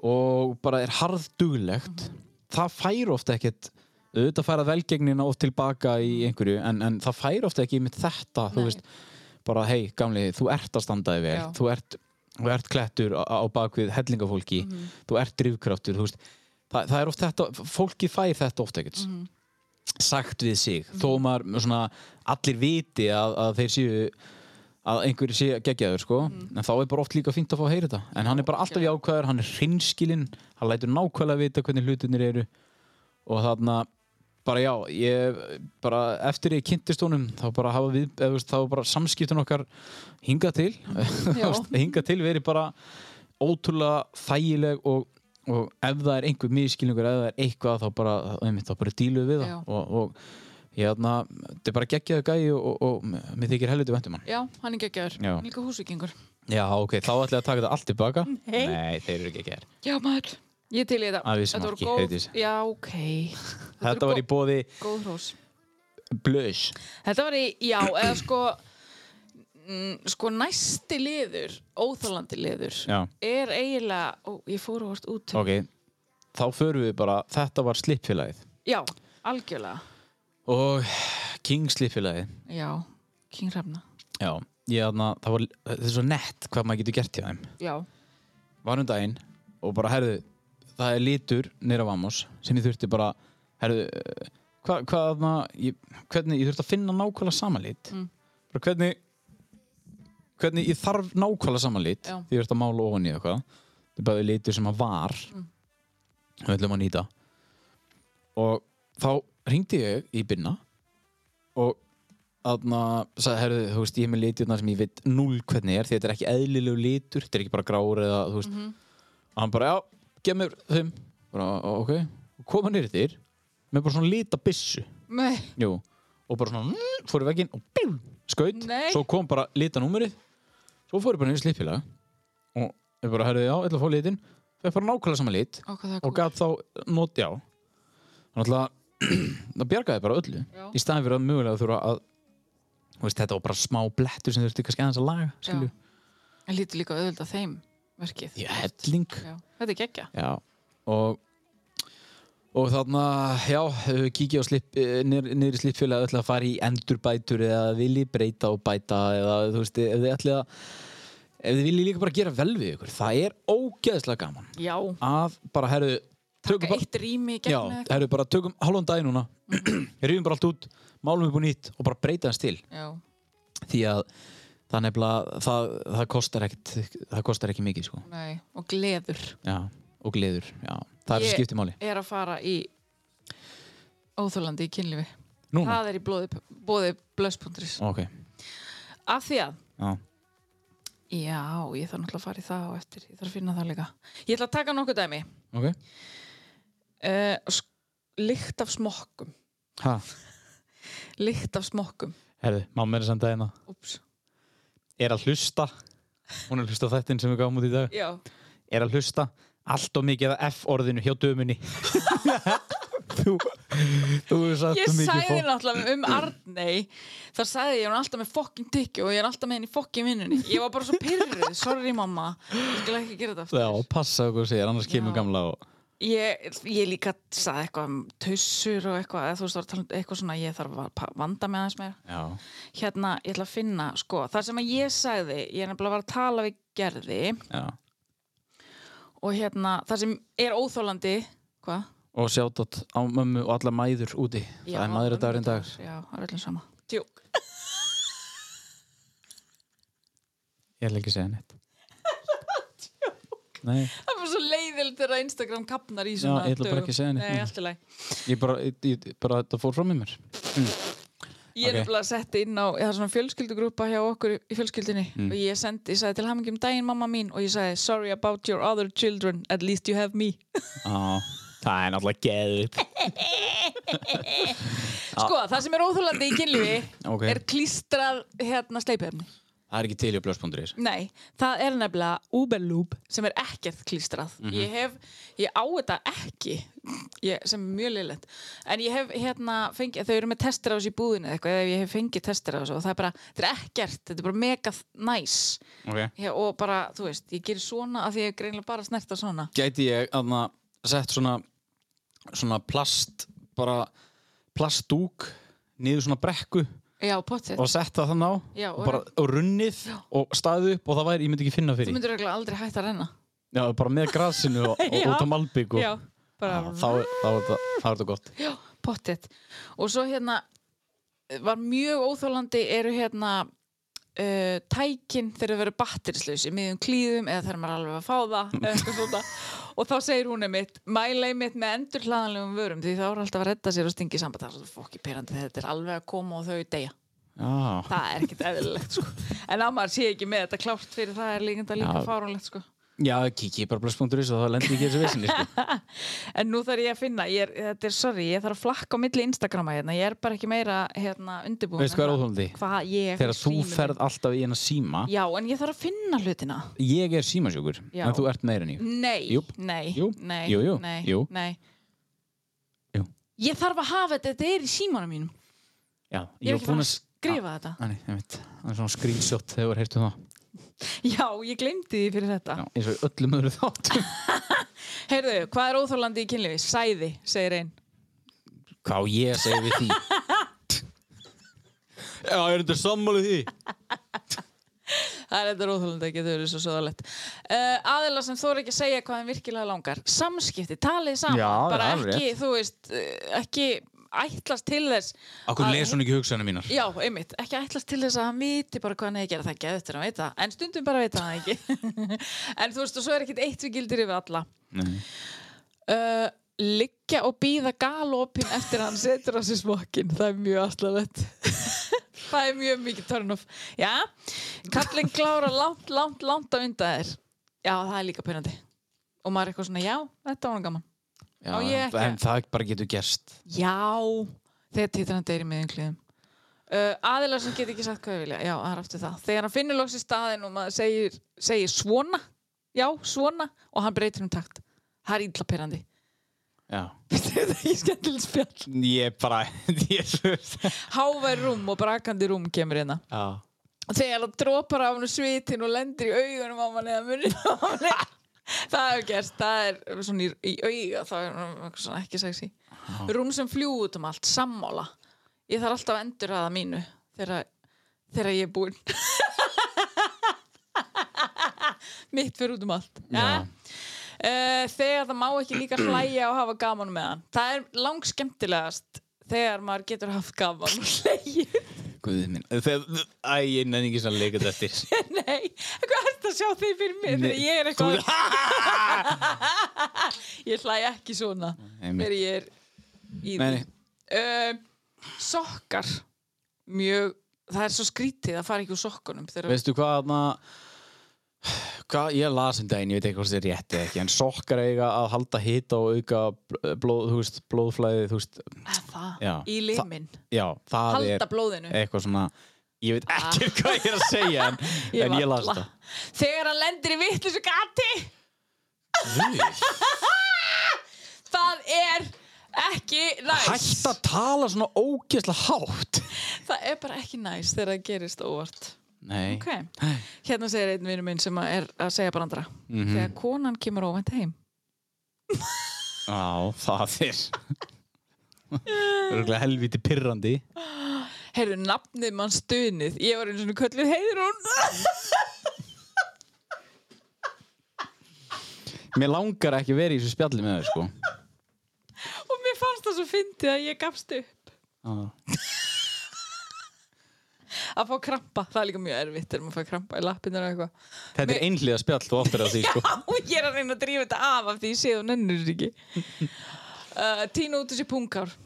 S3: og bara er harðduglegt það fær ofta ekkert auðvitað færa velgegnina oft tilbaka í einhverju en, en það fær ofta ekki með þetta
S1: Mm.
S3: þú
S1: Nei.
S3: veist, bara hei gamli þú ert að standa þig vel,
S1: Já.
S3: þú ert þú ert klettur á, á bakvið hellingafólki
S1: Mhm.
S3: þú ert drifkraftur, þú veist það, það er oft þetta, fólki fær þetta
S1: Mhm.
S3: ofta ekkert sagt við sig þó maður svona allir viti að, að þeir séu að einhverju sé geggjaður sko en þá er bara oft líka fínt að fá að heyra þetta en hann er bara alltaf jákvæður, hann er hreinskilinn hann lætur nákvæmlega vita hvernig hlutinir eru og þarna bara já, ég bara eftir ég kynntist honum þá bara hafa við eða, þú veist, þá hafa bara samskiptun okkar hinga til [LAUGHS]
S1: Já.
S3: hinga til verið bara ótrúlega þægileg og, og ef það er einhver miskilningur ef það er eitthvað þá bara, einmitt, þá bara díluðu við
S1: Já.
S3: það og, og ég þarna þetta er bara geggjaðu gæi og, og, og mér þykir helviti vendum hann
S1: Já, hann er geggjaður.
S3: Já.
S1: Líka húsvíkingur.
S3: já ok, þá ætla ég að taka þetta allt tilbaka
S1: [LAUGHS] Nei.
S3: þeir eru geggjaður
S1: Já, maður. Ég til í þetta.
S3: Að vissu
S1: Þetta voru
S3: marki,
S1: góð-
S3: Heiðdís.
S1: Já, ok. Þetta, voru
S3: þetta var í bóði
S1: góð, góð hrós.
S3: blöðs
S1: Þetta var í, já, eða sko, mm, sko næsti liður, óþálandi liður,
S3: já
S1: er eiginlega, ó, ég fór og vart út.
S3: ok, þá förum við bara þetta var slippfélagið
S1: Já, algjörlega.
S3: og King slippfélagið
S1: Já, King Hrefna.
S3: já, ég þarna það var, þetta er svo nett hvað maður getur gert hjá þeim
S1: Já,
S3: var um daginn og bara herðu það er litur nýra vamos sem ég þurfti bara herðu, eh, hvað, hvað þarna ég, hvernig, ég þurfti að finna nákvæmlega samanlit mm. bara hvernig hvernig ég þarf nákvæmlega samanlit
S1: Já.
S3: því ég þurfti að mála ofan í eitthvað þetta er bara litur sem að var mm. við ætlum að nýta og þá ringdi ég í Binna og þarna sagði, herðu, þú veist, ég er með liturna sem ég veit null hvernig er, því þetta er ekki eðlilegu litur þetta er ekki bara grár eða, þú veist og hann bara, já, gef mér þeim bara, "Ó, ok, og koma nýrið þér með bara svona lita bissu
S1: með,
S3: Jú. og bara svona, mm, fór í vegginn og bjú, skaut,
S1: Nei.
S3: svo kom bara lita númerið, svo fór ég bara niður slippilega og ég bara, herðu, já, ég ætla að fá litin það er bara nákvæmlega sama lit
S1: á hvað það er
S3: og gaf þá nót, já þannig að [CLEARS THROAT] það bjargaði bara öllu
S1: Já.
S3: í staðin fyrir að mögulega þurfa að þú veist, þetta var bara smá blettur sem þurfti kannski aðeins að laga, skilju
S1: En lítur líka auðvitað þeim verkið.
S3: Já, helling
S1: Já, þetta er geggja.
S3: Já, og og þarna, já, ef við kíkja á slip, niður í slipfélagi ætla að fara í endurbætur eða vilji breyta og bæta eða þú veist, ef þið ætla að ef þið vilji líka bara gera vel við ykkur það er ógeðslega gaman
S1: Já,
S3: að bara, herru, tökum
S1: taka
S3: bara
S1: eitt rými í
S3: já,
S1: gegn eða eitthvað.
S3: herru, bara tökum hálfum dag núna [CLEARS THROAT] rýfum bara allt út, málum upp og nýtt og bara breyta hans til
S1: Já,
S3: því að það nefnilega, það, það kostar ekkit það kostar ekki mikið, sko
S1: nei, og gleður.
S3: já, og gleður, já, það er
S1: Ég-
S3: yeah. skipti máli
S1: Er að fara í óþólandi í kynlífi.
S3: núna,
S1: Það er í blóði, bóði blöss.ris.
S3: ok
S1: Af því að,
S3: Já,
S1: já, ég þarf náttúrulega að fara í það á eftir. Ég þarf að finna það líka. Ég ætla að taka nokkuð dæmi.
S3: ok.
S1: Uh, Lykt af smokkum.
S3: Ha,
S1: Lykt af smokkum.
S3: herðu, mamma er að senda hérna.
S1: Úps.
S3: Er að hlusta. Hún er að hlusta á þettin sem við gáum út í dag.
S1: Já.
S3: Er að hlusta. Allt og mikið að F-orðinu hjá dömunni. [LAUGHS] þú, þú er satt
S1: Ég
S3: svo mikið
S1: sagði
S3: fólk.
S1: náttúrulega um Arnei Þar sagði ég, hún er alltaf með fokkin tykki og ég er alltaf með henni í fokkin vinnunni Ég var bara svo pyrruð, sorry mamma Ég skal ekki gera þetta
S3: Já,
S1: aftur
S3: passa okkur sér, annars kemur
S1: Já.
S3: gamla og...
S1: Ég, ég líka sagði eitthvað um tussur og eitthvað eða Þú veist, það var að tala um eitthvað svona ég þarf að pa- vanda með aðeins meira
S3: Já,
S1: Hérna, ég ætla að finna, sko þar sem að ég sagði, ég er nefnilega var að tala við Gerði
S3: já.
S1: Og hérna, það sem er óþólandi Hvað?
S3: Og sjátt á mömmu og alla mæður úti.
S1: Já,
S3: það er maður að dagurinn dag.
S1: Já, það er allir sama Tjók
S3: Ég ætla ekki að segja
S1: [LAUGHS]
S3: neitt. Nei,
S1: Það var svo leiðilegt þegar Instagram kapnar í
S3: Já,
S1: svona
S3: ég ætla bara
S1: dögum.
S3: ekki að segja neitt
S1: Nei,
S3: núna.
S1: allt í lagi.
S3: ég bara, ég, ég, bara þetta fór frá mér mér.
S1: Ég er
S3: Ok.
S1: nefnilega sett inn á, það er svona fjölskyldugrúpa hjá okkur í fjölskyldinni
S3: Mm.
S1: og ég sendi, ég sagði til hamingjum daginn mamma mín og ég sagði sorry about your other children, at least you have me.
S3: Á, það er náttúrulega geðvitt.
S1: Sko, það sem er óþúlandi í kynlífi
S3: Ah. [CLEARS THROAT] Ok.
S1: er klístrað hérna sleipefni.
S3: Það er ekki til í blöðspunduris.
S1: Nei, það er nefnilega Uberloop sem er ekkert klístrað.
S3: Mhm.
S1: Ég hef, ég á þetta ekki, ég, sem er mjög liðlegt. En ég hef hérna, fengið, þau eru með testir á þessu í búðinu eða eitthvað, eða ég hef fengið testir á þessu og það er bara, þetta er ekkert, þetta er bara mega næs.
S3: Ok.
S1: Já, og bara, þú veist, ég gerir svona af því ég er greinilega bara snert á svona.
S3: gæti ég aðna sett svona svona plast bara plastdúk niður svona brekku
S1: Já, potið.
S3: og sett það þannig á
S1: Já,
S3: og,
S1: og-
S3: bara, og runnið og staðið upp og það væri, ég myndi ekki finna
S1: Þú
S3: fyrir
S1: myndir eiginlega aldrei hægt að renna.
S3: Já, bara með grasinu og, og
S1: [LAUGHS] Já.
S3: út á malbygg og
S1: Já, bara
S3: Sko, þá, þá, er- þá, er þetta- þá er þetta gott
S1: Já, pottet. Og svo hérna var mjög óþólandi eru hérna uh, tækin þegar þau verður batterislausi miðjum klíðum eða þegar maður er alveg að fá það eða eitthvað svona. og þá segir hún einmitt mæla einmitt með endur hlaðanlegum vörum því þá er alltaf að redda sér og stingi samband það er svo fokki perandi þegar þetta er alveg að koma og þau deyja
S3: Já,
S1: það er ekkert eðlilegt sko. en að maður sé ekki með þetta klárt fyrir það er líka, líka
S3: Já.
S1: fáránlegt sko.
S3: já kikið bara blöss.is og þá lendir ekki í þessu vissinni sko.
S1: En nú þarf ég að finna, ég er, þetta er sorry, ég þarf að flakka á milli Instagrama hérna, ég er bara ekki meira hérna undirbúin.
S3: Veist hvað er óþolandi?
S1: Hvað ég...
S3: Þegar þú
S1: síminn minn.
S3: ferð alltaf í hennar síma
S1: Já, en ég þarf að finna hlutina.
S3: Ég er símasjókur,
S1: Já.
S3: en þú ert meira en ég
S1: Nei,
S3: Jú.
S1: nei,
S3: Jú.
S1: nei,
S3: Jú, jú,
S1: nei,
S3: jú.
S1: nei.
S3: Jú.
S1: Ég þarf að hafa þetta, þetta er í símanum mínum.
S3: Já,
S1: Ég er ekki
S3: búinn
S1: fann að skrifa þetta.
S3: Nei, ég veit, það er svona screenshot þegar þú heyrtu það
S1: Já, ég glemdi því fyrir þetta.
S3: Já, eins og í öllum öðru þáttum
S1: Heyrðu, hvað er óþólandi í kynlífi? Sæði, segir einn.
S3: Hvað á ég að segja við því? Já, ég er þetta sammálið því
S1: Það er þetta róðhólandi ekki, þau eru svo svoðalett. Uh, aðila sem þóra ekki að segja hvað þeim virkilega langar. Samskipti, talið saman.
S3: Já, það er
S1: bara
S3: alveg
S1: ekki, þú veist, uh, ekki ætlast til þess.
S3: Akkur
S1: að-
S3: les hún ekki hugsanir mínar
S1: Já, einmitt, ekki ætlast til þess að hann viti bara hvað hann eigi að gera það ekki, þetta er að veita það, en stundum bara veit hann það ekki. [LAUGHS] en þú veist, og svo er ekkit eitt við gildir yfir alla.
S3: Nei.
S1: Uh, liggja og býða galopin eftir að hann setur á sér smokkin, það er mjög aðslalett. það er mjög mikið turn off. Já, kallinn klára langt, langt, langt á undan þér. Já, það er líka pyrrandi. Og maður er eitthvað svona, já, þetta var hann gaman.
S3: Já,
S1: Á ég ekki?
S3: En það bara getur gerst
S1: Já, þegar titrandi er í miðjum klíðum. Uh, aðilar sem get ekki sagt hvað þau vilja, já, það er aftur það. Þegar hann finnur loks í staðin og maður segir, segir svona, já, svona, og hann breytir um takt. Það er illa perandi.
S3: Já
S1: [LAUGHS] Þetta er ekki skemmtilegt spjall.
S3: Ég bara, [LAUGHS] ég svöfst
S1: Hávær rúm og brakandi rúm kemur hérna.
S3: Já
S1: Þegar hann dropar af hann svitin og lendir í augunum á manni eða munni á manni. það hefur gerst, það er svona í, í auga, það er nú svona ekki sexy. Rúm sem fljú út um allt, sammála. Ég þarf alltaf að endurraða mínu þegar, þegar ég er búinn. [LAUGHS] Mitt fyrir út um allt.
S3: Já.
S1: Eh, þegar það má ekki líka hlæja og hafa gaman með hann. Það er langskemmtilegast þegar maður getur haft gaman og hlægið.
S3: Guðið minn Þegar, æ, ég nenni ekki svona leikast eftir
S1: Nei, hvað er þetta að sjá þig fyrir mér
S3: Nei,
S1: þegar [LAUGHS] ég er
S3: þú- [LAUGHS]
S1: eitthvað Ég hlæ ekki svona
S3: einmitt.
S1: þegar ég er í
S3: Nei, nei.
S1: því um, Sokkar mjög, það er svo skrítið að fara ekki úr sokkunum þegar
S3: Veistu hvað, þarna Hvað, ég las um daginn, ég veit ekki hvort þetta er rétt eða ekki En sokkar eiga að halda hita og auka bl- blóð, þú veist, blóðflæði, þú veist
S1: að það
S3: Já.
S1: í limin,
S3: Já, það
S1: halda
S3: er
S1: blóðinu Ah.
S3: eitthvað svona Ég veit ekki hvað ég er að segja
S1: [LAUGHS]
S3: En ég, en ég las
S1: varla.
S3: þetta
S1: Þegar hann lendir í vittlisu gati
S3: Guð,
S1: [LAUGHS] það er ekki næs
S3: Hætt að tala svona ógeðslega hátt
S1: Það er bara ekki næs þegar það gerist óvart
S3: Nei
S1: Ok, hérna segir einn vinur minn sem að er að segja brandara mm Þegar konan kemur óvænt heim
S3: Á, það er [LAUGHS] Örgulega helviti pirrandi
S1: Heyrðu, nafnið mann stunið Ég var einu svona kölluð heiðrún [LAUGHS]
S3: Mér langar ekki að vera í þessu spjalli með þau sko
S1: Og mér fannst það svo fyndið að ég gafst upp
S3: Á.
S1: Að fá krampa, það er líka mjög erfitt Þegar maður fær krampa í lappinur og eitthvað
S3: Þetta er einhliða spjall, þú áttir að því
S1: [LAUGHS]
S3: sko
S1: Já, ég er að reyna að drífa þetta af af því ég sé þú nennur þessu [LAUGHS] ekki uh, Tína út þessi pungar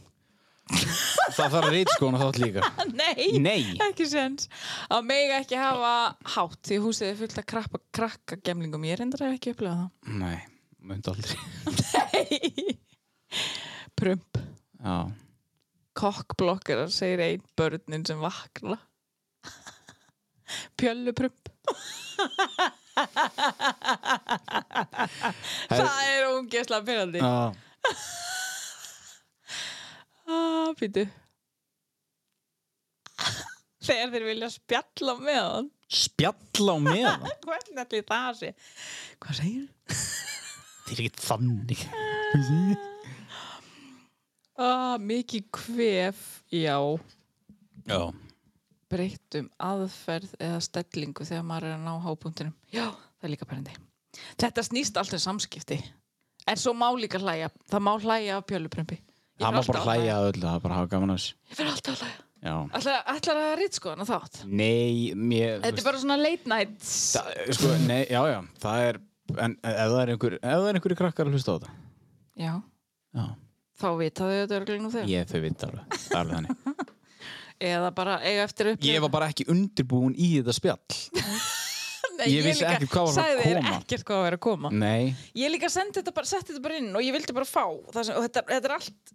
S3: Það þarf að reyta sko hún þátt líka
S1: [LAUGHS] Nei,
S3: Nei.
S1: ekki sens Að mega ekki hafa hátt Því húsið er fullt af krappa, krakka gemlingum Ég reyndar hef ekki upplega það
S3: Nei, myndi aldrei
S1: Prump
S3: Já,
S1: kokkblokkarar segir einn börnin sem vakna pjölluprump það er ógeðslega pyrrandi
S3: Já.
S1: býtu þegar þeir vilja spjalla með hann
S3: Spjall á meðan
S1: hvernig allir það sé hvað segir
S3: Það er ekki þannig
S1: ah, mikið kvef, já
S3: Já,
S1: breyttum aðferð eða stellingu þegar maður er að ná hábúndinum já, það er líka perandi þetta snýst allt um samskipti en svo má líka hlæja, það má hlæja af pjöluprömpi Ég
S3: það
S1: fer
S3: má bara
S1: alltaf að
S3: hlæja að öllu, það er bara að hafa gaman að þessu.
S1: Ég fyrir alltaf að hlæja
S3: Já.
S1: Ætlar, ætlar að rýtt sko hana þátt
S3: Nei, mér... þú
S1: Þetta er
S3: veist,
S1: bara svona late night
S3: það- Sko, nei, já, já, það er... En e, ef það er einhver, ef það er einhverju krakkar að hlusta á þetta.
S1: Já,
S3: Já.
S1: þá vita þau þetta örglega nú þegar
S3: Ég þau vita alveg, það er alveg þannig.
S1: Eða bara eiga eftir upp
S3: [LAUGHS] Ég var bara ekki undirbúin í þetta spjall.
S1: Nei,
S3: ég vissi
S1: líka
S3: ekkert hvað var að
S1: sagði þér
S3: koma.
S1: ekkert hvað var að koma
S3: Nei,
S1: Ég líka sendi þetta bara, setti þetta bara inn og ég vildi bara fá það sem, og þetta, þetta er allt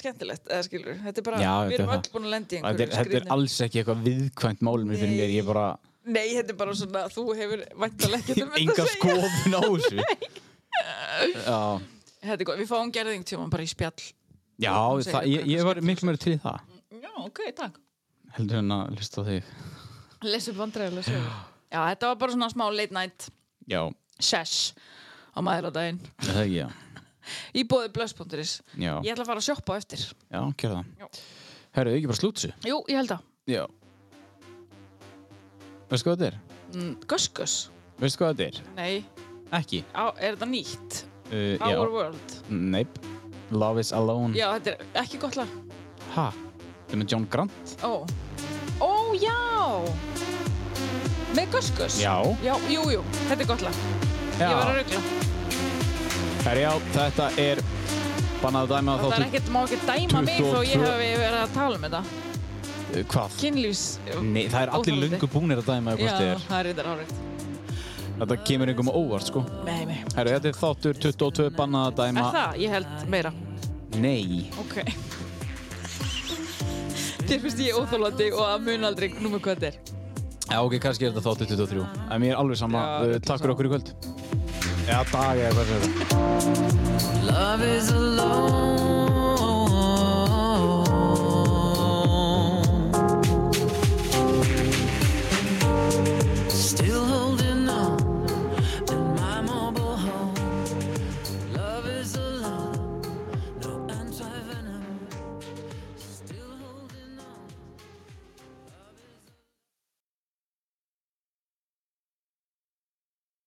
S1: skemmtilegt, eða skilur, þetta er bara
S3: Já,
S1: við
S3: þetta er
S1: erum
S3: það.
S1: öll búin að lenda í
S3: þetta
S1: einhverju
S3: er, þetta er
S1: skrýtnu-
S3: alls ekki eitthvað viðkvæmt málum fyrir mér. Ég bara...
S1: Nei, þetta er bara svona, þú hefur væntalega ekki
S3: Enga sko- skoðun á
S1: [LAUGHS]
S3: þessu. Já,
S1: Þetta er góð, við fáum gerðing tíma bara í spjall
S3: já
S1: Hún segir
S3: það,
S1: eitthvað
S3: ég, ég var miklu meira til í það.
S1: Já, ok, takk
S3: Heldur en að hlusta á þig.
S1: Lesu bandræðilega sögur Já, þetta var bara svona smá late night
S3: Já,
S1: sesh á maðuradaginn
S3: er það ekki, já.
S1: í bóði blöss.is
S3: Já,
S1: Ég ætla að fara að sjoppa á eftir
S3: já, kjör það.
S1: Já.
S3: Herru, ekki bara slútsu.
S1: Jú, ég held að
S3: Já Veistu hvað þetta er?
S1: mm, Gus Gus,
S3: Veistu hvað þetta er?
S1: nei,
S3: Ekki
S1: á, er þetta nýtt?
S3: uh,
S1: Our
S3: Já,
S1: World
S3: neip Love is alone
S1: Já, þetta er ekki gott lag
S3: Ha? Það er með John Grant
S1: Ó, ó já Með guskus
S3: Já.
S1: Já, jú, jú, þetta er gott lag Ég var að ruggla
S3: Herjá, þetta er Bannað að dæma
S1: Það er
S3: þáttur
S1: ekkert, má ekkert dæma mig þó ég
S3: 22.
S1: hef verið að tala um þetta
S3: uh, Hvað?
S1: Kynlífs
S3: Nei, það er allir
S1: Óþolandi.
S3: lungu búnir að dæma
S1: Já,
S3: hvort þið er
S1: það er þetta árið
S3: Þetta kemur einhverjum á óvart sko
S1: Nei, nei
S3: Herru, þetta er þáttur 22 bannað að
S1: Er
S3: dæma
S1: það? Ég held meira
S3: Nei
S1: Ok Þér finnst ég óþólandi og að mun aldrei númer hvað þetta er
S3: Já, ok, kannski er þetta þáttur 23 En mér er alveg sama
S1: Já,
S3: uh,
S1: öllum
S3: Takk fyrir okkur í kvöld Já, dag eða hvað sem þetta
S6: Love is alone.